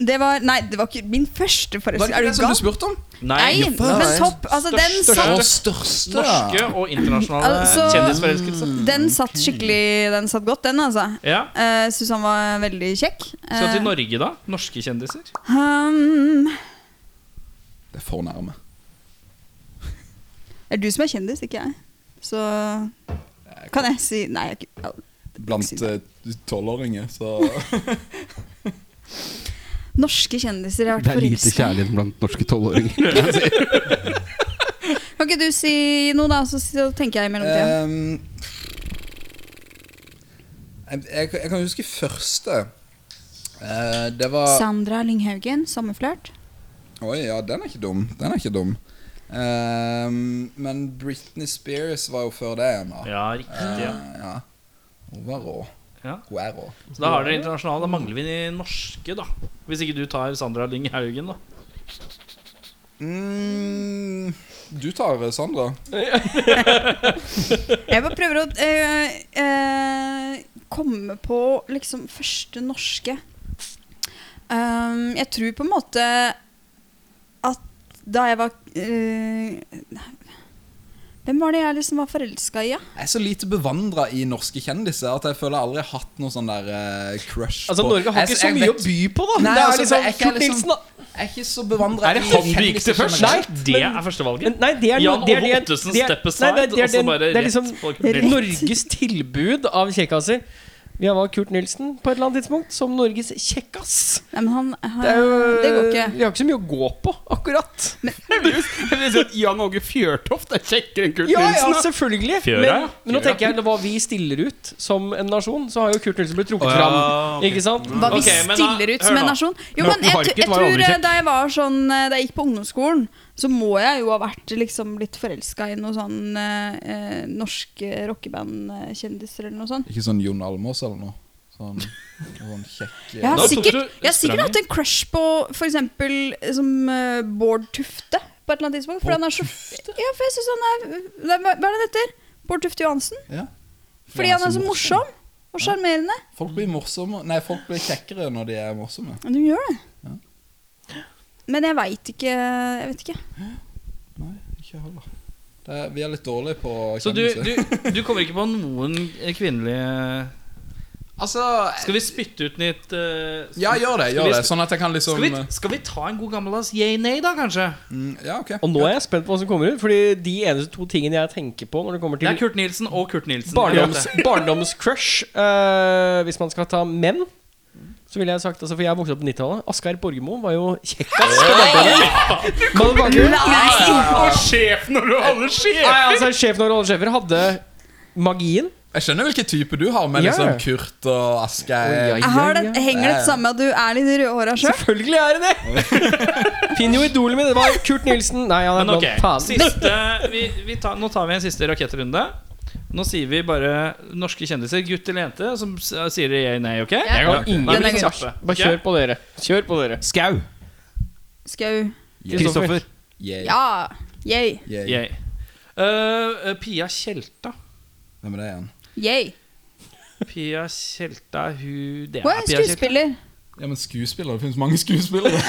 S5: Det var Nei, det var ikke min første
S6: Var
S5: forelskelse.
S6: det ikke
S5: Er
S6: det
S5: du
S6: som du
S5: gal?
S6: spurte om?
S5: Nei, men topp Altså, den
S2: Største.
S5: satt
S6: Å, største.
S2: Norske og internasjonale
S5: Altså-
S2: kjendisforelskelse.
S5: Den satt skikkelig Den satt godt, den, altså.
S2: Ja.
S5: Uh, Syns han var veldig kjekk.
S2: Skal til
S5: Eh,
S2: Norge, da? Norske kjendiser?
S5: hmm,
S6: Det er for nærme.
S5: er du som er kjendis, ikke jeg. Så kan jeg si Nei, jeg er ikke
S6: Blant eh, tolvåringer,
S5: <laughs>
S6: så
S5: Norske kjendiser jeg har
S3: Det
S5: vært
S3: er lite
S5: forelska i.
S3: kjærlighet blant norske <laughs> tolvåringer.
S5: Kan ikke du si noe, da, så så tenker jeg i mellomtida?
S6: Ehm, jeg, jeg, jeg kan huske første. Eh, det var
S5: Sandra Lynghaugen, sommerflørt.
S6: Oi, ja, den er ikke dum. Den er ikke dum. Ehm, men Britney Spears var jo før det igjen, da.
S2: Ja, riktig. Ja.
S6: Eh, ja. Hun var rå.
S2: Ja.
S6: Hun er rå.
S2: Så da har dere internasjonale. Da mangler vi de norske, da. Hvis ikke du tar Sandra Lyng Haugen, da.
S6: Mm, du tar eh, Sandra.
S5: Jeg bare prøver å eh, eh, komme på liksom første norske. Um, jeg tror på en måte at da jeg var eh, Hvem var det jeg liksom var forelska i, ja?
S6: Jeg er så lite bevandra i norske kjendiser at jeg føler jeg aldri har hatt noe sånn der eh, crush
S1: Altså,
S6: på
S1: Norge har
S6: Jeg-
S1: ikke så
S6: jeg
S1: mye å
S6: vet-
S1: by på, da.
S6: Nei,
S1: det er
S6: altså,
S1: liksom
S6: jeg er ikke
S1: Kurt
S6: liksom-
S1: Nilsen, da.
S6: Jeg er ikke så bevandra
S2: Er det han du gikk til først?
S1: Nei,
S2: det
S1: men-
S2: er førstevalget.
S1: Men nei, det er det
S2: Jan
S1: er-
S2: Ove
S1: det er-
S2: Ottesen,
S1: det er-
S2: step aside,
S1: nei, det er- det er
S2: og så
S1: den-
S2: bare
S1: Det er
S2: rett
S1: liksom
S2: på Kurt
S5: Nilsen.
S1: Norges tilbud av kjekkaser. Vi har valgt Kurt Nilsen på et eller annet tidspunkt som Norges kjekkas.
S5: Nei, men han, han
S1: Det,
S5: Ah,
S1: er
S5: det,
S1: jo-
S5: går ikke.
S1: Vi har ikke så mye å gå på, akkurat.
S3: Jan Åge Fjørtoft er kjekkere enn Kurt
S1: Ja, ja,
S3: Nilsen.
S1: selvfølgelig.
S2: Fjøra, ja.
S1: Men, men nå tenker jeg hva vi stiller ut som en nasjon, så har jo Kurt Nilsen blitt trukket
S3: Å, ja,
S1: fram.
S3: ok.
S1: Ikke sant?
S5: Hva vi
S2: Ok, men da-
S5: stiller ut som
S2: hør
S5: en
S2: da.
S5: nasjon. Jo,
S3: Morten
S5: men jeg,
S3: Harket
S5: tr- jeg
S3: var jo
S5: tror
S3: aldri
S5: eh,
S3: kjekk.
S5: Da jeg var sånn eh, Da jeg gikk på ungdomsskolen, så må jeg jo ha vært liksom litt forelska i noe sånn eh, eh, norske rockebandkjendiser eller noe sånt.
S6: Ikke sånn Jon Almaas eller noe? Sånn, sånn kjekk
S5: Jeg har
S2: Da tok
S5: sikkert,
S2: du
S5: jeg har sikkert
S2: spranget.
S5: hatt en crush på f.eks. som eh, Bård Tufte på et eller annet tidspunkt. For han er så Ja, for jeg synes han er Nei, Hva hva er det han heter? Bård Tufte Johansen?
S6: Ja.
S5: Fordi han er så morsom og sjarmerende.
S6: Folk blir morsomme Nei, folk blir kjekkere når de er morsomme.
S5: Ja, Du gjør det.
S6: Ja.
S5: Men jeg veit ikke Jeg vet ikke.
S6: Nei, ikke heller. Det er, vi er litt dårlige på
S2: Så du, du, du kommer ikke på noen kvinnelige
S6: Altså
S2: Skal vi spytte ut nytt eh, skal
S6: Ja,
S2: vi-
S6: gjør det.
S2: skal
S6: gjør
S2: vi-
S6: det Sånn at jeg kan liksom
S2: Skal vi, skal vi ta en god gammeldags yay-nay, da, kanskje?
S6: mm, Ja, ok.
S1: Og nå er jeg spent på hva som kommer ut, Fordi de eneste to tingene jeg tenker på når det kommer
S2: Det er
S1: til
S2: Kurt Nilsen og Kurt Nilsen.
S1: barndoms, barndomscrush, eh, hvis man skal ta menn, så ville jeg sagt altså, For jeg vokste opp på 90-tallet. Asgeir Borgermoe var jo kjekkas på Dagbladet.
S2: Og sjefen når du hadde sjef!
S1: Nei, altså, sjefen over alle sjefer hadde magien.
S6: Jeg skjønner hvilken type du har, med
S1: Ja.
S6: liksom Kurt og Asgeir
S1: Oi, oi.
S5: Jeg har det,
S1: ja,
S5: henger det sammen med at du er litt rødhåra sjøl?
S1: Selvfølgelig er <laughs> det det! Finn jo idolet mitt. Det var Kurt Nilsen. Nei, han er
S2: Men ok,
S1: blond. Faen.
S2: siste vi, vi tar, Nå tar vi en siste rakettrunde. Nå sier vi bare norske kjendiser, gutt eller jente, som s- eh, sier dere yay, nei, ok?
S5: Jeg
S1: har ingen
S2: Nei, men
S5: kjappe.
S2: kjappe.
S1: Bare kjør på dere. Kjør på dere.
S3: Skau.
S5: Skau.
S1: Kristoffer.
S3: Kristoffer.
S6: Yeah,
S5: Ja. Yay.
S6: yeah.
S2: Yay. Eh, eh, Pia Tjelta.
S6: Hvem er det igjen?
S5: Yay.
S2: Pia Tjelta, hun Det
S5: Hun er
S2: er Pia Tjelta.
S5: skuespiller.
S6: Ja, men skuespillere, Det finnes mange skuespillere. <laughs>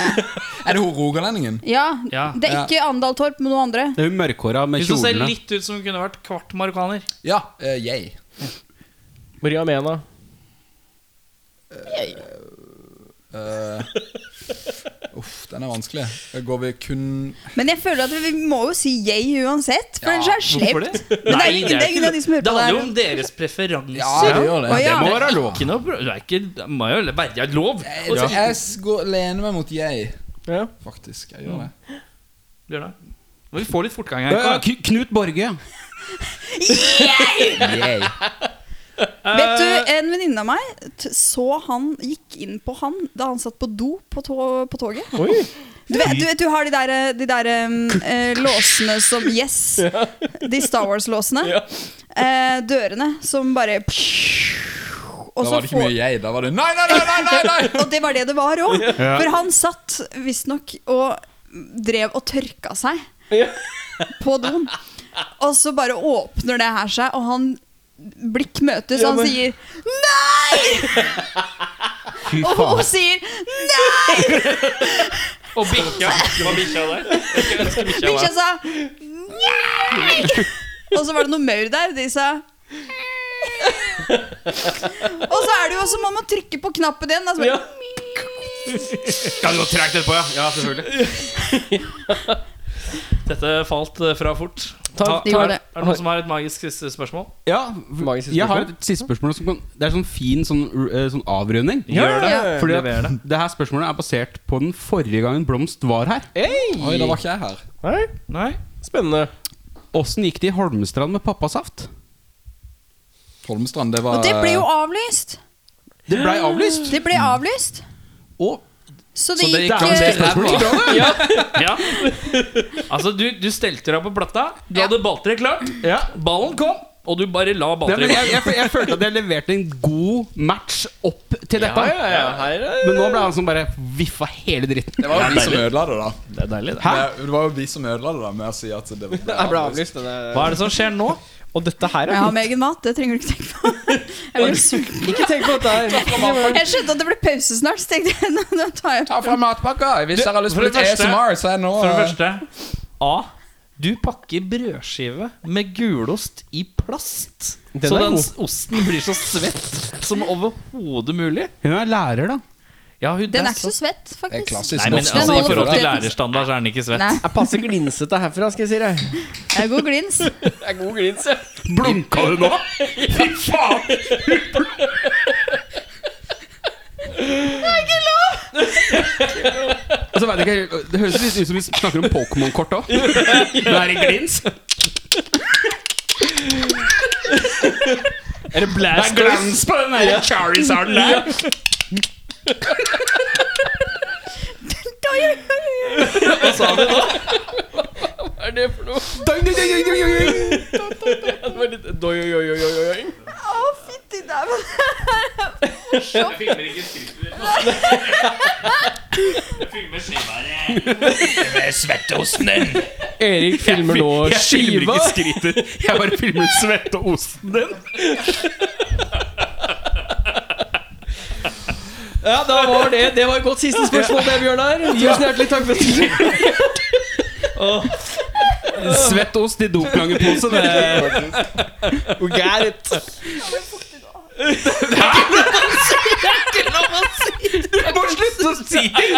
S6: er det hun rogalendingen?
S5: Ja.
S2: Ja.
S5: Det er ikke Andal Torp, men noen andre.
S3: Det er hun mørkhåra med
S2: Hun som ser
S3: kjolene.
S2: litt ut som hun kunne vært kvart marokkaner.
S6: Ja. eh, yay.
S1: Maria Mena.
S6: Eh, uff, den er vanskelig. Går vi kun
S5: Men jeg føler at vi må jo si yay uansett, for
S6: Ja,
S5: ellers er det
S2: Hvorfor
S5: slept.
S2: det?
S5: Men det er ingen, det er ingen av de som hører
S2: Det
S5: på det
S2: handler
S5: her.
S2: jo om deres preferanser.
S6: Ja, det gjør det.
S5: Å, ja.
S2: Det må
S5: Det er
S2: være lov. Ikke noe, pro- det, er ikke, det må jo være lov.
S6: Jeg,
S2: å si-
S6: jeg Eh, s- går, lener meg mot yay,
S1: Ja.
S6: faktisk.
S2: Mm.
S6: Jeg gjør det.
S2: Gjør det. Må vi få litt fortgang her.
S3: Ja, ja, Kn- Knut Borge.
S5: <laughs>
S6: Yay.
S5: Vet du, En venninne av meg t så han gikk inn på han da han satt på do på, to på toget.
S1: Oi.
S5: Du vet, du, vet, du har de der, eh, de der em, eh, låsene som
S6: <laughs>
S5: Yes! De Star Wars-låsene. Eh, dørene som bare og
S6: Da
S5: så
S6: var det ikke
S5: får-
S6: mye jeg. Da var det nei, nei, nei! nei, nei,
S2: <laughs>
S6: nei.
S5: Og det var det det var òg. For han satt visstnok og drev og tørka seg
S1: Ja.
S5: på doen. Og så bare åpner det her seg, og han blikk møtes, og han sier nei!
S3: Fy
S5: Og hun
S3: faen.
S5: sier nei!
S2: Og bikkja. Hva bikkja der? Jeg skulle ønske bikkja
S5: Bikkja
S2: var
S5: sa nei! Og så var det noe maur der, de sa og så er det jo også må man trykke på knappen igjen. Altså,
S1: Ja.
S2: Kan gå tregt etterpå, ja. Ja, selvfølgelig. <laughs> Dette falt eh, fra fort.
S1: Ta-
S5: Det gjorde det.
S2: Er det noen som har et magisk siste spørsmål?
S3: Ja,
S1: Mange siste
S3: jeg har
S1: spørsmål.
S3: et siste spørsmål. Som kan, det er sånn fin sånn, r- eh, sånn avrunding.
S2: Gjør det.
S5: Ja.
S3: Fordi at
S2: Lever det.
S3: det her spørsmålet er basert på den forrige gangen Blomst var her.
S6: Oi, da var ikke jeg her.
S1: Nei.
S2: Nei?
S1: Spennende.
S3: Åssen gikk det i Holmestrand med pappasaft?
S6: Holmestrand, det var
S5: Og det ble jo avlyst.
S3: Det blei avlyst.
S5: Det ble avlyst.
S3: Og
S5: Så det
S6: Så det
S5: gikk
S6: gikk an, det
S5: eh,
S6: er bra.
S2: Ja. Altså, du, du stelte deg på platta. Du hadde balltre klart. Ballen kom, og du bare la
S3: Ja, men
S2: balltreet
S3: jeg, jeg, jeg følte at jeg leverte en god match opp til dette.
S1: Her er
S3: Men nå ble han som bare viffa hele dritten.
S6: Det var jo vi som ødela det, da.
S2: Det er deilig, det.
S3: Hæ?
S6: Det, det var jo vi som ødela det da med å si at
S2: <laughs>
S6: det ble
S1: Jeg ble avlyst. det der.
S2: Hva er det som skjer nå?
S1: Og dette her er
S5: Jeg har
S1: litt
S5: med egen mat, det trenger du ikke tenke <laughs> på. Jeg ble sulten.
S1: Ikke tenk på dette her.
S5: Jeg skjønte at det ble pause snart, så tenkte jeg <laughs> nå, nå tar jeg
S6: Ta fra matpakka! Hvis dere har lyst
S2: for
S6: på litt
S2: det første-
S6: ASMR, så er det nå
S2: For det
S6: eh,
S2: første A. Du pakker brødskive med gulost i plast.
S1: Den
S2: så
S1: er
S2: den
S1: god.
S2: s- osten blir så svett som overhodet mulig.
S3: Hun er lærer, da.
S2: Ja, hun,
S5: Den
S2: det
S5: er ikke så svett,
S6: Det er
S5: faktisk.
S6: klassisk
S2: Nei, men
S6: norsk.
S5: Den
S2: altså, I
S5: holder
S2: forhold til
S5: fuktigheten.
S2: lærerstandard så er den ikke svett.
S5: Nei,
S1: Jeg passer glinsete herfra, skal jeg si deg.
S5: det er god <laughs> glins.
S1: Det er god glins, ja.
S3: Blunka hun nå? Fy faen! Det er ikke lov! Altså, vet jeg ikke, det høres litt ut som vi snakker om Pokémon-kort òg. Det er i glins.
S2: Er det blast
S3: på den der Charizarden der.
S2: Hva sa du nå?
S1: Hva er det for noe?
S3: Dang, dang, dang, dang, dang, dang.
S1: Det var litt doi, oi, oi, oi, oi, oi.
S5: Å, fytti dæven. <laughs>
S2: Jeg filmer ikke titler. Jeg filmer skiværet. Med svetteosten din.
S1: Erik filmer nå skiva.
S2: skrittet. Jeg bare filmer svetteosten din.
S1: Ja, da var det Det var et godt siste spørsmål, det, Bjørnar. Tusen hjertelig takk for <laughs> sist.
S3: Svett ost i doplangerpose. Det
S1: We got it.
S3: må slutte å si ting!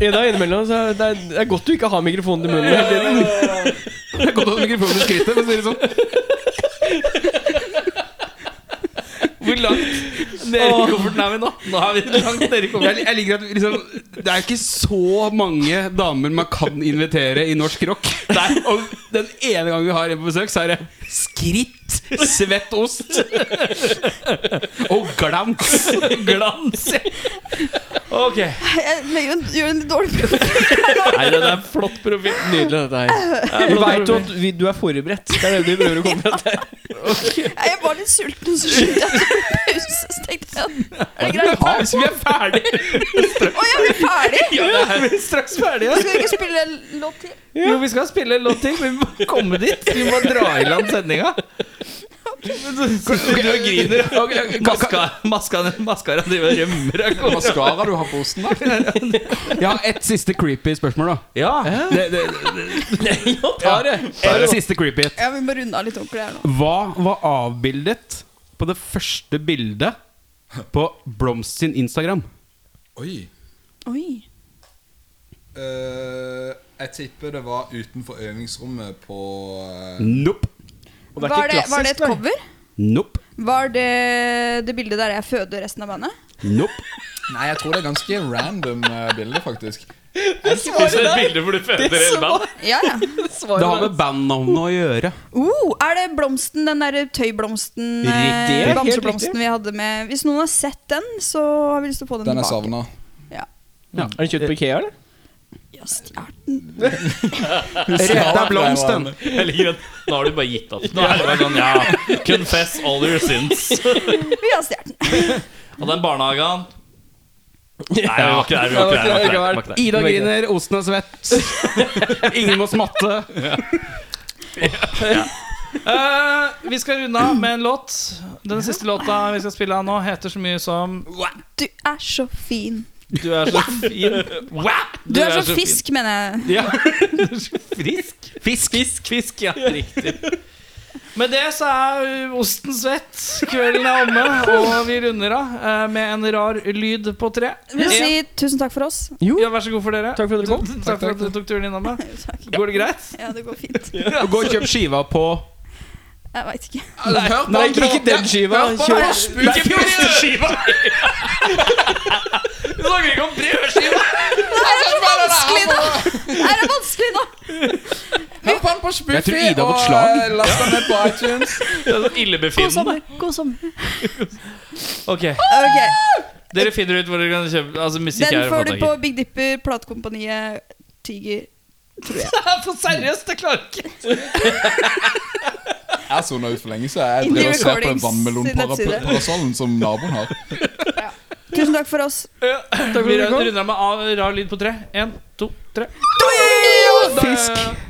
S1: Ida, innimellom så er det, er, det er godt du ikke har mikrofonen til munnen hele tiden.
S3: Det er godt å ha mikrofonen i skrittet. For å si det sånn.
S2: Hvor langt nede i kofferten er vi nå? Nå er vi langt nede i
S3: Jeg,
S2: kofferten.
S3: jeg liker at vi liksom, Det er ikke så mange damer man kan invitere i norsk rock. Og den ene gangen vi har en på besøk, så er det skritt, svett ost og glans.
S2: Glans. Ok.
S5: Jeg legger en- gjør en dårlig prøve.
S2: Nei, det er en flott profil.
S1: Nydelig, dette her. Vi veit jo at vi, du er forberedt. Det er det du prøver å komme til.
S5: Jeg var litt sulten, så skyndte jeg meg på pause. Så tenkte jeg at er det greit?
S3: Hvis vi er ferdige!
S5: Å, jeg blir ferdig!
S2: <laughs> Vi er straks ferdige.
S5: Skal vi ikke spille en låt til?
S2: Jo, vi skal spille en låt til, men vi må komme dit. Vi må dra i land sendinga. Sitter du og griner? Maska, maska, maskara driver og rømmer av gårde.
S6: Maskara du har på osten, da?
S3: Jeg har ett siste creepy spørsmål, da.
S2: Ja. Det, det,
S1: Ja, tar det.
S3: Et siste creepy
S5: Ja, vi må runde av litt ordentlig her nå.
S3: Hva var avbildet på det første bildet på Blomst sin Instagram?
S6: Oi.
S5: Oi.
S6: Eh, jeg tipper det var utenfor øvingsrommet på eh,
S3: Nope.
S5: Var det, var det et cover?
S3: Nope.
S5: Var det det bildet der jeg føder resten av bandet?
S3: Nope.
S6: Nei, jeg tror det er ganske random eh, bilde, faktisk.
S2: <laughs> det er et bilde hvor du føder en mann.
S5: Ja, ja.
S3: Det har med bandnavnet å gjøre.
S5: Oh, er det blomsten, den der tøyblomsten, eh,
S3: Riktig, det er helt
S5: bamseblomsten vi hadde med Hvis noen har sett den, så har vi lyst til å få den,
S6: Den er
S5: tilbake.
S6: savna.
S1: Er den kjøpt på Ikea, eller?
S5: Ja, stjert den.
S3: Reda Blomsten.
S2: Jeg liker at Nå har du bare gitt opp. Nå er det bare sånn, ja, Confess all your sins.
S5: Vi har stjert den.
S2: Og den barnehagen Nei, vi var ikke der. Vi var ikke der, vi var ikke der.
S3: Ida griner, osten er svett. <laughs> Ingen må smatte.
S2: Eh, vi skal runde av med en låt. Den siste låta vi skal spille av nå, heter så mye som
S5: Du er så fin.
S2: Du er så fin.
S5: Du, er, så, fisk, mener jeg.
S2: Ja. Du er så frisk. Fisk. Fisk, fisk ja, riktig. Med det så er osten svett, kvelden er omme, og vi runder av eh, med en rar lyd på tre.
S5: Jeg vil si tusen takk for oss.
S2: Ja, vær så god for dere.
S1: Takk for at dere kom.
S2: Takk, for at du tok turen innom. meg.
S5: Takk.
S2: Går det greit?
S5: Ja, det går fint.
S3: Gå og kjøp skiva på
S5: Jeg veit ikke. <laughs>
S6: Hør på
S1: Nei,
S6: han
S1: ikke, ikke den skiva. Kjør.
S2: Ikke brødskiva! <laughs> Vi snakker ikke om brødskiva!
S5: Det her er så vanskelig nå! Det her er vanskelig nå!
S6: Hør på han på
S3: Jeg tror
S6: Spoofy,
S3: Ida har
S6: og
S3: fått
S6: eh,
S3: slag.
S6: last den ned på iTunes.
S2: Det er sånn
S5: God
S2: illebefinnende.
S5: sommer. God sommer.
S2: Ok,
S5: Ok,
S2: Dere finner ut hvor dere kan kjøpe altså, musikk.
S5: Den
S2: er å få
S5: får du
S2: tak i. <laughs>
S5: på Big Dipper, platekompaniet Tiger.
S2: For seriøst, det klarer jeg ikke!
S6: Jeg sona ut for lenge siden. Jeg
S5: Indie
S6: driver og ser på
S5: Recordings sin nettside.
S6: vannmelonparasollen som naboen har.
S5: Tusen takk for oss.
S2: Vi runder av med A- rar lyd på tre. Én, to, tre.
S5: Dojo!
S2: Fisk.